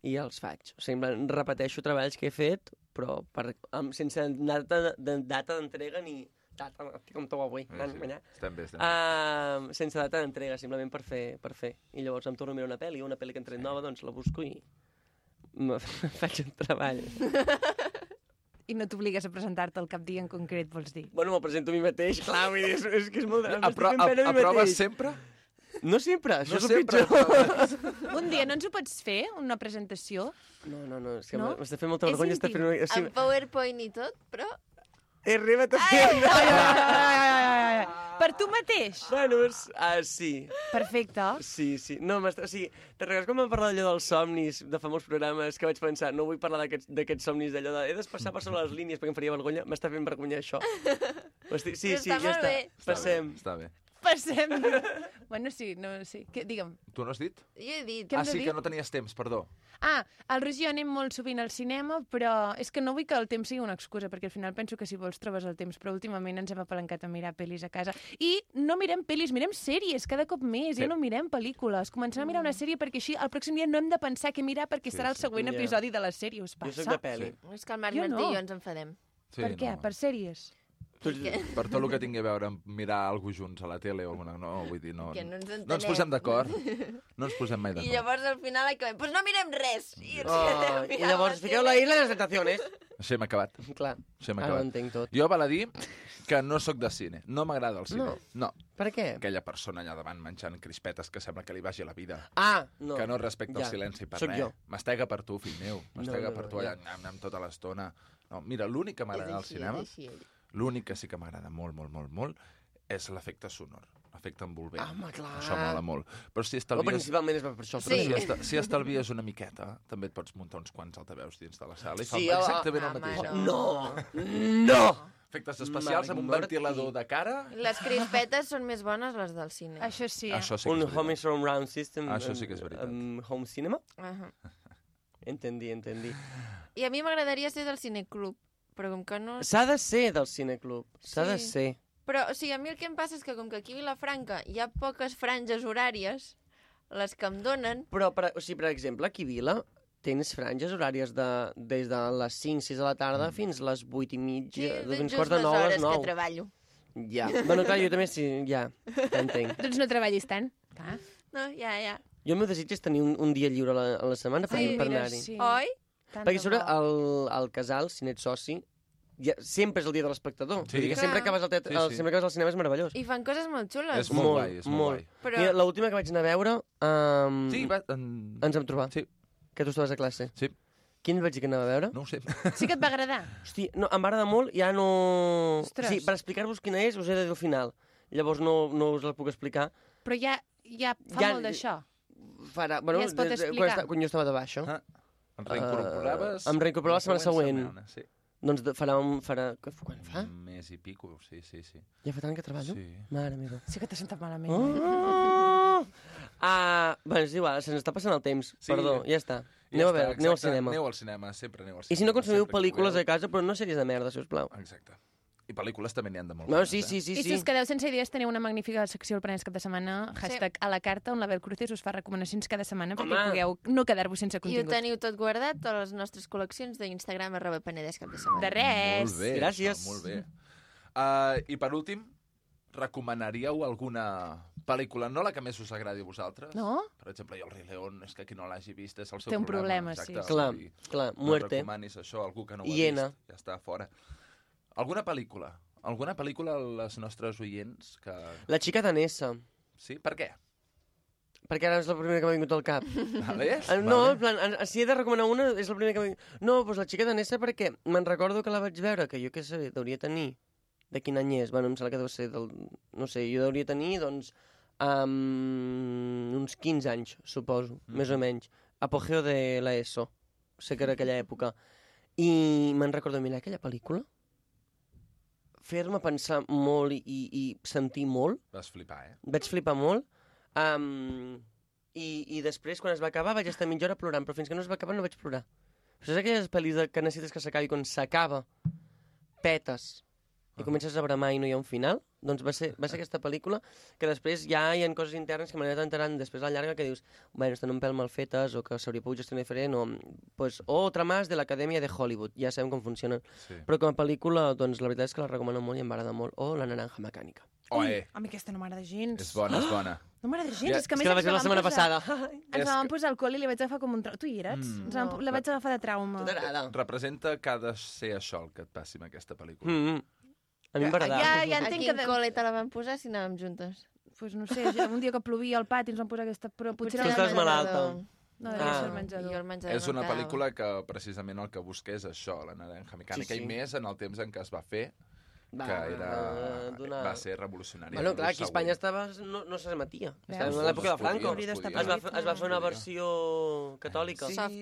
S10: i els faig. O sigui, en plan, repeteixo treballs que he fet, però per, amb, sense data de- de- data d'entrega ni data, com tot avui, sí, sí.
S8: Estem bé, estem bé.
S10: Uh, sense data d'entrega, simplement per fer, per fer. I llavors em torno a mirar una pel·li, una pel·li que entré nova, doncs la busco i me- faig un treball.
S2: I no t'obligues a presentar-te el cap dia en concret, vols dir?
S10: Bueno, me presento a mi mateix, clar, vull dir, és, és que és molt... em
S2: Apro-
S10: estic fent pena a mi
S2: aproves
S10: mateix.
S8: sempre?
S10: No sempre,
S2: No
S10: això no és el
S2: sempre
S10: pitjor.
S2: Un dia no ens ho pots fer, una presentació?
S10: No, no, no, és que
S2: No?
S10: no? m'està fent molta
S2: És
S10: vergonya estar
S2: íntim.
S10: fent... una- Sí,
S1: Amb PowerPoint i tot, però...
S10: he arribat a fer...
S2: Ai, ai, ai, ai, ai, ai. Per tu mateix?
S10: Bueno, és... Ah, sí.
S2: Perfecte.
S10: Sí, sí. No, m'està... O sigui, te recordes quan vam parlar d'allò dels somnis, de famós programes, que vaig pensar, no vull parlar d'aquests d'aquests somnis d'allò de... He de passar per sobre les línies perquè em faria vergonya. M'està fent vergonya això. Estic...
S2: Però
S10: Sí, sí,
S2: està
S10: ja
S2: molt
S10: està.
S2: bé.
S8: Està bé,
S10: Passem.
S8: Està bé.
S2: Passem. bueno, sí, no, sí. Que, digue'm.
S8: Tu no has dit?
S1: Jo he dit.
S2: Què hem
S8: ah,
S2: de
S8: sí,
S2: dir?
S8: que no tenies temps, perdó.
S2: Ah, el Roger anem molt sovint al cinema, però és que no vull que el temps sigui una excusa, perquè al final penso que si vols trobes el temps, però últimament ens hem apalancat a mirar pel·lis a casa. I no mirem pel·lis, mirem sèries cada cop més,
S8: Sí. Mm.
S2: ja no mirem pel·lícules. Comencem a mirar una sèrie perquè així el pròxim dia no hem de pensar què mirar perquè
S8: Sí,
S2: serà el
S8: sí.
S2: següent
S8: Ja.
S2: episodi de la sèrie, us passa?
S1: És que el Marc
S2: Jo
S1: Martí
S2: no.
S1: i jo ens enfadem.
S8: Sí,
S2: per què?
S8: No.
S2: Per sèries?
S8: Per, per tot el que tingui a veure amb mirar alguna junts a la tele o alguna... No, vull dir, no,
S1: Que no ens
S8: no ens
S1: entenem.
S8: posem d'acord. No ens posem mai
S1: I
S8: d'acord.
S1: llavors al final acabem, doncs no mirem res. I, ens
S10: Oh,
S1: quedem
S10: I
S1: mirant
S10: llavors,
S1: la
S10: fiqueu
S1: tele.
S10: la isla de les tentaciones.
S8: Així hem acabat.
S10: Clar.
S8: Així hem
S10: Ara Ah, ho
S8: acabat.
S10: entenc tot.
S8: Jo val a dir que no sóc de cine. No m'agrada el cine. No. no.
S10: Per què?
S8: Aquella persona allà davant menjant crispetes que sembla que li vagi la vida.
S10: Ah, no.
S8: Que no respecta
S10: Ja.
S8: el silenci per
S10: Sóc
S8: res.
S10: jo.
S8: M'estega per tu, fill meu. M'estega
S10: no,
S8: per
S10: no,
S8: tu allà
S10: ja.
S8: amb, amb tota l'estona. No, mira, l'únic que m'agrada al cinema, l'únic que sí que m'agrada molt, molt, molt, molt, és l'efecte sonor, l'efecte envolvent.
S10: Home, clar.
S8: Això mola molt. Però si
S10: Però
S8: estalvies...
S10: principalment és per això.
S8: Però
S10: Sí.
S8: si, esta, si estalvies una miqueta, també et pots muntar uns quants altaveus dins de la sala i fan
S10: Sí,
S8: sí,
S2: oh,
S10: home,
S8: exactament el
S10: home,
S8: mateix. eh?
S10: no. No!
S8: Efectes especials amb un
S10: Marc Martí.
S8: ventilador de cara.
S1: Les crispetes són més bones les del cine.
S2: Això sí.
S8: Això sí que
S10: un
S8: és veritat.
S10: home surround system.
S8: Això sí que és veritat.
S10: Um, home cinema?
S1: Uh -huh.
S10: Entendí, entendí.
S1: I a mi m'agradaria ser del cineclub, però com que no...
S10: S'ha de ser del cineclub. S'ha de
S1: Sí.
S10: ser.
S1: Però, o sigui, a mi el que em passa és que com que aquí a Vilafranca hi ha poques franges horàries, les que em donen...
S10: Però, per, o sigui, per exemple, aquí a Vila tens franges horàries de, des de les 5, 6 de la
S8: Mm.
S10: tarda fins les 8 i mitja,
S1: Sí, doncs
S10: fins
S1: just
S10: quart de
S1: les
S10: 9 a
S1: hores
S10: les 9.
S1: que treballo.
S10: Ja. Bueno, clar, jo també sí, ja, t'entenc.
S2: Doncs no treballis tant. Clar.
S1: No, ja, ja.
S10: Jo el meu desig és tenir un, un dia lliure a la, a la setmana per, per anar-hi.
S1: Oi?
S10: Perquè a sobre el, el casal, si n'ets soci, ja, sempre és el dia de l'espectador.
S8: Sí.
S10: Sí, Vull dir que sempre
S1: Clar.
S10: que vas al, teatre,
S8: Sí,
S10: sí,
S8: sí.
S10: sí. sempre que vas al cinema és meravellós.
S1: I fan coses molt xules.
S8: Ah, És molt guai, és molt guai.
S1: Però-
S10: Mira, l'última que vaig anar a veure... Um,
S8: Sí, va, en...
S10: Ens vam trobar.
S8: Sí.
S10: Que tu estaves a classe.
S8: Sí.
S10: Quin vaig dir que anava a veure?
S8: No ho sé.
S2: Sí que et va agradar?
S10: Hosti, no, em va agradar molt, ja no...
S2: Ostres.
S10: Sí, per explicar-vos quina és, us he de dir el final. Llavors no, no us la puc explicar.
S2: Però ja, ja fa
S10: Ja-
S2: molt d'això.
S10: Farà, bueno,
S2: Ja es pot
S10: des de-
S2: explicar.
S10: Quan, esta- quan jo estava de baixa. Eh,
S8: Ah, em reincorporaves...
S10: em reincorporava la setmana següent.
S8: setmana, sí.
S10: Doncs de- farà... un- farà quan fa?
S8: Un mes i pico, sí, sí, sí.
S10: Ja fa tant que treballo?
S8: Sí.
S10: Mare meva.
S2: Sí que t'has sentat malament.
S10: Oh! Ah, bueno, és igual, se'ns està passant el temps.
S8: Sí.
S10: Perdó, ja està.
S8: I
S10: Aneu
S8: ja
S10: a veure,
S8: està,
S10: aneu al
S8: exacte,
S10: cinema.
S8: Aneu al cinema, sempre aneu al cinema.
S10: I si no consumiu
S8: sempre que
S10: pel·lícules a
S8: pugueu.
S10: casa, però no sèries de merda, si us plau.
S8: Exacte. I pel·lícules també n'hi han de molt
S10: No,
S8: bones,
S10: sí,
S8: eh?
S10: sí, sí,
S2: I si
S10: sí.
S2: us quedeu sense idees, teniu una magnífica secció al Penedès cap de setmana, hashtag a la carta, on la Bel Cruces us fa recomanacions cada setmana perquè
S1: Home.
S2: pugueu no quedar-vos sense
S1: I ho
S2: contingut.
S1: teniu tot guardat a les nostres col·leccions d'Instagram arroba Penedès cap de setmana.
S2: De res.
S8: Molt bé.
S10: Gràcies.
S8: Això, Molt bé. Uh, I per últim, recomanaríeu alguna pel·lícula, no la que més us agradi a vosaltres?
S2: No?
S8: Per exemple, jo el Rei León, és que qui no l'hagi vist és el seu
S2: Té un
S8: problema.
S2: problema, sí,
S8: Exacte,
S2: sí.
S10: Clar,
S8: vull dir,
S10: clar,
S8: No
S10: muerte.
S8: recomanis això a algú que no ho ha
S10: Hiena.
S8: vist. Ja està, fora. Alguna pel·lícula, Alguna pel·lícula a les nostres oients que...
S10: La xica danesa.
S8: Sí? Per què?
S10: Perquè ara és la primera que m'ha vingut al cap.
S8: Vale,
S10: Eh, No,
S8: vale.
S10: en plan, en- si he de recomanar una, és la primera que m'ha vingut. No, doncs la xica danesa perquè me'n recordo que la vaig veure, que jo què sé, deuria tenir... De quin any és? Bueno, em sembla que deu ser del... No sé, jo deuria tenir, doncs, um, uns 15 anys, suposo, mm.
S8: Mm-hmm.
S10: més o menys. Apogeo de la ESO. Sé que era aquella època. I me'n recordo mirar aquella pel·lícula, fer-me pensar molt i, i, i sentir molt.
S8: Vas flipar, eh?
S10: Vaig flipar molt. Um, i, I després, quan es va acabar, vaig estar mitja hora plorant, però fins que no es va acabar no vaig plorar. Però saps aquelles pel·lis de- que necessites que s'acabi quan s'acaba? Petes.
S8: Ah.
S10: I comences a bramar i no hi ha un final? Doncs va ser, va ser aquesta pel·lícula que després ja hi ha coses internes que m'he anat enterant després a la llarga que dius, bueno, estan un pèl mal fetes o que s'hauria pogut gestionar diferent o pues, otra más de l'Acadèmia de Hollywood. Ja sabem com funcionen.
S8: Sí.
S10: Però com a pel·lícula, doncs la veritat és que la recomano molt i em va agradar molt. O La naranja mecànica.
S8: Oe,
S2: A mi aquesta no m'agrada gens. Ah!
S8: és bona, és bona.
S2: No m'agrada gens,
S10: Ja,
S2: és que a
S10: és
S2: més
S10: que la
S2: ens
S10: vaig veure la
S2: van
S10: setmana
S2: posar-
S10: passada.
S2: Ens
S8: És
S2: la van posar al col·le i li vaig agafar com un trauma. Tu hi eres?
S8: Mm.
S2: Ens van- La vaig agafar de
S10: Ah.
S2: trauma.
S8: Representa que ha de ser això el que et passi amb aquesta pel·lícula.
S10: Mm -hmm. A mi em va agradar.
S2: Ja, ja
S1: A
S2: entenc
S1: quin
S2: que... De...
S1: col·le te la van posar si anàvem juntes?
S2: Pues no sé, ja un dia que plovia al pati ens van posar aquesta... Però potser...
S10: Tu
S1: Potser
S2: era
S1: al
S2: la-
S10: estàs malalta.
S1: menjador.
S2: No, devia
S10: Ah.
S2: ser el menjador.
S1: Jo al menjador
S8: És
S1: no
S8: una
S1: cal.
S8: pel·lícula que precisament el que busca és això, la naranja mecànica,
S10: Sí, sí.
S8: i més en el temps en què es va fer, que era...
S10: donar-
S8: va ser revolucionari.
S10: Bueno, clar, aquí
S8: segur.
S10: a Espanya estava, no, no s'emetia. Estava
S8: Doncs
S10: en l'època de
S8: es podia,
S10: Franco.
S8: es
S2: Es
S8: podia.
S10: Es va, fer- es va fer una
S8: Podia.
S10: versió catòlica.
S1: Soft.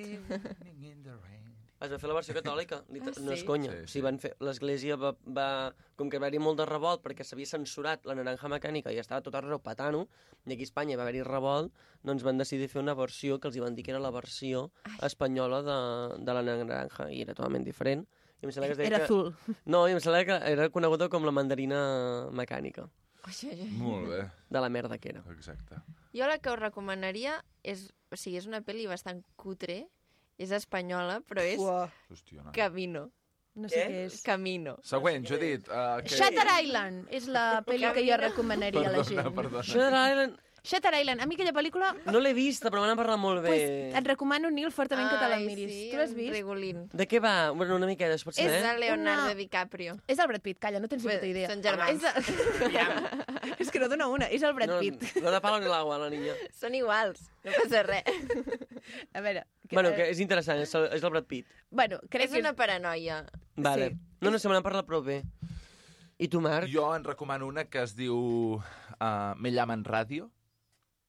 S10: Es va fer la versió catòlica. Liter-
S1: Ah,
S10: No és
S1: sí?
S10: conya.
S8: Sí,
S10: Sí,
S8: sí.
S10: sí. van fer L'Església va, va... Com que va haver-hi molt de revolt perquè s'havia censurat la naranja mecànica i estava tot arreu patano, i aquí a Espanya va haver-hi revolt, doncs van decidir fer una versió que els hi van dir que era la versió espanyola de, de la naranja, i era totalment diferent. I em sembla que es deia
S2: Era
S10: que...
S2: azul.
S10: No, i em sembla que era coneguda com la mandarina mecànica,
S1: Ai, ai, ai.
S8: Molt bé,
S10: de la merda que era.
S8: exacte.
S1: Jo la que us recomanaria és... O sigui, és una pel·li bastant cutre, és espanyola, però és
S8: Hòstia, no.
S1: Camino.
S2: No sé
S10: Què?
S2: què és.
S1: Camino.
S8: Següent, Judit. Uh, que...
S2: Shutter Island és la pel·li que jo recomanaria a la
S8: Perdona,
S2: gent.
S8: perdona.
S10: Shutter Island
S2: Shutter Island, a mi aquella pel·lícula
S10: no l'he vista, però me n'han parlat molt bé.
S2: pues,
S1: eh,
S2: et recomano, Nil, fortament que te la
S1: Ai,
S2: miris.
S1: sí,
S2: tu l'has
S1: en
S2: vist?
S1: Rigolin.
S10: De què va? Bueno, una miqueta, es pot
S1: És
S10: saber?
S1: de
S10: eh?
S1: Leonardo
S2: Una-
S1: DiCaprio.
S2: És el Brad Pitt, calla, no tens ni
S1: Bé,
S2: puta idea.
S1: són germans.
S2: És, el... és que no dona una, és el Brad
S10: no,
S2: Pitt.
S10: No de palo ni l'agua, la niña.
S1: Són iguals, no passa res.
S2: A veure, que,
S10: Bueno, que és interessant, és el, és el Brad Pitt.
S2: bueno crec
S1: és
S2: que...
S1: una paranoia.
S10: Vale. Sí. No, no, se me n'han parlat prou bé. eh? I tu, Marc?
S8: Jo en recomano una que es diu uh, Me llaman radio.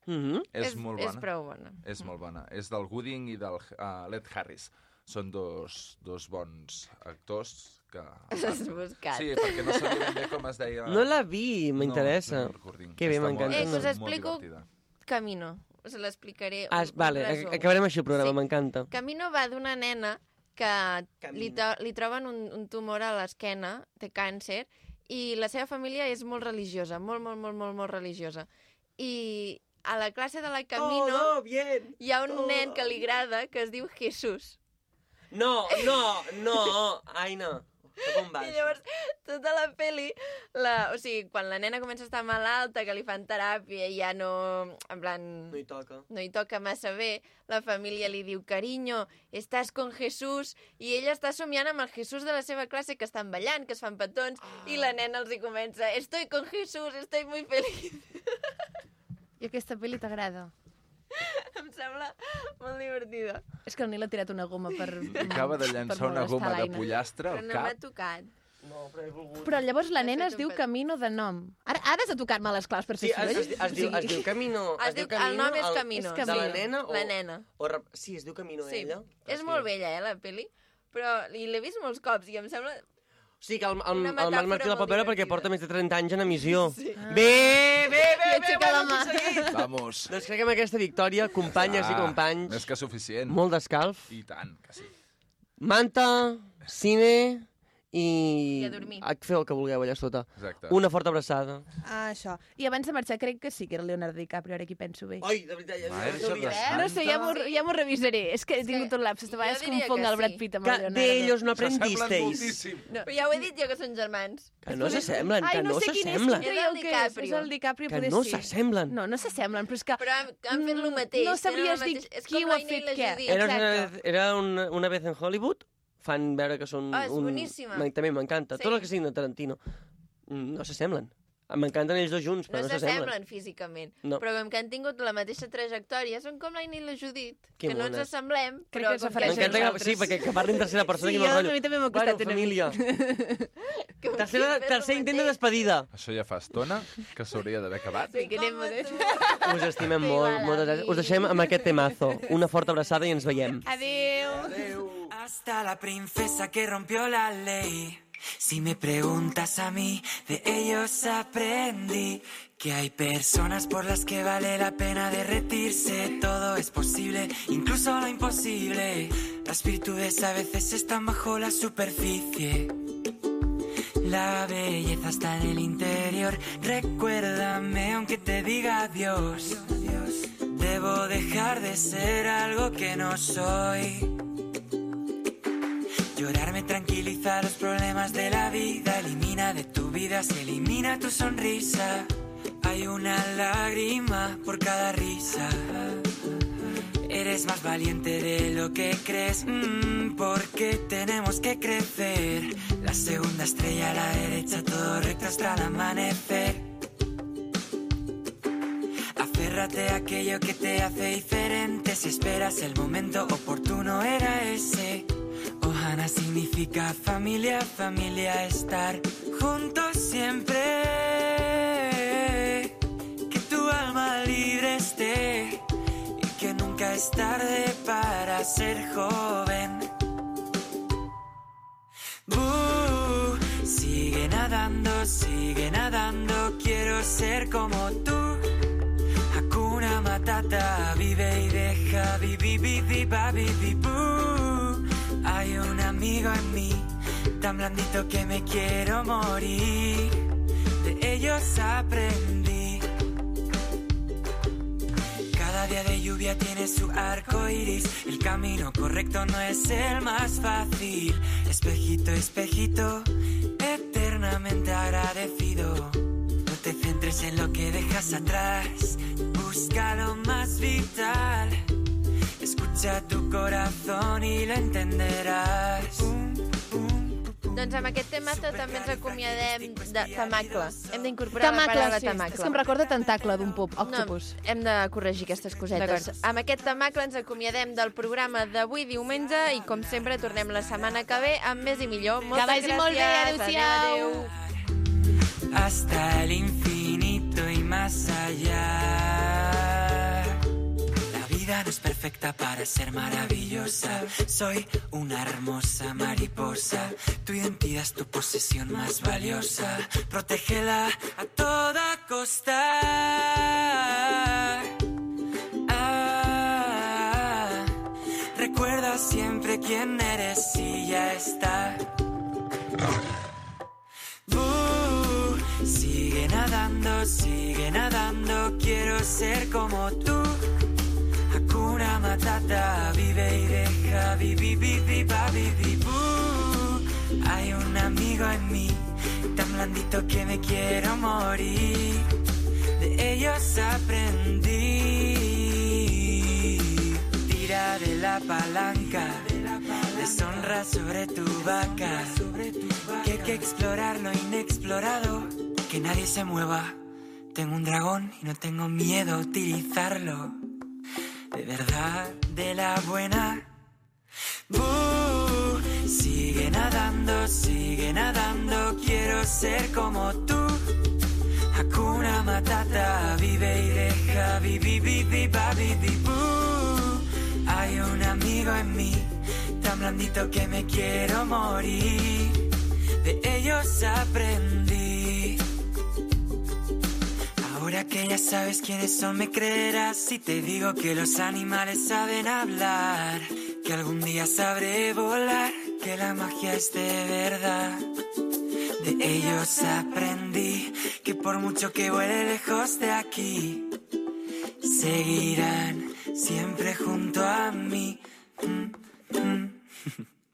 S10: Mm -hmm.
S8: És, molt bona.
S1: És prou bona.
S8: És molt bona. És del Gooding i del uh, Led Harris. Són dos, dos bons actors que...
S1: Has buscat.
S8: Sí, perquè no sabia ben bé com es deia...
S10: No la vi,
S8: No,
S10: m'interessa.
S8: no, el Gooding.
S10: Que bé,
S8: Està
S10: m'encanta.
S8: molt-
S10: Eh, que
S8: molt
S10: us
S1: explico-
S8: divertida.
S1: Camino. Us l'explicaré.
S10: Ah,
S1: un- un
S10: vale,
S1: resum.
S10: a- acabarem així el programa,
S1: Sí.
S10: m'encanta.
S1: Camino va d'una nena que li, to li troben un, un tumor a l'esquena, té càncer, i la seva família és molt religiosa, molt, molt, molt, molt, molt religiosa. I a la classe de la Camino
S10: Todo bien.
S1: hi ha un
S10: todo.
S1: nen que li agrada que es diu Jesús.
S10: No, no, no, ai, no. Cap on vas?
S1: I llavors, tota la peli, la, o sigui, quan la nena comença a estar malalta, que li fan teràpia i ja no... En plan...
S10: No hi toca.
S1: no hi toca massa bé, la família li diu, carinyo, estàs con Jesús, i ella està somiant amb el Jesús de la seva classe, que estan ballant, que es fan petons, i la nena els hi comença, estoy con Jesús, estoy muy feliz.
S2: I aquesta pel·li t'agrada.
S1: em sembla molt divertida.
S2: És que el Nil ha tirat una goma per...
S8: Acaba de
S2: per
S8: llançar una
S2: molestar
S8: goma de
S2: l'Aina.
S8: pollastre
S1: Però
S8: al
S1: no m'ha
S8: cap.
S1: tocat.
S10: No, però he volgut.
S2: Però llavors la
S1: Has
S2: nena
S1: fet
S2: es
S1: un
S2: diu
S1: pet.
S2: Camino de nom. Ara, ara has de tocar-me les claus per
S10: Sí,
S2: fer
S10: es, es, es, diu, es diu Camino.
S1: Es diu, el nom és Camino.
S2: és
S10: De la
S2: Camino.
S10: nena? O,
S1: La nena.
S10: O, rep- sí, es diu Camino,
S1: Sí.
S10: ella.
S1: És
S10: Sí.
S1: molt bella, eh, la peli, però i l'he vist molts cops i em sembla...
S10: O sigui que el, el,
S1: Una
S10: el Marc
S1: metàfora
S10: Martí la pot
S1: molt
S10: veure perquè
S1: divertida.
S10: porta més de 30 anys en emissió. Sí. Bé, bé, bé, bé, bé,
S2: la mà.
S8: Vamos.
S10: Doncs crec que amb aquesta victòria, companyes i
S8: Ah,
S10: companys,
S8: Més que suficient.
S10: molt d'escalf,
S8: I tant, que sí.
S10: manta, cine i...
S1: I a dormir.
S10: Ah, Feu el que vulgueu allà sota.
S8: Exacte.
S10: Una forta abraçada.
S2: Ah, això. I abans de marxar, crec que sí que era Leonardo DiCaprio, ara que hi penso bé.
S10: Ai, de veritat, ja
S8: Mare de Déu.
S2: No sé, ja m'ho ja m'ho revisaré. És que he tingut
S1: que
S2: un lapse. De
S1: jo
S2: vegades
S1: diria
S2: confonc
S1: que
S2: el Brad
S1: sí.
S2: Pitt amb
S10: Que
S2: el Leonardo.
S10: d'ellos no
S8: S'assemblen
S10: aprendisteis.
S8: moltíssim.
S1: Però ja ho he dit jo, que són germans.
S10: Que no s'assemblen, que
S2: Ai, no,
S10: no
S2: sé quin és, quin
S10: s'assemblen.
S1: És el
S2: creieu que és. És
S1: DiCaprio.
S2: el DiCaprio,
S10: Que
S2: poder
S10: no
S2: sí.
S10: s'assemblen.
S2: No, no s'assemblen, però és que...
S1: Però han, han fet el
S2: Mm,
S1: mateix.
S2: no
S1: tenen
S2: sabries
S1: el
S2: dir
S1: mateix- és
S2: qui
S1: com
S2: ho ha
S1: l'Aina i
S2: fet,
S1: la
S2: què.
S1: Judit.
S10: Era, una,
S2: Exacte.
S10: era una, una vez en Hollywood, fan veure que són...
S1: Ah, és
S10: un...
S1: boníssima.
S10: Ma- També m'encanta.
S1: Sí.
S10: Tot el que sigui de Tarantino. Mm, No s'assemblen. M'encanten ells dos junts,
S1: No
S10: però no s'assemblen.
S1: s'assemblen físicament,
S10: No.
S1: però com que han tingut la mateixa trajectòria, són com l'Aina i la Judit,
S10: Que
S1: que, no ens
S10: mones.
S1: assemblem,
S2: Crec
S1: però
S2: que
S1: com
S2: s'ofereixen
S1: són
S10: M'encanta que, sí, perquè que parli en tercera persona.
S2: Sí,
S10: que me'l
S2: a
S10: rotllo.
S2: mi també m'ha costat
S10: bueno,
S2: una
S10: família. tercera, tercer intent de despedida.
S14: Això ja fa estona que s'hauria d'haver acabat.
S1: Sí, que anem modest.
S10: Us estimem molt, moltes gràcies. Us deixem amb aquest temazo. Una forta abraçada i ens veiem.
S13: Hasta la princesa que rompió la ley. Si me preguntas a mí, de ellos aprendí que hay personas por las que vale la pena derretirse. Todo es posible, incluso lo imposible. Las virtudes a veces están bajo la superficie. La belleza está en el interior. Recuérdame aunque te diga adiós. Debo dejar de ser algo que no soy. Llorar me tranquiliza los problemas de la vida. Elimina de tu vida, se elimina tu sonrisa. Hay una lágrima por cada risa. Eres más valiente de lo que crees. mm, porque tenemos que crecer. La segunda estrella a la derecha, todo recto hasta el amanecer. Aférrate a aquello que te hace diferente. Si esperas el momento oportuno, era ese. Ohana significa familia, familia, estar juntos siempre. Que tu alma libre esté y que nunca es tarde para ser joven. Bú, sigue nadando, sigue nadando, quiero ser como tú. Hakuna Matata, vive y deja, vivi, vivi, va, vivi, bú. Hay un amigo en mí, tan blandito que me quiero morir. De ellos aprendí. Cada día de lluvia tiene su arco iris. El camino correcto no es el más fácil. Espejito, espejito, eternamente agradecido. No te centres en lo que dejas atrás. Busca lo más vital. Escucha tu corazón y lo entenderás.
S1: Doncs amb aquest tema també ens acomiadem de tamacle. Hem d'incorporar la
S11: Tamacle,
S1: paraula
S11: sí.
S1: tamacle.
S11: És que em recorda tentacle d'un pop, octopus.
S1: No, hem de corregir aquestes cosetes.
S11: D'acord.
S1: Amb aquest temacle ens acomiadem del programa d'avui diumenge i, com sempre, tornem la setmana que ve amb més i millor. Moltes
S11: vagi
S1: gràcies.
S11: molt bé, adéu-siau.
S1: Adéu, adéu.
S13: hasta el infinito y más allá. La vida no es perfecta para ser maravillosa. Soy una hermosa mariposa. Tu identidad es tu posesión más valiosa. Protégela a toda costa. Ah, recuerda siempre quién eres y ya está. Bú, sigue nadando, sigue nadando, quiero ser como tú. Hakuna Matata, vive y deja, vivi, vivi, va, vivi, bú. Hay un amigo en mí, tan blandito que me quiero morir. De ellos aprendí. Tira de la palanca, deshonra sobre tu vaca. Que hay que explorar lo inexplorado, que nadie se mueva. Tengo un dragón y no tengo miedo a utilizarlo. De verdad, de la buena. Bú, sigue nadando, sigue nadando, quiero ser como tú. Hakuna Matata, vive y deja, vivi, vivi, va, vivi, bú. Hay un amigo en mí, tan blandito que me quiero morir. De ellos aprendí. Ahora que ya sabes quiénes son, me creerás si te digo que los animales saben hablar, que algún día sabré volar, que la magia es de verdad. De ellos aprendí que por mucho que vuele lejos de aquí, seguirán siempre junto a mí.